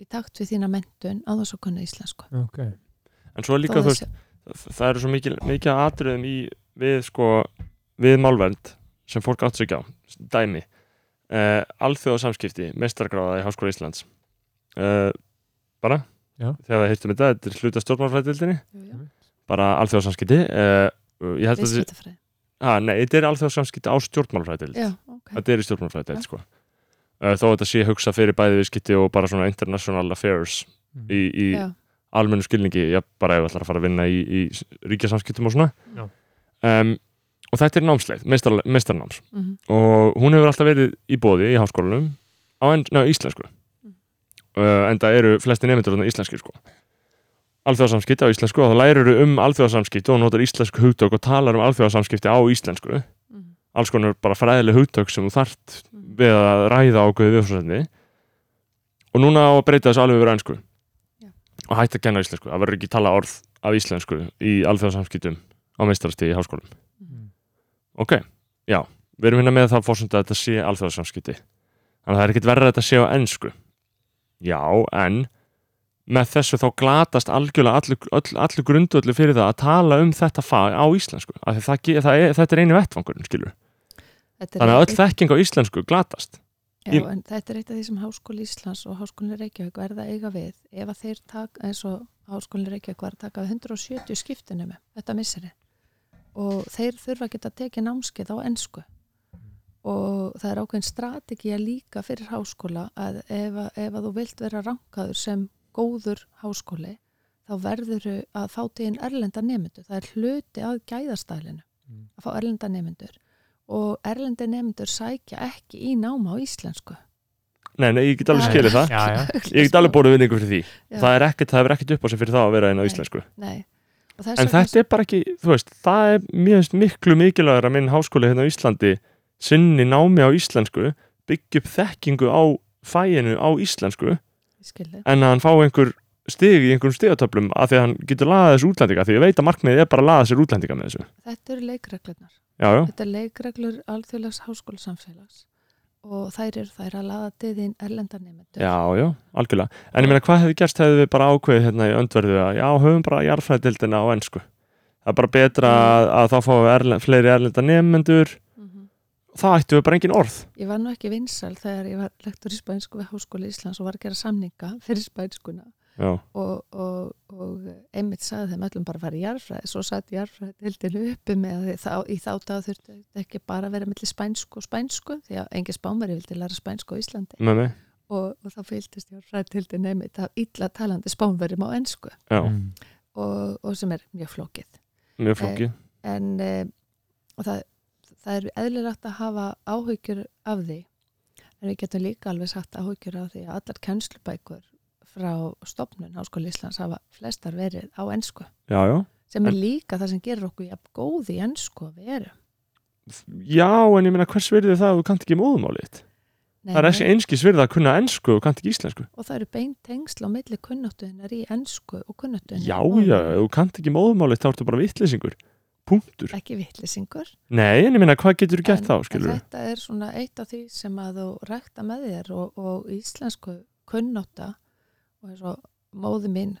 S4: í takt við þína mentun á þess að kunna íslensku
S3: ok
S1: En svo er líka, þú
S4: Þó það
S1: veist,
S4: sé-
S1: það eru svo mikil, mikil atriðum í við, sko, við málvernd sem fólk átt sig ekki á, dæmi uh, alþjóðasamskipti, mestargráða í Háskóla Íslands uh, bara
S3: Já.
S1: þegar það heyrtum þetta, þetta er hluta stjórnmálfræðildinni
S4: jú, jú,
S1: bara alþjóðasamskipti uh, ég held að þetta,
S4: viðskiptafræði.
S1: ha, nei, þetta er alþjóðasamskipti á stjórnmálfræðild
S4: Já, ok.
S1: þetta er í stjórnmálfræðild,
S4: Já.
S1: sko uh, þó að þetta sé hugsa fyrir bæði viðskipti og bara svona international affairs
S3: Mm.
S1: í, í
S4: Já,
S1: almennu skilningi já, bara ef við ætlar að fara að vinna í, í ríkjasamskiptum og svona
S3: Já.
S1: um, og þetta er námsleið, meistar, meistarnáms
S4: mhm,
S1: og hún hefur alltaf verið í bóði í háskólanum á en, ná, íslensku
S4: Mm.
S1: uh, en það eru flesti nefndur þarna íslenski sko alþjóðasamskipti á íslensku og það lærir um alþjóðasamskipti og notar íslensku hugtök og talar um alþjóðasamskipti á íslensku
S4: mhm,
S1: alls konar bara fræðileg hugtök sem þú þart
S4: mhm.
S1: við að ræða ákveðið viðfangsefni og núna á að breyta þessu alveg verið einsku
S4: Já.
S1: og hætta að kenna íslensku það verður ekki að tala orð af íslensku í alþjóðasamskiptum á meistarastíði í háskólum
S3: Mm.
S1: ok, já, við erum hérna með það fórsönda að þetta sé alþjóðasamskipti þannig að það er ekkit verra að þetta sé á ensku já, en með þessu þá glatast algjörlega allu, all, allu grundöllu fyrir það að tala um þetta fag á íslensku af því það, ge- það er, þetta er einu vettvangurinn skilur
S4: Þetta er
S1: þannig að
S4: eitt-
S1: öll þekking á íslensku glatast
S4: Já,
S1: Ég-
S4: en þetta er eitt af því sem Háskóli Íslands og Háskóli Reykjavík verða að eiga við ef að þeir taka, eins og Háskóli Reykjavík var að taka við 170 skiptunum þetta misseri og þeir þurfa að geta tekið námskeið á ensku og það er ákveðin strategía líka fyrir háskóla að ef, að- ef að þú vilt vera rankaður sem góður háskóli þá verður að fá til einn erlenda nemyndur, það er hluti að gæðastælinu
S3: Mm.
S4: að fá erlenda nemyndur og erlendi nemyndur sækja ekki í náma á íslensku
S1: nei, nei, ég get alveg
S4: Já.
S1: skilið það
S3: já, já,
S1: ég get alveg bóðið vinningu fyrir því
S4: Já.
S1: það er ekkert, það hefur ekkert upp á sig fyrir það að vera einn á
S4: Nei.
S1: íslensku
S4: Nei. Og þess
S1: en
S4: vegna-
S1: þetta er bara ekki, þú veist, það er mér finnst miklu mikilvægur að minn háskóli hérna á Íslandi sinni námi á íslensku byggja upp þekkingu á fæinu á íslensku
S4: Ég skil þig.
S1: en að hann fá einhver stig í einhverjum stigatöflum af því að hann getur laðað þessu útlendinga því ég veit að markmiðið er bara að laða þessu útlendinga með þessu
S4: þetta eru leikreglunar
S1: já, já,
S4: þetta er leikreglur alþjóðlegs háskólasamfélags og þær eru þær að laða til þín erlenda nemyndur
S1: já, já, algjörlega en ég meina hvað hefði gerst hefði við bara ákveðið hérna í öndverðu að já, höfum bara jarfræðdildina á ennsku það er bara betra að, að þá fáum við erlen, fleiri erlenda nefnendur það ættu við bara engin orð
S4: Ég var nú ekki vinsal þegar ég var lektor í spænsku við Háskóli Íslands og var að gera samninga fyrir spænskuna
S1: já,
S4: og, og, og einmitt sagði þeim öllum bara að fara í jarfræði, svo satt jarfræði hildinu uppi með að þá, í þá dag þurfti ekki bara að vera milli spænsku og spænsku því að engin spánveri vildi læra spænsku á Íslandi
S1: með mig
S4: og, og þá fylgdist jarfræði hildinu einmitt af illa talandi spánverjum á ensku
S1: já,
S3: Mm.
S4: og, og sem er mjög flókið
S1: mjög flókið
S4: en e, og það, það er eðlilegt að hafa áhyggjur af því en við getum líka alveg sagt áhyggjur af því að allar kennslubækur frá stopnun Háskóli Íslands hafa flestar verið á ensku
S1: já, já.
S4: sem er líka það sem gerir okkur jafn góð í ensku að veru
S1: já, en ég meina hvers virði það að þú kannt ekki móðumálið þitt?
S4: Nei,
S1: það er
S4: nei,
S1: ekki einskis virði að kunna ensku og kannt ekki íslensku
S4: og það eru beint tengsl á milli kunnáttuðinar í ensku og kunnáttuðinar
S1: já,
S4: í
S1: já,
S4: móðurmáli.
S1: ef þú kannt ekki móðumálið þá ertu bara vitleysingur, punktur
S4: ekki vitlýsingur
S1: nei, en ég meina hvað getur þú gert þá, skilur
S4: en þetta er svona eitt af því sem að þú rækta með þér og, og íslensku kunnotta og eins og móði mín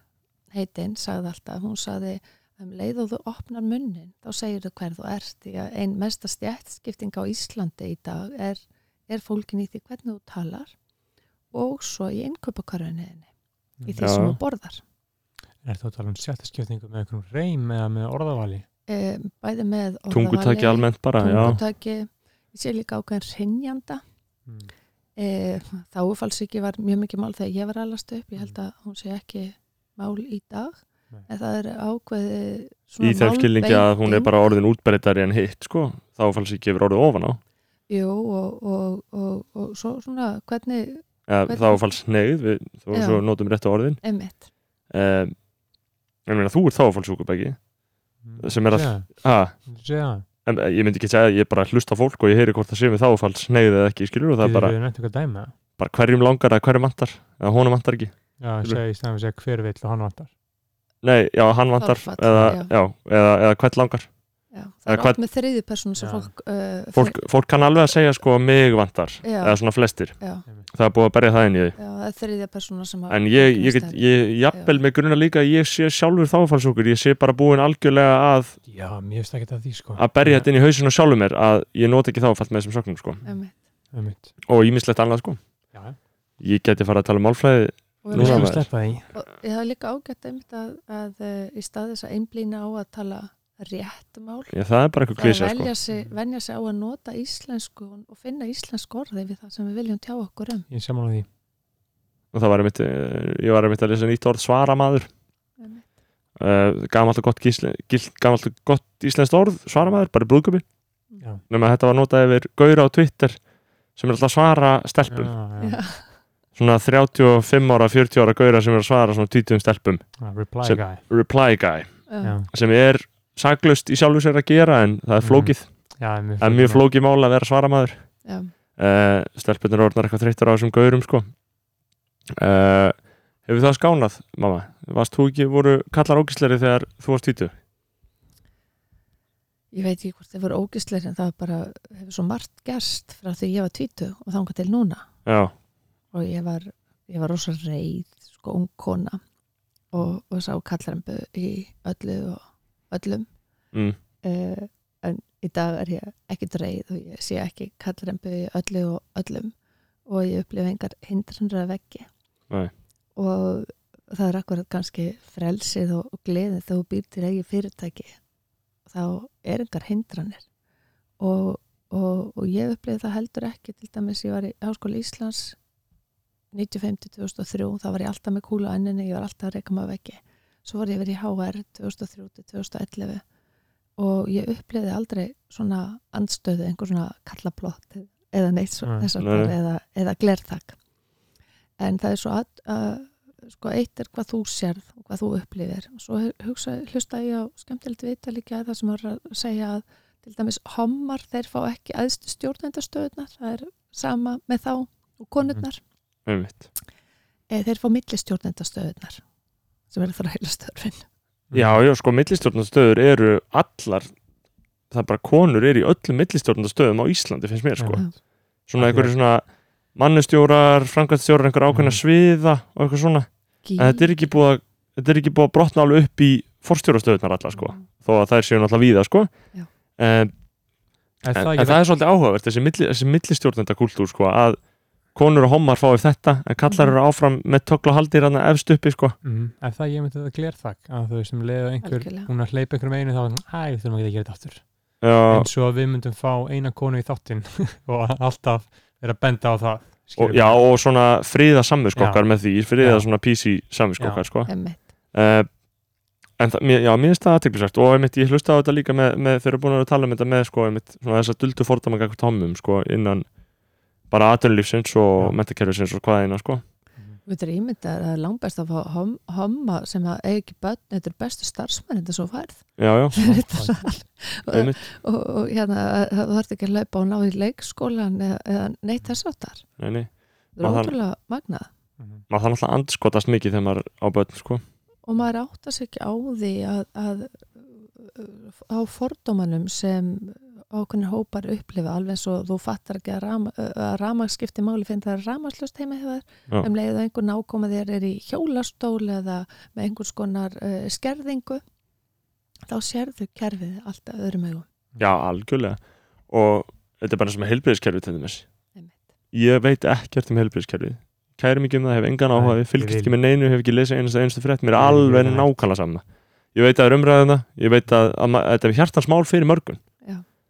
S4: heitinn sagði alltaf, hún sagði um leið og þú opnar munnin þá segir þú hver þú ert því að ein mesta stjættskipting á Íslandi í dag er, er fólkin í því hvernig þú talar og svo í innkaupakarfunni í því
S1: Já.
S4: sem þú borðar
S3: er þú að tala um sjattaskiptingu með einhverjum reym eða með orðavali
S4: um, bæði með orðavali,
S1: tungutaki almennt bara, já
S4: tungutaki, ég sé líka ákveðin hrinnjanda
S3: mm.
S4: e, þáufalsíki var mjög mikið mál þegar ég var allast upp, ég held að hún sé ekki mál í dag
S3: Nei.
S4: en það er ákveði
S1: í þeim skilningi að hún er bara orðin útbreytari en hitt sko, þá fannst ekki yfir orðið ofan á
S4: Jú, og, og, og, og svo svona hvernig
S1: eða
S4: Hvernig-
S1: þá fannst neyð við, þó
S4: Já.
S1: svo notum rétt á orðin
S4: emitt
S1: um, ég meina þú ert þá fannst súkubæki
S3: Mm.
S1: Sem er að-
S3: Segja,
S1: ha,
S3: segja.
S1: en, eh, ég myndi ekki segja, ég bara hlusta á fólk og ég heyri hvort það sé við þá fannst neyð eða ekki, skilur og það
S3: Getur
S1: er bara,
S3: við nefnt eitthvað dæmi eða?
S1: bara hverjum langar eða hverjum vantar, eða honum vantar ekki
S3: Já,
S1: Skilur.
S3: segja í stæðan að segja hver vill og hann vantar
S1: Nei, já, hann vantar
S4: Þarf að-
S1: eða,
S4: já.
S1: já, eða, eða hvert langar
S4: Já,
S1: Eða
S4: það er
S1: hvað-
S4: oft með þriðju persónu sem
S3: Já.
S4: fólk, uh,
S1: fólk, fólk kann alveg að segja sko mig vantar
S4: Já.
S1: eða svona flestir,
S4: já,
S1: það er búið að berja það inn í því
S4: já, það er þriðja persóna sem að-
S1: en ég, ég get,
S4: kemst að-
S1: ég jafnvel með grunna líka að ég sé sjálfur þáfalsókur ég sé bara búin algjörlega að
S3: já, mér finnst ekki að því sko
S1: að berja þetta inn í hausinu sjálfur mér að ég nota ekki þáfall með þessum sögnum sko
S4: Einmitt.
S3: Einmitt.
S1: og ímislegt annað sko,
S3: Já,
S1: ég geti fara að tala um málfræði
S4: Og
S1: Nú
S3: við
S4: við-
S1: Núna
S3: skulum
S1: maður.
S3: sleppa því
S4: og ég hafði líka ágætt einmitt að, að uh, í stað þess að einblýna á að tala rétt mál
S1: ég, það er bara eitthvað
S4: það er
S1: klísa
S4: að
S1: sko
S4: velja sig, venja sig á að nota íslensku og finna íslensku orði við það sem við viljum tjá okkur um
S3: Ég er sammála því
S1: og það var einmitt, eh, ég var einmitt að lesa nýtt orð svaramaður
S4: Einmitt.
S1: uh, gamalt og gott, gísle, gilt, gamalt og gott íslenskt orð svaramaður, bara brúðköpi
S3: Já.
S1: nema að þetta var notað yfir Gaura á Twitter sem er alltaf að svara stelpum
S3: Já, já.
S4: Já.
S1: svona 35 ára, 40 ára Gaura sem er að svara svona 20 stelpum
S3: Ah, Reply
S1: Sem-
S3: guy
S1: reply guy,
S4: Já.
S3: Já,
S1: sem er saklaust í sjálfu sér að gera en það er
S3: Mhm.
S1: flókið,
S3: já mjög
S1: það er mjög flókið mál að vera svaramaður
S4: Já.
S1: uh, stelpunir orðnar eitthvað þreyttur á þessum gaurum sko uh, hefur það skánað mamma, varst þú ekki voru kallar ógisleiri þegar þú varst hýtu
S4: ég veit ekki hvort það voru ógisleir en það var bara hefur svo margt gerst frá því ég var tvítu og þangað til núna
S1: já,
S4: og ég var, ég var rosa reið sko ung kona og, og sá kallaramböð í öllu og öllum
S1: mm,
S4: uh, en í dag er ég ekki reið og ég sé ekki kallaramböð í öllu og öllum og ég upplifa engar hindranur að veggi
S1: Nei.
S4: og það er akkurat kannski frelsið og, og gleðið þegar þú býr til eigi fyrirtæki þá er engar hindranir og, og, og ég upplifa það heldur ekki til dæmis ég var í Háskóla Íslands 1995-2003 þá var ég alltaf með kúlu á enninni, ég var alltaf að reyka maður vekki svo var ég verið í HR 2003-2011 og ég uppliði aldrei svona andstöðu, einhver svona kallaplott eða neitt svo,
S3: Nei,
S4: þess að
S1: nei, nei.
S4: eða, eða glertak en það er svo að, að sko eitt er hvað þú sérð og hvað þú upplifir og svo hugsa, hlusta ég á skemmtilegt viðtal í gær þar sem var að segja að til dæmis hommar þeir fá ekki aðstu stjórnendastöðunar það er sama með þá og konurnar
S1: Mhm. einmitt
S4: e, þeir fá millistjórnendastöðunar sem eru þrælastörfin
S3: Mhm.
S1: já, já, sko millistjórnastöður eru allar það er bara konur eru í öllum millistjórnastöðum á Íslandi finnst mér
S3: Mhm.
S1: sko,
S4: Já.
S1: svona einhverju svona mannustjórar, framkvæmstjórar, einhverja ákveðna
S3: Mhm.
S1: sviða og eitthvað svona, en þetta er ekki búið að þetta er ekki búið að brotna alveg upp í forstjórastöðunar allar sko, þó að þær séu náttúrulega víða sko,
S4: Mm. Já.
S1: um,
S3: Er
S1: en,
S3: það
S1: en
S3: ekki
S1: það er svolítið áhugavert þessi, milli, þessi millistjórnenda kultúr sko að konur og hommar fáið þetta en kallar eru áfram með tökla haldir hann efst uppi sko
S3: Mm, ef það ég myndi þetta glerþak að þau sem leiða einhver,
S4: Algjörlega.
S3: hún að hleypa einhverjum einu þá er hún, æ, við þurfum ekki að gera þetta aftur
S1: Já,
S3: eins og að við myndum fá eina konu í þáttinn og alltaf vera að benda á það
S1: og,
S3: skilurðu.
S1: já og svona friða samviskokkar
S3: Já.
S1: með því, friða
S3: Já.
S1: svona PC samviskokkar sko
S4: Einmitt.
S1: uh, en það, mér- já, mér finnst það aðteklisvægt og einmitt, ég hlusta á þetta líka með, með þeir eru búin að tala um þetta með sko einmitt, svona þess að duldu fordæma gagvart hommum sko innan bara aðtunlífsins og
S3: Já.
S1: metakerfisins og hvaðina sko
S4: Þú veitir ímyndað að það er langbest að fá hom, homma sem að eiga ekki börn, þetta er bestu starfsmenn þetta er svo færð
S1: já, já,
S4: Þetta er- Eh.
S1: einmitt,
S4: og, og hérna, það þarf ekki að laupa og ná í leikskólan eða, eða neitt þess áttar
S1: nei, nei Og
S4: það er
S1: það-
S4: ótrúlega magnað
S3: Mhm.
S1: maður þarf alltaf að andskotast mikið þegar maður er á börn sko
S4: og maður áttar sig ekki á því að, að uh, á fordómanum sem ákveðin hópar upplifa alveg eins og þú fattar ekki að, rama, að ramagsskipti máli finn það er ramagslust heima hjá
S1: Já.
S4: þér um leiðu einhver nákoma þér er í hjólastól eða með einhvers konar uh, skerðingu þá sérðu kerfið alltaf öðrum augum
S1: Já, algjörlega og þetta er bara eins og með heilbriðiskerfið til þess
S4: Einmitt.
S1: ég veit ekkert um heilbriðiskerfið kæri mikið um það, hef engan
S3: Nei,
S1: áhuga
S3: ég
S1: ég fylgist
S3: vil-
S1: ekki með neinu, hef ekki lesið einasta einstu frétt mér er
S3: Ég vil
S1: alveg
S3: það
S1: nákvæmlega saman ég veit að það er umræðina, ég veit að, að, ma- að þetta er hjartansmál fyrir mörgum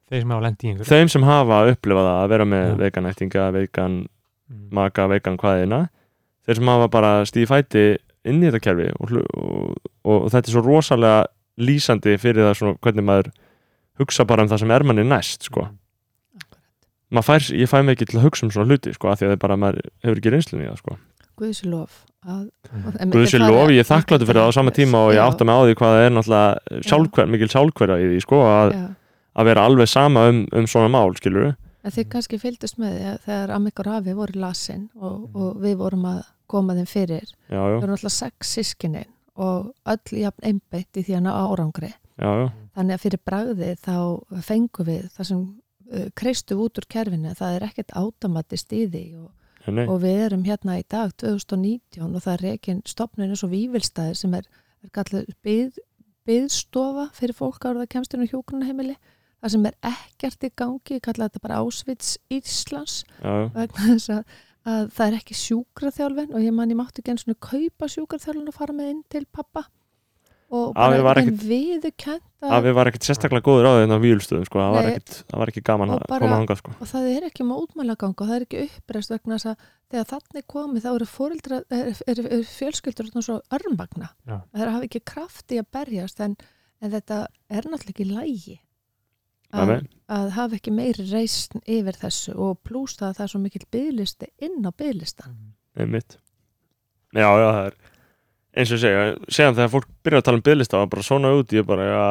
S3: þeir sem hafa lendi í einhver
S1: þeim sem hafa upplifað það að vera með
S3: Já.
S1: vegan ættinga, vegan
S3: mm.
S1: maka, vegan hvaðina þeir sem hafa bara stíði fæti inn í þetta kerfi og, hlu- og, og, og þetta er svo rosalega lýsandi fyrir það svona hvernig maður hugsa bara um það sem er manni næst sko. maður fær, ég fæ mig ekki til að hugsa um svona hluti sko, af því að það er bara, maður hefur ekki reynslunni í það sko.
S4: Guðs lof að
S3: Mm.
S1: Guðsir lofi, ég er þakkláttur fyrir það á sama tíma og ég átta mig á því hvað það er náttúrulega sjálfhver, mikil sjálfhverja í því sko, að,
S4: Já.
S1: að vera alveg sama um, um svona mál, skilur
S4: En þið kannski fylgdust með því að þegar Amikur Hafi voru lasin og,
S1: Mm.
S4: og við vorum að koma þeim fyrir.
S1: já,
S4: Við
S1: já,
S4: vorum alltaf sex sískinin og öll jafn einbeitt í því hana árangri.
S1: já, já,
S4: Þannig að fyrir bragði þá fengum við það sem uh, kreistu út úr kerfinu, það er ekkert átomatist í því og,
S1: Nei,
S4: og við erum hérna í dag 2019 og það er rekin stopnun eins og vývilstaði sem er, er kallið byð, byðstofa fyrir fólk áraða kemstinu hjókunarheimili það sem er ekkert í gangi, ég kalla þetta bara ásvits Íslands
S1: já, já,
S4: vegna þess að, að það er ekki sjúkraþjálfin og ég man ég mátti ekki einu svona kaupa sjúkraþjálfin og fara með inn til pappa og bara
S1: Afi var
S4: einhvern veginn viðurkennt að-
S1: að við var ekkert sérstaklega góður á þeirna á výlstöðum sko, það var
S4: Nei.
S1: ekkert, það var ekki gaman
S4: Og
S1: að
S4: bara-
S1: koma hangað sko.
S4: og það er ekki mótmælaganga og það er ekki uppreist vegna þess að þegar þannig komi þá eru, foreldra, er, er, er fjölskyldur svona svo örmagna
S3: Já.
S4: að þeir hafa ekki krafti að berjast en, en þetta er náttúrulega ekki lægi
S1: Nei,
S4: að,
S1: nei.
S4: að hafa ekki meiri reysn yfir þessu og plús það að það er svo mikill byðlisti inn á byðlistan
S3: Mm.
S1: einmitt já, já, það er eins og ég segja, séðan þegar fólk byrja að tala um bygglista var bara svona út, ég bara, já,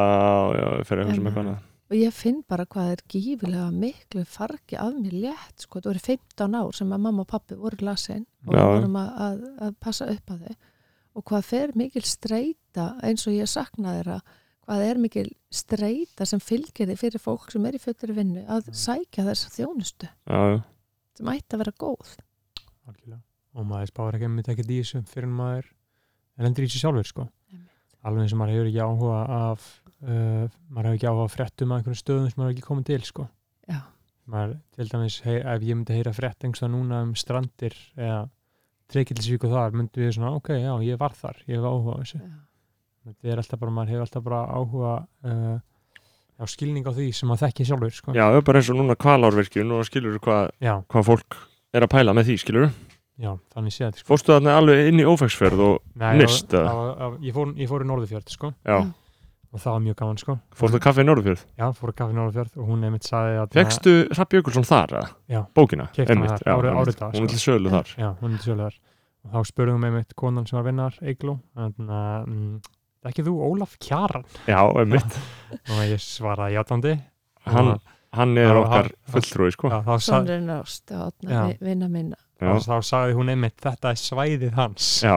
S1: já ég fer eitthvað sem
S4: Já.
S1: um eitthvað annað
S4: og ég finn bara hvað er gífilega miklu fargi af mér létt sko, þetta voru 15 ár sem að mamma og pappi voru lasin og
S1: Já.
S4: við vorum að, að, að passa upp að þau og hvað fer mikil streyta eins og ég sakna þeirra hvað er mikil streyta sem fylgir því fyrir fólk sem er í fullri vinnu að sækja þessa þjónustu
S1: já, já,
S4: sem ætti að vera góð
S3: algjörlega. og maður spáir ekki að mynda ekkert í þessu fyrir en maður lendir í þessu sjálfur sko.
S4: Einmitt.
S3: alveg eins og maður hefur ekki áhuga af uh, maður hefur ekki áhuga af fréttum af einhvern stöðum sem maður hefur ekki komið til sko.
S4: Já.
S3: maður, til dæmis hey, ef ég myndi heyra frétt einhversta núna um strandir eða treykilsvík og þar myndi við svona ok, já, ég var þar, ég hef áhuga á þessu
S4: Já.
S3: þetta er alltaf bara, maður hefur alltaf bara áhuga uh, á skilning á því sem maður þekki sjálfur sko.
S1: já, bara eins og núna kvalárvirkjun og skilur hvað,
S3: já,
S1: hvað fólk er að pæla með því, skilur
S3: já, þannig séð sko.
S1: fórstu þarna alveg inn í ófægsferð og,
S3: Nei,
S1: Nyrst,
S3: það-
S1: eða?
S3: það var- ég fór, ég fór í Norðurfjörð sko,
S1: já,
S4: Já.
S3: og það var mjög gaman sko.
S1: fórstu á kaffi í Norðfjörð
S3: Já, fór að kaffi Norðfjörð og hún einmitt sagði að
S1: fegstu Rapp Jökulsson þar, að?
S3: Já.
S1: bókina,
S3: Keypti hana
S1: einmitt,
S3: þar, árið- árið dag,
S1: hún
S3: sko.
S1: er til sölu þar
S3: Já, hún er til sölu þar og þá spurðum við einmitt konan sem var vinnar, Eigló þannig að, mm, ekki þú Ólaf Kjaran
S1: já, einmitt,
S3: og ég svaraði játandi
S1: hann, hann er
S3: Já,
S1: okkar
S3: hann-
S1: fulltrúi, sko
S3: Já, þá, sa
S4: Svonurinn ást og
S3: Já.
S4: átna vinna minna
S1: já,
S3: þá sagði hún einmitt þetta er svæðið hans
S1: já,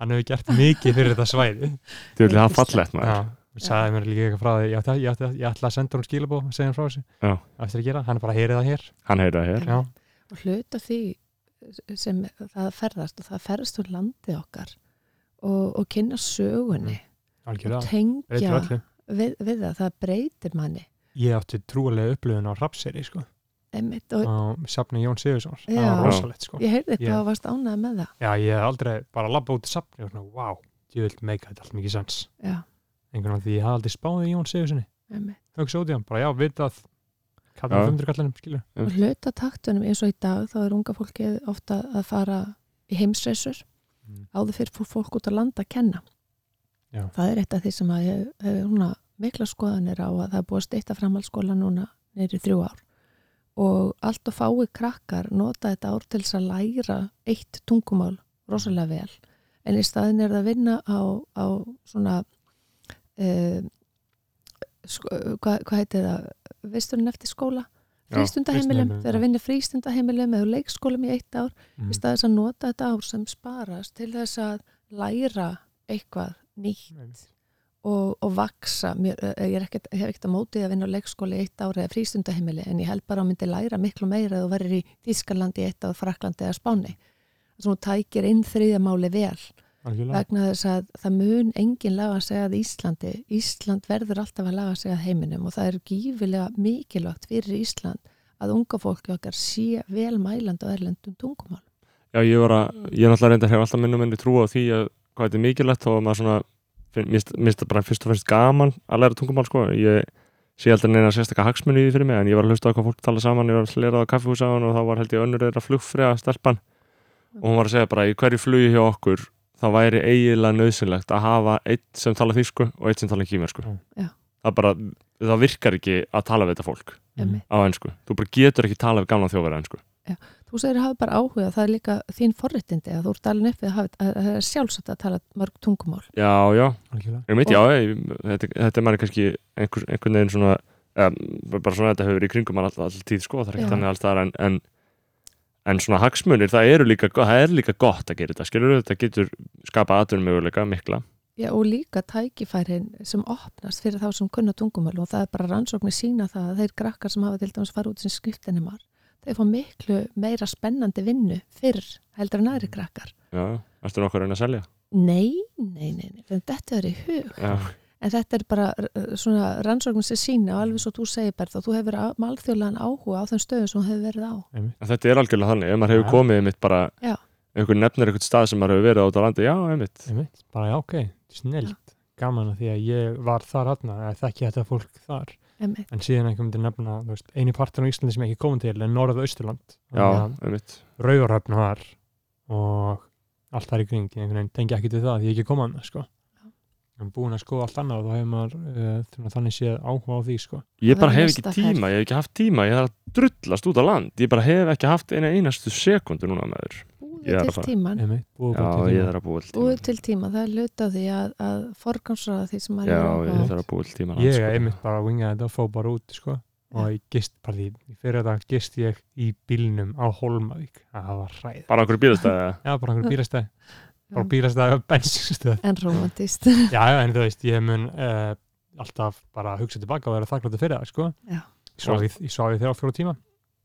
S3: hann hefur gert mikið fyrir þetta svæði
S1: þú vil það fallegt maður
S3: Já, hún sagði mér líka eitthvað frá því ég, ætla, ég, ætla, ég ætla að senda hún skilabóð og segja hann frá þessu
S1: Já.
S3: eftir að gera, hann er bara að heyri það hér
S1: hann heyrði það hér,
S3: Já,
S4: og hluta því sem það ferðast og það ferðast úr landi okkar og, og kynna sögunni og
S3: algjörlega, breytir
S4: tengja
S3: öllu
S4: við, við það, það breytir manni
S3: Ég átti trúlega upplöðun á Rapseri sko,
S4: einmitt, og
S3: á safni Jón Sigurðsson það
S4: Já.
S3: var rosalegt sko
S4: ég heyrði
S3: Já.
S4: hvað þú varst ánægð með það
S3: Já, ég hef aldrei bara labba út í safni og svona, wow, ég vil meika þetta allt mikið sens.
S4: já,
S3: Einhvern veginn því ég haf aldrei spáðið í Jón Sigurssoni.
S4: einmitt.
S3: Hugsa út í hann, bara já, vita að kallar
S1: Já.
S3: 500 kallanum, skilur.
S4: og hluta taktunum eins og í dag þá er unga fólki ofta að fara í heimsreisur
S3: Mm.
S4: áður fyrir fór fólk út að landa að kenna
S3: Já.
S4: það er eitt af því sem að ég hefur núna mikla skoðanir á að það er búið að steyta framhaldsskóla núna neyri þrjú ár og allt og fái krakkar nota þetta ár til þess að læra eitt tungumál rosalega vel en í staðin er það að vinna á, á svona uh, sko, hvað hva heitir það visturinn eftir skóla
S1: Já,
S4: frístundaheimilum,
S3: frístundaheimilum,
S4: þeir eru að
S3: já.
S4: vinna í frístundaheimilum eða leikskólum í eitt ár í
S3: Mm.
S4: staðis að nota þetta ár sem sparast til þess að læra eitthvað nýtt og, og vaksa Mér, eh, ég er ekkert, hef ekkert að móti að vinna á leikskóli í eitt ári eða frístundaheimili en ég held bara að þú myndi læra miklu meira að þú verður í Þískalandi eitt ár, Fraklandi eða Spáni þess að þú tækir inn þriðamáli vel
S3: Algjörlega.
S4: vegna þess að það mun engin laga að segja að Íslandi Ísland verður alltaf að laga að segja að heiminum og það er gífilega mikilvægt fyrir Ísland að unga fólki okkar sé vel mælandi á erlendum tungumál
S1: Já, ég var að, ég er náttúrulega reyndar hef alltaf minnum minni trú á því að hvað þetta er mikilvægt þó að maður svona, finn- mér finnst- mér finnst það bara fyrst og fyrst gaman að læra tungumál sko, ég sé aldrei neina sérstaka hagsmunni í því fyrir mig, en ég var að hlusta á hvað fólk tala saman, ég var að slera á kaffihús á hann og þá var held ég önnur þeirra flugfrega stelpan og hún var að segja bara í hverju flugi hjá okkur þá væri eiginlega nöðsynlegt að hafa eitt sem tala þýsku og eitt sem tala kímersku.
S4: Já.
S1: Það bara, það virkar ekki að tala við þetta fólk
S3: Mm.
S1: á ensku. Þú bara getur ekki tala við gamla þjóðverða ensku.
S4: þú segir að hafa bara áhuga, það er líka þín forréttindi að þú ert alveg uppið að, hafa- að, að það er sjálfsagt að tala mörg tungumál
S1: Já, já,
S3: Algjörlega.
S1: Ég mitt, já, ég, þetta, þetta er maður kannski einhver, einhvern veginn svona um, bara svona þetta hefur verið í kringum mann alltaf all tíð sko, það er ekki
S4: Já.
S1: þannig alls þar en, en, en svona hagsmunir, það, eru líka, go- það er líka gott að gera þetta, skilur þetta getur skapað aðtunum möguleika mikla
S4: Já, og líka tækifærin sem opnast fyrir þá sem kunna tungumál og það er bara rannsóknir sína það að þeir krakkar sem hafa til dæmis fara út sem skriftinimar þeir fá miklu meira spennandi vinnu fyrr heldur en aðri krakkar.
S1: já, ertu nokkur að reyna að selja
S4: Nei, nei, nei, nei, en þetta er í hug.
S1: já,
S4: En þetta er bara uh, svona rannsóknir sem sína og alveg svo þú segir bara þá, þú hefur á- alþjóðlegan áhuga á þeim stöðum sem þú hefur verið á.
S1: en þetta er algjörlega þannig ef maður hefur
S3: Já.
S1: komið mitt bara
S4: Já.
S1: einhver nefnir einhvern stað sem maður hefur verið á út á landi já, einmitt,
S3: Einmitt, bara já, ok, snillt gaman að því að ég var þar aðna að þekki þetta fólk þar
S4: Einmitt.
S3: en síðan ekki myndi nefna, þú veist, eini partur á Íslandi sem ég ekki komin til er Norðausturland
S1: já, einmitt
S3: Rauvarhöfn var og allt þar í kring ég einhvern veginn tengi ekki til það því ég ekki koma annað sko.
S4: Já.
S3: en búin að skoða allt annað og þá hefur maður uh, þurfum að þannig séð áhuga á því sko.
S1: ég bara
S4: Það er
S1: hef ekki
S4: næsta
S1: tíma, ég hef ekki haft tíma ég þarf að drullast út á land ég bara hef ekki haft eina einastu sekundu núna maður Ég er
S4: Búðu
S1: að
S4: til
S1: fara.
S4: tíman
S3: Einmitt, búið
S1: já,
S3: bara til
S1: ég
S3: tíma.
S1: þarf að búa til
S4: Búið
S1: tíma
S4: til tíma, það er hluti af því að, að forgansraða því sem maður
S1: já,
S4: hefur áhuga á.
S1: ég þarf að sko. búa til tíma
S3: ég er einmitt bara að vinga þetta og fá bara út sko. og ég gist bara því fyrir þetta gist ég í bílnum á Holmavík það var hræð
S1: bara okkur bílastæði
S3: Já, bara einhver bílastæð, bara
S4: Já.
S3: bílastæð og bensinstöð.
S4: En romantist.
S3: Já, já, en þú veist, ég mun uh, alltaf bara hugsa tilbaka og vera þakkláttu fyrir það, sko.
S4: Já.
S3: Ég svaf í- Ég svaf í þeirra á fjóra tíma.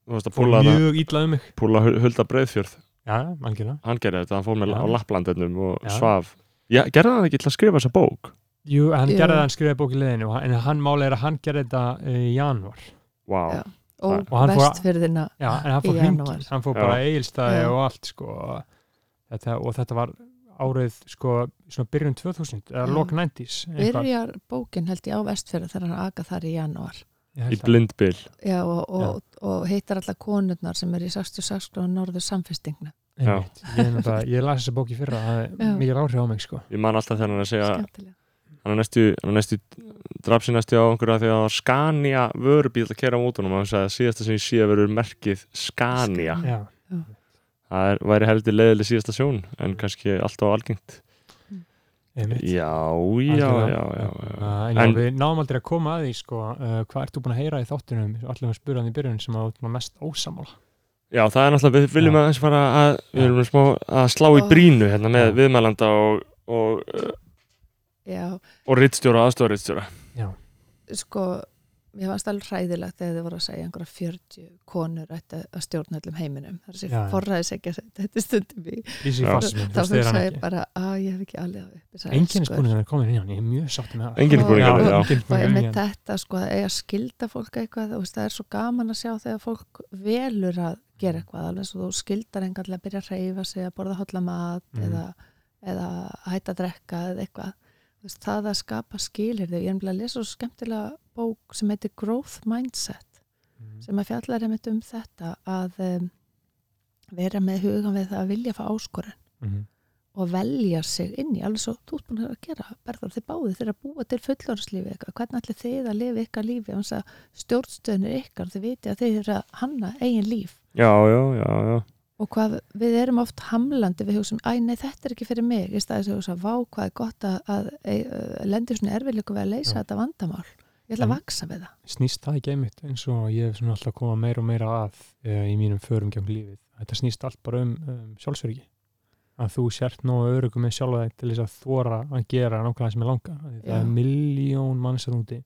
S1: þú veist að
S3: Fór
S1: púla, hana,
S3: mjög illa um mig.
S1: púla Hul- hulda breiðfjörð
S3: Já, já, algjörlega.
S1: hann gerði þetta, hann fór með
S3: Já.
S1: á Lapplandinum og
S3: Já.
S1: svaf ég, gerði hann ekki til að skrifa þessa bók
S3: Jú, hann
S4: Jú.
S3: gerði það, hann skrifaði bók í leiðinu, og hann- en hann máli er að hann gerði þetta eh, í janúar.
S1: wow.
S4: Já. og
S3: Og hann fór-
S4: vestfyrðina
S3: Já, en hann
S4: Í
S3: fór
S4: janúar.
S3: hringin, hann fór bara eigilstæði
S4: Já.
S3: og allt, sko. Þetta, og þetta var árið, sko, svona byrjun 2000, eða
S4: Já.
S3: lok 90s. eitthvað.
S4: byrjar bókin held ég á vestfyrða þegar hann aga þar í janúar
S3: Ég held
S1: í
S3: að-
S1: blindbil
S4: Já, og, og, og heitar alla konurnar sem eru í 66 og norður samfestingna
S1: Já.
S3: Einmitt. Ég, náttúrulega- ég las þessa bók í fyrra, það
S4: Já.
S3: er mikil áhrif á mig, sko.
S1: ég man alltaf þegar hann er að segja
S4: skemmtilega
S1: hann er næstu, hann er næstu drafsi næstu á einhverja því að það var Scania vörubíl að kera á mótunum og hann sagði að síðasta sem ég sé verður merkið Scania
S3: Já.
S1: það er, væri heldur leiðileg síðasta sjón en kannski alltaf algengt
S3: Einmitt.
S1: já, já,
S3: Algjörlega.
S1: já, já, já.
S3: Uh, en já,
S1: En-
S3: við náum aldrei að koma að því sko, uh, hvað ert þú búin að heyra í þáttunum allir að spura hann í byrjun sem að þú ert nú mest ósamála
S1: já það er náttúrulega, við viljum
S3: Já.
S1: aðeins fara að við viljum smá að slá í
S4: Ó.
S1: brínu hérna með
S3: Já.
S1: viðmælanda og og, uh,
S4: Já,
S1: og rittstjóra, aðstofa rittstjóra
S4: sko, mér varst alveg hræðilegt þegar þið voru að segja einhverja 40 konur ættu að stjórna öllum heiminum það er
S3: Já,
S4: sér
S3: já.
S4: forræðis ekki að segja þetta stundum í
S3: Lísi
S1: Já.
S3: Fassminn,
S4: þá
S3: þú styrir hann
S4: hugsa ég
S3: ekki
S4: bara að ég hef ekki alveg það upp Ég sagði,
S3: enginn
S4: sko,
S3: spúnir hann er komin inn í hann, ég er mjög sátti með það
S1: Einkennisbúningarnir,
S3: Já,
S1: já.
S4: og
S3: einkennisbúningarnir
S4: einmitt
S3: í hann.
S4: þetta sko að eiga að skilda fólk eitthvað þú veist, það er svo gaman að sjá þegar fólk velur að gera eitthvað alveg svo þú skildar engan til að byrja að reyfa sig að borða hotla mat
S3: Mhm.
S4: eða, eða að hætta að drekka eða eitthvað Þú veist, það að skapa skilirði ég er nefnilega að lesa svo skemmtilega bók sem heitir Growth Mindset sem að fjallar einmitt um þetta að um, vera með hugan við það að vilja að fá áskorun
S3: Mhm.
S4: og velja sig inn í alveg svo þú ert búin að gera, Berður, þið báðið þeir að búa til fullorðslífi eitthvað, hvernig ætli þið að lifa ykkar lífi, þannig að stjórnstöðin er ykkar, þið viti að þið eru að hanna eigin líf
S1: já, já, já, já
S4: og hvað við erum oft hamlandi við hugsaum, æ nei þetta er ekki fyrir mig í staðis að hugsa, vá hvað er gott að, að, að lendi svona erfiðleiku við að leysa
S3: Já.
S4: þetta vandamál, ég ætla að
S3: En-
S4: vaksa við það
S3: snýst það ekki einmitt eins og ég hef svona alltaf komað meira og meira að uh, í mínum förum gegn lífið þetta snýst allt bara um, um sjálfsöryggi að þú sért nógu örugum með sjálfa þig til þess að þóra að gera nákvæmlega sem er langa Af því það
S4: Já.
S3: er miljón manns að úti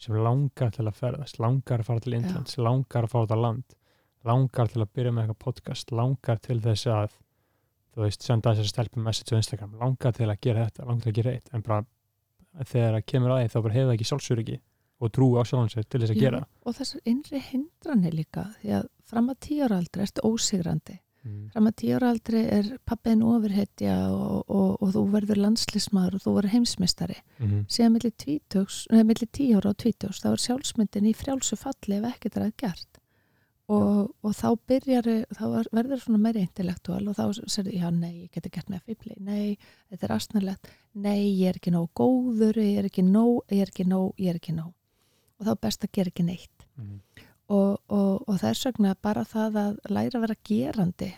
S3: sem langar til að ferðast langar að fara til Indlands, langar að fara út á land langar til að byrja með eitthvað podcast langar til þess að þú veist, senda þess að stelpa message á Instagram langar til að gera þetta, langar til að gera eitt en bara þegar það kemur að því þá bara hefur það ekki sjálfsöryggi og trú á sjálfan sér
S1: Mhm.
S3: til þess að
S4: Já,
S3: gera
S4: og þessar innri hindranir líka því að fram að tíu ára aldrei ertu ósigrandi
S3: mm.
S4: fram að tíu ára aldrei er pappiðin ofurhetja og, og, og þú verður landslísmaður og þú verður heimsmeistari
S3: Mm.
S4: síðan millir, tvítugs, neð, millir tíu ára og tvítugs þá er sjálfsmyndin í frjálsu falli ef ekkert er að gert og, og þá byrjar þá er- verður svona meira intellektual og þá serðu, já nei, ég geti gert með fýbli nei, þetta er astnarlegt nei, ég er ekki nóg góður ég er ekki nóg, ég er ekki nóg, ég er ekki nóg og þá er best að gera ekki neitt
S3: Mm.
S4: og, og, og þess vegna bara það að læra að vera gerandi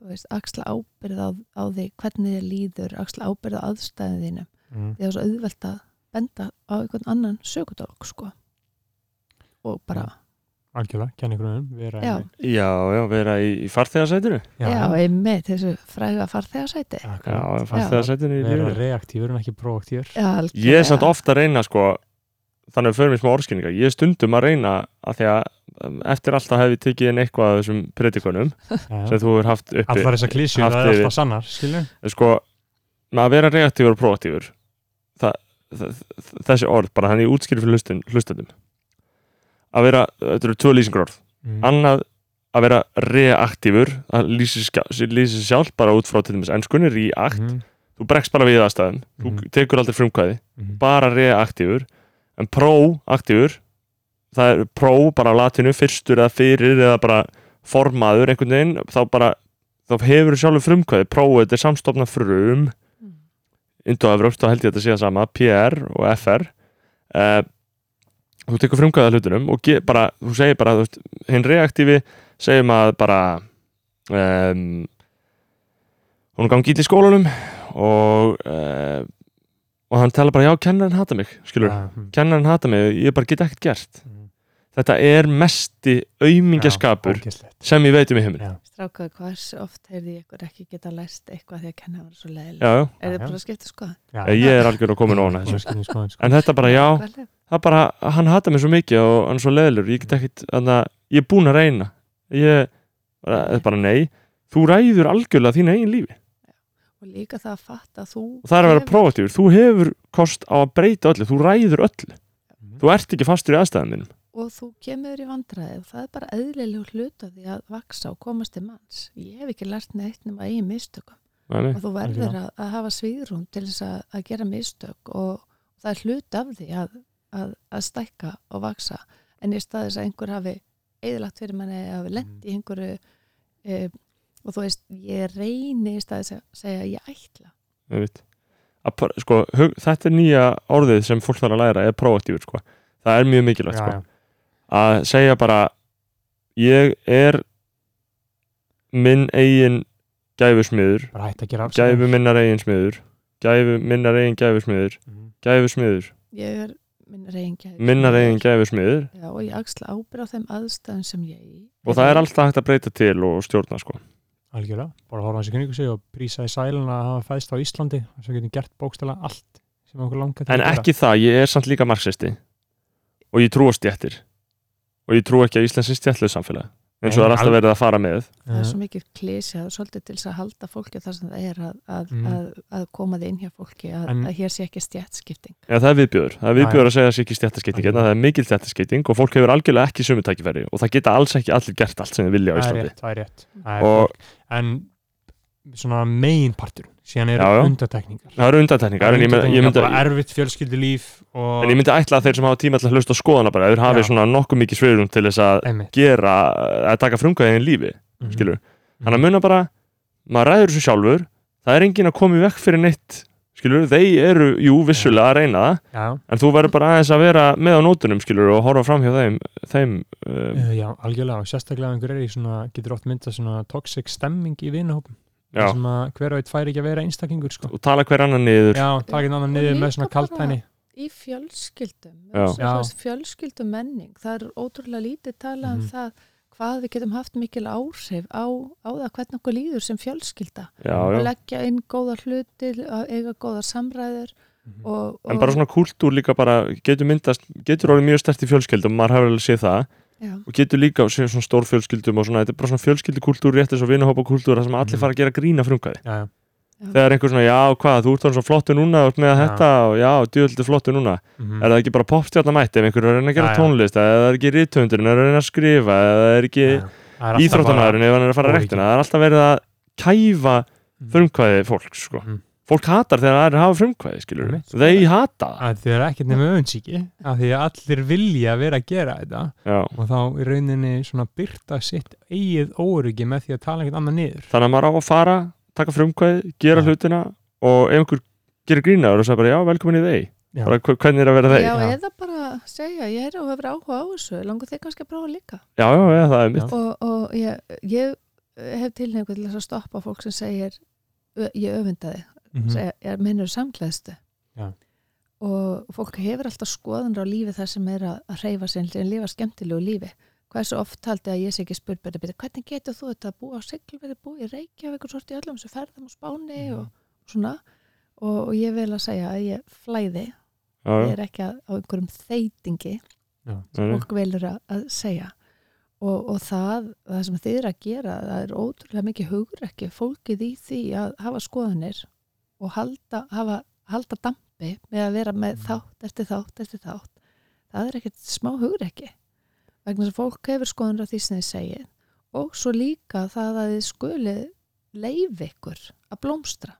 S4: þú veist, axla ábyrð á, á því hvernig þið líður, axla ábyrð á aðstæðin þínum,
S3: Mm.
S4: því það er svo auðvelt að benda á einhvern annan sökudólk sko og bara
S3: algjörlega, kennigrunum, um, vera
S4: Já.
S3: einmitt.
S1: já, já, vera í, í farþegarsætinu
S4: já, einmitt, þessu fræga farþegarsæti
S1: já,
S3: Akkurat.
S1: farþegarsætinu í
S3: vera
S1: lífinu
S3: reaktífur en ekki proaktífur
S4: Já,
S1: ég er samt
S4: algjörlega.
S1: ofta að reyna sko þannig að við förum í smá orðskynninga ég er stundum að reyna að því að um, eftir alltaf hef ég tekið inn eitthvað af þessum predikunum sem þú hefur haft uppi
S3: allar þessar klísjur,
S1: haft
S3: það er
S1: yfir.
S3: alltaf sannar skilur,
S1: sko, með að vera reaktífur og proaktífur það, það, þessi orð bara þannig ég útskýri fyrir hlustun, hlustundum að vera, þetta eru tvö lýsingur orð
S3: mm.
S1: annað að vera reaktífur það lýsir sjá- lýsir sig sjálf bara út frá til dæmis ennskunni, reakt
S3: Mhm.
S1: þú bregst bara við aðstæðum,
S3: Mhm.
S1: þú tekur aldrei frumkvæði
S3: Mhm.
S1: bara reaktífur en proaktífur það er pro bara á latinu fyrstur eða fyrir eða bara formaður einhvern veginn, þá bara þá hefur sjálfur frumkvæði, pro þetta er samstofna frum
S4: Mm.
S1: Indo-Evrops, þá held ég að þetta sé að sama PR og FR uh, þú tekur frumkvæða hlutunum og ge- bara, þú segir bara þú veist, hinn reaktífi segjum að bara um, hún gangi ítli í skólanum og uh, og hann tala bara já, kennarinn hata mig skilur,
S3: Já, mhm.
S1: kennarinn hata mig, ég bara get ekkert gert
S3: Mhm.
S1: þetta er mesti aumingaskapur
S3: Já, ógeðslegt.
S1: sem ég veit um í heiminu
S3: Já.
S4: Strákaði hvers oft heyrði ég ykkur ekki geta læst eitthvað því að kenna var svo leiðilega.
S1: já,
S4: Er
S3: Já,
S4: þið
S3: já.
S4: bara að skipta sko?
S3: Já.
S1: ég er algjör að koma nóna
S3: Ég
S1: þessu
S3: skil í skoðun, sko.
S1: en þetta bara já,
S4: Hvernig?
S1: það bara, hann hata mig svo mikið og hann er svo leðilur, ég get ekkit þannig að ég er búin að reyna ég, það er bara nei, þú ræður algjörlega þín eigin lífi
S4: Og líka það að fatta að þú...
S1: og það er að vera
S4: hefur-
S1: prófatífur, þú hefur kost á að breyta öllu, þú ræður öllu þú ert ekki fastur í aðstæðan þínum
S4: Og þú kemur í vandræði og það er bara eðlileg hluta því að vaksa og komast til manns. Ég hef ekki lært neitt nema í mistökum.
S1: Nei, nei.
S4: Og þú verður að, að hafa svíðrún til þess að, að gera mistök og það er hlut af því að, að, að stækka og vaksa. En í staðis að einhver hafi eðlagt fyrir manni að hafi
S1: Mm.
S4: lent í einhverju e, og þú veist, ég reyni í staðis að segja ég ætla.
S1: Einmitt. Að pr- sko, hug, þetta er nýja orðið sem fólk þarf að læra er prófatífur sko. það er mjög mikilvægt sko.
S3: já,
S1: að segja bara ég er minn eigin gæfusmiður
S3: bara hætt að gera afsæðingar.
S1: gæfu minnar eigin smiður gæfu minnar eigin gæfu smiður
S3: Mhm.
S1: gæfu smiður,
S4: Ég er minn reyngjæður.
S1: minnar eigin gæfu smiður
S4: Já, og ég axla ábyrð á þeim aðstæðum sem ég er í.
S1: og það er alltaf hægt að breyta til og stjórna sko
S3: algjörlega, bara horfa hans í kringu sig og prísa í sælun að hafa fæðst á Íslandi og svo getum gert bókstala allt sem okkur langar til
S1: en
S3: að gera.
S1: ekki það, ég er samt líka marxisti og ég trú á stjættir og ég trú ekki að Íslands er stjættlið samfélag eins og það
S3: Nei,
S1: er alltaf
S3: al-
S1: verið að fara með
S4: Það er svo mikið klísjað, svolítið til þess að halda fólki þar sem það er að, að,
S3: Mm.
S4: að, að koma þið inn hjá fólki, að,
S3: En-
S4: að hér sé ekki stjætskipting.
S1: Já, það er viðbjöður, það er viðbjöður að segja þessi ekki stjættaskipting en
S3: Algjörlega.
S1: það er mikil stjættaskipting og fólk hefur algjörlega ekki sömu tækifæri og það geta alls ekki allir gert allt sem þið vilja á
S3: það er
S1: Íslandi
S3: rétt, það er rétt. Það er
S1: Og-
S3: fólk. en svona meginpartur síðan eru
S1: Já, já.
S3: undatekningar
S1: Það eru undantekningar en ég myndi, ég myndi,
S3: bara erfitt fjölskyldulíf og
S1: en ég myndi ætla að þeir sem hafa tíma til að hlusta á skoðana bara, þeir hafi
S3: Já.
S1: svona nokkuð mikið sviðrum til þess að
S3: einmitt
S1: gera, að taka frumkvæðin í lífi,
S3: Mhm.
S1: skilur þannig að muna bara, maður ræður þessu sjálfur það er enginn að koma í vekk fyrir neitt skilur, þeir eru, jú, vissulega að reyna það,
S3: já,
S1: en þú verður bara aðeins að vera með á nótunum, skilur, og horfa fram hjá þeim þeim, um,
S3: uh, já, algjörlega og sérstaklega ef einhver er í svona, getur oft mynda svona toxic stemming í vinahópum
S1: já,
S3: þar sem að hver og eitt fær ekki að vera einstaklingur sko.
S1: og tala hver annan niður
S3: já, takin annan niður
S4: Og
S3: með
S4: líka
S3: svona
S4: bara-
S3: kaltæni
S4: Í fjölskyldum,
S1: Já.
S4: þú
S3: Já.
S4: veist, fjölskyldum menning, það er ótrúlega lítið talað
S3: Mhm.
S4: um það hvað við getum haft mikil áhrif á, á það hvernig okkur líður sem fjölskylda.
S1: já,
S4: Að
S1: já,
S4: leggja inn góða hluti, að eiga góða samræður
S3: Mhm.
S4: og... og
S1: en bara svona kúltúr líka bara, getur myndast, getur orðið mjög stert í fjölskyldum, maður hefur alveg séð það
S4: Já,
S1: og getur líka séð svona stór fjölskyldum og svona, þetta er bara svona fjölskyldukúltúr rétt eins og vinahópakúltúr, þar sem allir
S3: Mhm.
S1: fara að gera grína frumkvæði
S3: já, já,
S1: þegar einhver svona, já, hvað, þú ert þannig svo flottu núna þú ert með
S3: Já.
S1: þetta og já, djöldi flottu núna
S3: mhm.
S1: er það ekki bara popstjarnamætt ef einhver er að reyna að gera
S3: Já, já.
S1: tónlist eða það er ekki rithöndurinn, er að reyna að skrifa eða það er ekki
S3: Já, það er alltaf bara-
S1: íþróttamæðurinn ef hann er að fara að
S3: Ólíki.
S1: rektina það er alltaf verið að kæfa
S3: Mm.
S1: frumkvæði fólk sko.
S3: Mm.
S1: fólk hatar þegar það er að hafa frumkvæði skilur
S3: Einmitt.
S1: þeir hata það
S3: að þið er ekkert nema öfundsíki að því að allir vilja vera að gera þetta
S1: Já.
S3: og þá í rauninni svona byrta sitt eigið óryggi með því að tala ekkert annað niður
S1: þannig að maður á að fara, taka frumkvæði gera
S3: Já.
S1: hlutina og ef einhver gerir grínaður og sagði bara já, velkomin í þeir
S3: Já.
S1: bara, hve- hvernig er að vera þeir já,
S4: já,
S3: já.
S4: eða bara segja, ég er og hefur áhuga á þessu, langar þig kannski að prófa líka.
S1: já, já, það er mitt
S4: og, og ég, ég eh, hef tilhengu til þess að stoppa fólk sem segir "Ö- ég öfunda þig,
S3: Mhm.
S4: segja, ég minnur samklæðstu
S3: Já.
S4: og fólk hefur alltaf skoðanur á lífi þar sem er að, að reyfa sinn en lifa skemmtilegu lífi hversu oft haldi að ég sé ekki spurt beti, beti, hvernig getur þú þetta að búa á Siglufirði, búa í Reykjavík og sort í öllum þessu ferðum á Spáni
S3: Mhm.
S4: og svona og, og ég vil að segja að ég flæði
S1: já,
S4: ég er ekki að, á einhverjum þeitingi
S1: já, já.
S4: fólk velur að, að segja og, og það, það sem þið eru að gera það er ótrúlega mikið hugrekki fólkið í því að hafa skoðanir og halda, hafa, halda dampi með að vera með
S3: Mm.
S4: þátt eftir þátt eftir þátt það er ekkert smá hugrekki vegna þess að fólk hefur skoðanir á því sem þið segir og svo líka það að þið skuli leif ykkur að blómstra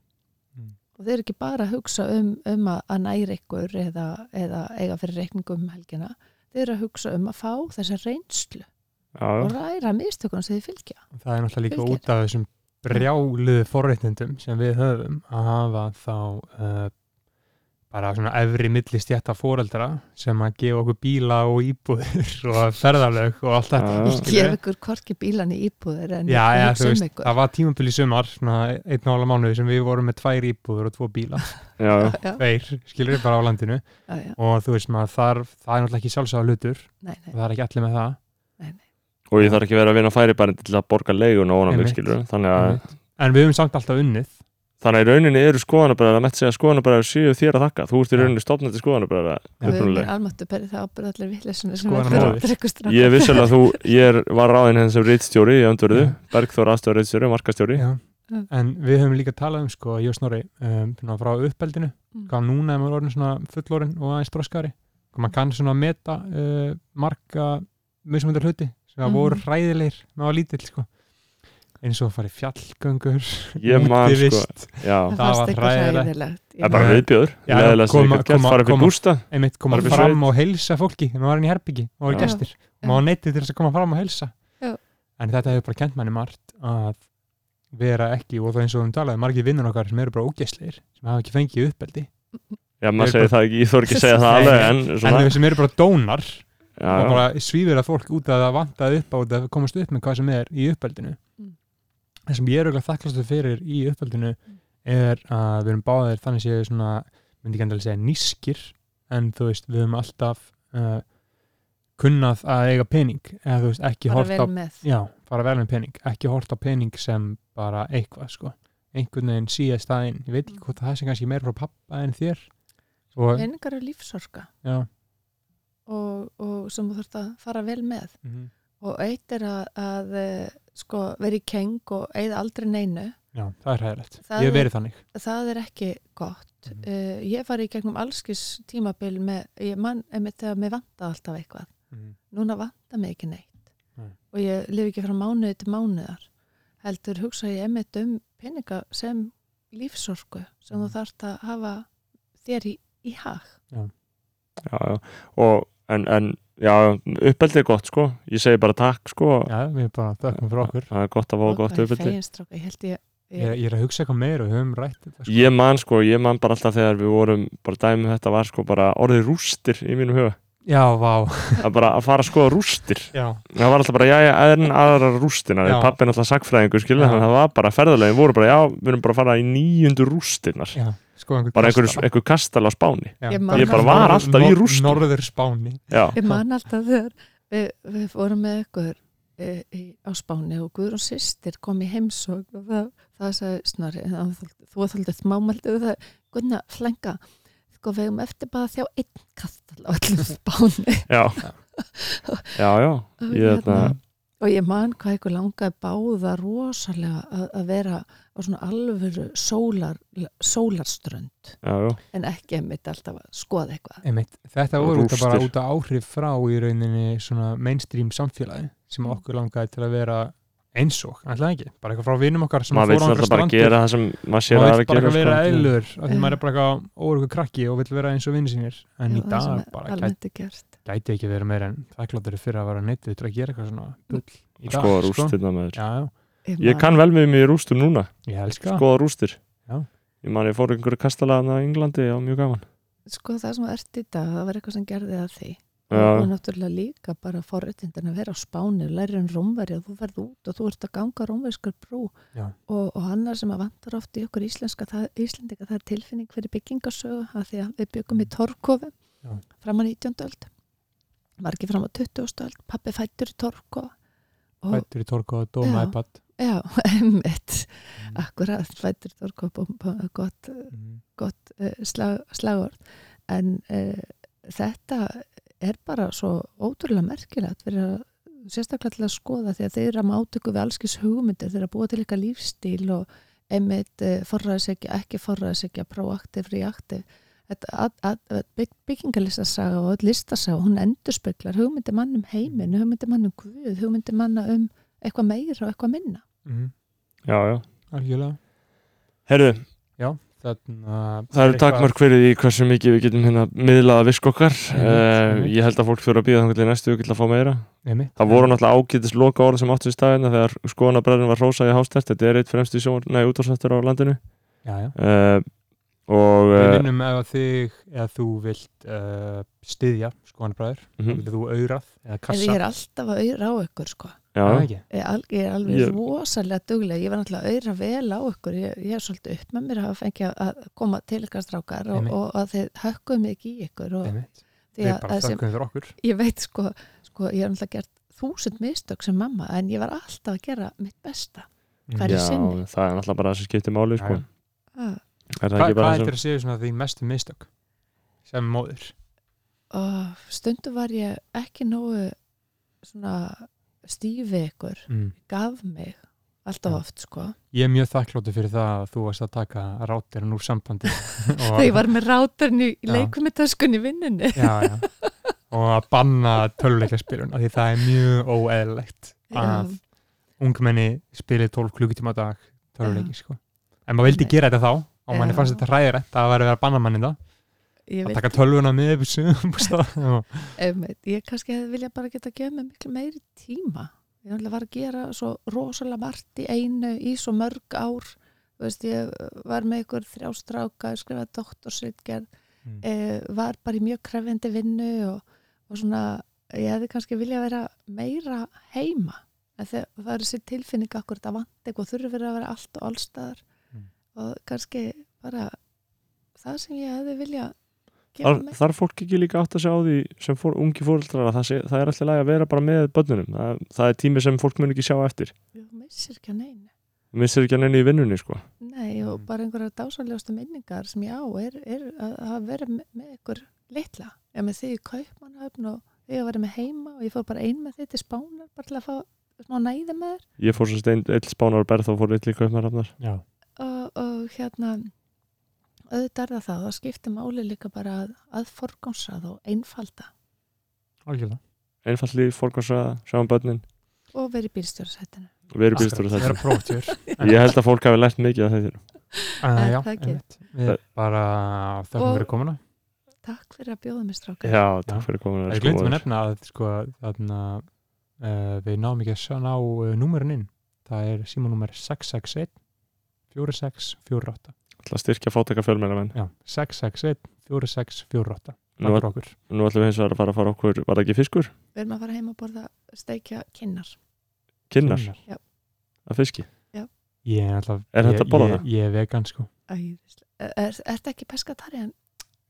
S3: Mm.
S4: og þið eru ekki bara að hugsa um, um að, að næra ykkur eða, eða eiga fyrir reikningum um helgina þið eru að hugsa um að fá þessa reynslu
S1: já,
S4: og ræra mistökum sem þið fylgja
S3: það er náttúrulega líka
S4: Fylgir.
S3: út af þessum brjáluðu forréttindum sem við höfum að hafa þá uh, bara svona efri milli stjætta fóreldra sem að gefa okkur bíla og íbúður og ferðarlög og allt þetta
S1: Já.
S4: ég
S3: skilurðu?
S4: gef ykkur korki bílan í íbúðir en
S3: Já,
S4: Ah. ég
S3: já, þú
S4: hugsa um
S3: veist,
S4: ykkur
S3: það var tímabil í sumar svona einn og ála mánuði sem við vorum með tvær íbúður og tvo bíla,
S1: já, já.
S4: já,
S3: tveir skilur bara á landinu
S4: já, já,
S3: og þú veist maður þarf, það er náttúrulega ekki sjálfsagða hlutur
S4: nei, nei,
S3: og það er ekki allir með það
S1: og ég þarf ekki verið að vinna færibærin til að borga leigun og ónum
S3: Einmitt.
S1: skilur þannig að
S3: en við höfum samt alltaf unnið
S1: Þannig að í rauninni eru skoðanabræðar að metta segja skoðanabræðar séu þér að þakka. Þú ert í rauninni stofnandi skoðanabræðar.
S4: við erum
S1: Upprunalega.
S4: almattu berið það ábyrð allir villisuna sem
S3: Skoðanamóðir.
S4: verður að drekku strafn
S1: Ég er vissulega að þú, ég er, var ráðinn henn sem rítstjóri í öndverðu, Bergþór aðstjóri rítstjóri, markastjóri.
S3: Já.
S4: Mm.
S3: En við höfum líka talað um sko, ég og Snorri, um, svona frá uppeldinu,
S4: Mm.
S3: hvað núna er maður orðin svona fullorinn og aðeins þroskari, hvað maður kann svona meta uh, marga mismundir hluti sem
S4: Mhm.
S3: mm. voru hræðilegir með að lítill sko. eins og að fara í fjallgöngur
S1: Ég man sko,
S3: útivist,
S1: já,
S3: það var
S4: það fannst eitthvað
S3: hræðilegt.
S4: hræðilegt
S1: það er bara viðbjöður.
S3: Já,
S1: Leðilega sem
S3: koma-
S1: ég gett
S3: koma-
S1: fara upp í
S3: koma.
S1: bústa.
S3: einmitt koma
S1: Bara við
S3: fram
S1: sveit.
S3: og heilsa fólki þegar maður var inn í herbyggi og var
S1: Já.
S3: gestir
S4: Já.
S3: og maður neytið til þess að koma fram og heilsa
S4: Já.
S3: en þetta hefur bara kent manni margt að vera ekki og það eins og við talaði margir vinnur okkar sem eru bara ógeslir sem hafa ekki fengið uppeldi
S1: Já,
S3: Ég er
S1: maður segir það ekki, ég þór ekki að segja það
S3: Nei,
S1: alveg,
S3: nei.
S1: en
S3: en
S1: svona,
S3: þau sem eru bara dónar og
S1: já, já,
S3: bara svífur að fólk út að það vantaði upp á út að komast upp með hvað sem er í uppeldinu
S4: Mm.
S3: það sem ég er auðvitað þakklastu fyrir í uppeldinu
S4: Mm.
S3: er að við erum báðir þannig séu svona, myndi ekki endalega segja nískir en þú veist, við höfum alltaf uh, kunnað að eiga pening eða þú veist, ekki
S4: bara
S3: hort á
S4: vel með
S3: já, fara vel með pening, ekki hort á pening sem bara eitthvað sko einhvern veginn síðast aðeinn, ég veit ekki hvort það sé kannski meira frá pappa en þér og,
S4: peningar og lífsorka
S3: já,
S4: og, og sem þú þurft að fara vel með
S3: mhm,
S4: og eitt er að, að eh, sko, vera í keng og eigða aldrei neinu
S3: já, það er hægilegt
S4: Það
S3: ég hef
S4: er-
S3: verið þannig
S4: það er ekki gott
S3: Mhm.
S4: uh, ég fari í gegnum allskis tímabil með, ég mann, einmitt þegar mér vanta alltaf eitthvað
S3: mm.
S1: Mhm.
S4: núna vanta mig ekki neitt
S3: Nei.
S4: og ég lifi ekki frá mánuði til mánuðar heldur hugsa ég einmitt um peninga sem lífsorku sem
S1: Mm.
S4: þú
S3: Mhm.
S4: þarft að hafa þér í, í hag
S1: já, og, en, en, já, uppeldi er gott, sko, ég segi bara takk, sko,
S3: Já, við bara þökkum fyrir okkur.
S1: það er gott að fá gott uppeldi.
S4: feginstráka, ég held ég,
S3: Ég,
S4: ég
S3: ég er að hugsa eitthvað meira, við höfum rætt þetta.
S1: ég man sko, ég man bara alltaf þegar við vorum bara dæmið þetta var sko bara orðið rústir í mínum huga,
S3: Já, vá.
S1: að bara að fara að skoða rústir,
S3: Já,
S1: það var alltaf bara jæja en aðra rústina,
S3: Já.
S1: pappin alltaf sagfræðingur skilja,
S3: Já.
S1: þannig að það var bara ferðarlegin voru bara já, við erum bara að fara í nýjundu rústinar
S3: já, sko einhver
S1: bara einhver, einhver kastal á Spáni
S3: Já,
S4: Ég
S1: ég bara var alltaf í rústum.
S3: Norður Spáni.
S1: já,
S4: man alltaf þegar við, við fórum með ykkur eh, í- á Spáni og Guðrún sýstir kom í heimsók og það, það sagði Snorri, það- þú þóldið mámaldið það, Gunna, flænga sko við um eftir bara að þjá einn kastal á allum Spáni
S1: já já, já,
S4: Og
S1: ég þetta
S4: hérna, og ég man hvað ykkur langaði báða rosalega að, að vera á svona alvöru sólar, sólarströnd
S1: já, já,
S4: en ekki einmitt alltaf að skoða eitthvað
S3: Einmitt, þetta voru út að bara
S1: Rústir.
S3: út að áhrif frá í rauninni svona mainstream samfélagi
S4: Mm.
S3: sem okkur langaði til að vera eins og, alltaf ekki, bara eitthvað frá vinum okkar sem
S1: maður
S3: fóru
S1: veit
S3: á einhverjar
S1: alltaf bara að
S3: strandir.
S1: gera það sem maður sér
S3: maður
S1: að
S3: vill bara
S1: gera
S3: eitthvað vera
S1: sko.
S3: eðlur af því
S4: Já.
S3: maður er bara eitthvað óryggur krakki og vill vera eins og vinn sinir en í
S4: Mm. Já, það sem
S3: dag
S4: er
S3: bara gæti,
S4: almennt er gert
S3: gæti ekki verið meira en þakkláttur fyrir að vera neitt til að gera eitthvað svona bull í dag
S1: skoða
S3: sko.
S1: rústirna með þér
S3: Já, já.
S1: ég kann vel með mér í rústum núna,
S3: Ég elska
S1: skoða rústir
S3: Já.
S1: ég man ég fór í einhverju kastala þarna í Englandi, já, mjög gaman
S4: sko það sem ert í dag, það var eitthvað sem gerði að því
S1: Já.
S4: og náttúrulega líka bara forréttindin að vera á spáni, læri en rómverja þú ferð út og þú ert að ganga rómverskar brú
S3: Já.
S4: og, og annar sem að vantar oft í okkur íslenska, það, íslendinga það er tilfinning fyrir byggingasögu að því að við byggum í Torkofi
S3: Já.
S4: fram á 19. öld margir fram á 20. stöld, pappi fættur í torko
S1: Sko-
S4: og
S3: Fættur í torku og dóma
S4: Já.
S3: iPad
S4: já, emmitt
S1: Ah.
S4: akkurat, fættur í torko og gott,
S3: Mhm.
S4: gott uh, slag, slagorð en uh, þetta er bara svo ótrúlega merkilegt fyrir að sérstaklega til að skoða því að þeir eru að mátöku við allskis hugmyndir þeir eru að búa til eitthvað lífstíl og einmitt uh, forræðisekja, ekki forræðisekja proaktiv, reaktiv byggingarlistasaga og öll listasaga, hún endurspeglar hugmyndir mann um heiminn, hugmyndir mann um guð hugmyndir manna um eitthvað meira og eitthvað minna
S3: Mhm.
S1: já, já.
S3: Algjörlega
S1: Herðu,
S3: Þannig að
S1: það eru takmark fyrir því hversu mikið við getum hérna miðlaða visk okkar
S3: Mhm,
S1: uh,
S3: einmitt.
S1: ég held að fólk fyrir að býða þannig til næstu við getum að fá meira
S3: Mhm.
S1: Það voru náttúrulega ágætis loka orð sem áttu í staðina þegar skoðanabræðin var rósað í hástert þetta er eitt fremst í sjónar, nei, útvarsnættur á landinu
S3: Já, já
S1: uh, og
S3: Við
S1: uh,
S3: vinnum ef að þig eða þú vilt uh, styðja skoðanabræður mm
S1: mhm,
S3: þú aurað eða
S4: en
S3: kassa
S4: ég er alltaf að auðra á ykkur sko
S1: já,
S3: Er það ekki?
S4: Ég, al- ég er alveg
S1: Ég-
S4: rosalega dugleg ég var náttúrulega auðra vel á ykkur ég, ég er svolítið upp með mér að hafa fengið að- að koma til ykkar strákar og,
S3: Einmitt.
S4: og að þið hökkuðu mig ekki í ykkur og
S3: Einmitt.
S4: því
S3: Við
S4: að,
S3: bara
S4: að sem,
S3: þökkum fyrir okkur
S4: ég veit sko, sko ég er náttúrulega gert þúsund mistök sem mamma en ég var alltaf að gera mitt besta Það
S3: Mm.
S4: er
S1: já,
S4: í sinni.
S1: það er náttúrulega bara það sem skiptir máli sko.
S3: Já,
S4: ah,
S1: er það
S3: Hva,
S1: ekki
S3: Hvað
S1: bara
S3: er
S1: það
S3: þér að segja svona þín mestu mistök sem móður?
S4: og stundum var ég ekki nógu svona stífi ykkur
S3: Mm.
S4: gaf mig alltaf
S3: Já.
S4: oft sko
S3: Ég er mjög þakkláttu fyrir það að þú varst að taka ráttirinn úr sambandi og,
S4: þegar ég var með rátarni í
S3: Já.
S4: leikumitöskun í vinnunni
S3: já, já. og að banna töluleikaspilun af því það er mjög óeðlegt
S4: Já.
S3: að ungmenni spili 12 klukkutíma á dag töluleiki sko. en maður vildi gera þetta þá og manni
S4: Já.
S3: fannst þetta hræðirætt að vera að banna manni það að
S4: ég veit
S3: taka tölvuna með upp í sumum stað. Já.
S4: Einmitt. Ég kannski hefði vilja bara geta að gefa mig miklu meiri tíma. Ég náttúrulega var að gera svo rosalega margt í einu í svo mörg ár. Þú Veist, ég var með ykkur þrjástráka, skrifaði doktorsritgerð,
S3: Mm.
S4: eh, var bara í mjög krefjandi vinnu og, og svona, ég hefði kannski vilja vera meira heima. En Þegar, það er þessi tilfinning akkur þetta vant eitthvað þurfi verið að vera allt og allstaðar
S3: Mm.
S4: og kannski bara það sem ég hefði vilja gefa
S1: Þar,
S4: mig.
S1: þar er fólk ekki líka átt að segja á því sem fór, ungi fóreldrar að það, sé, það er alltaf læg að vera bara með börnunum það, það er tími sem fólk mun ekki sjá eftir
S4: Ég missir ekki að neina.
S1: missir ekki hann enni í vinnunni sko.
S4: Nei, og
S3: Mm.
S4: bara einhverja dásaljósta minningar sem ég á er, er að að vera með, með ykkur litla. Ég með því í kaupmannhöfn og því að vera með heima og ég fór bara ein með því til spánar bara til að fá smá næði með þér
S1: ég fór svo stein, eitt spánar og berð þá fór eitt líka upp með rafnar
S3: Já.
S4: og, og hérna auðvitað er það það, það skiptir máli líka bara að, að forgámsrað og einfalda
S3: algjörlega
S1: einfalli fórkvæmsa, sjáum um börnin
S4: og verið bílstjórasættinu.
S1: við erum býstur
S3: Akkurat,
S1: þetta
S3: vera prófkjör
S1: ég held að fólk hafi lært mikið af þetta
S3: Uh,
S4: En
S3: já,
S4: það ekki.
S3: einmitt. Við bara þökkum
S4: Og-
S3: fyrir komuna.
S4: Takk fyrir að bjóða mér
S1: já,
S4: strákar.
S3: Já.
S1: takk fyrir komin
S3: Ég glemt mér nefna að sko, þarna, uh, við náum ekki að sjá ná uh, númerun inn. Það er símanúmer 661 4648.
S1: ætla að styrkja fátaka fjölmennamenn
S3: Já, 661 4648.
S1: nú,
S3: Takk fyrir okkur.
S1: nú ætlum við hins vegar að fara að fara okkur var það ekki fiskur?
S4: Við erum að fara heim að borða steikja kinnar.
S1: Kinnar af fiski
S3: Ég er alltaf...
S1: Er hægt
S3: ég-
S1: að borða
S3: ég-
S1: það?
S3: Ég er vegan sko.
S4: Æ, er, er þetta ekki peskatariðan?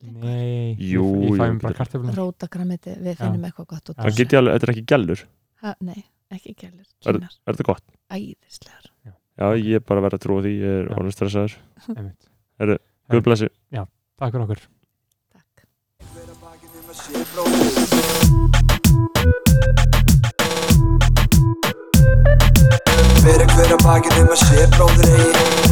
S3: Nei, ég-
S1: Jú,
S3: ég
S1: jú,
S3: fæ mér bara
S1: getur-
S3: kartöflum.
S4: Rótagramiti, við
S3: Já.
S4: finnum eitthvað gott út.
S3: Já.
S4: úr
S1: það get ég alveg, þetta er ekki gellur
S4: Ha, nei, ekki gælur,
S1: Er-
S4: kínar,
S1: er þetta gott?
S4: æðislegar.
S1: já, ég er bara að vera að trúa því ég er
S3: Já.
S1: orðin stressaður
S3: Einmitt.
S1: Guð blessi
S3: Takk fyrir okkur.
S4: Takk.
S2: Hver að bakið um að sé blóð Fyrir hver að bakið um að sé bróðir eigi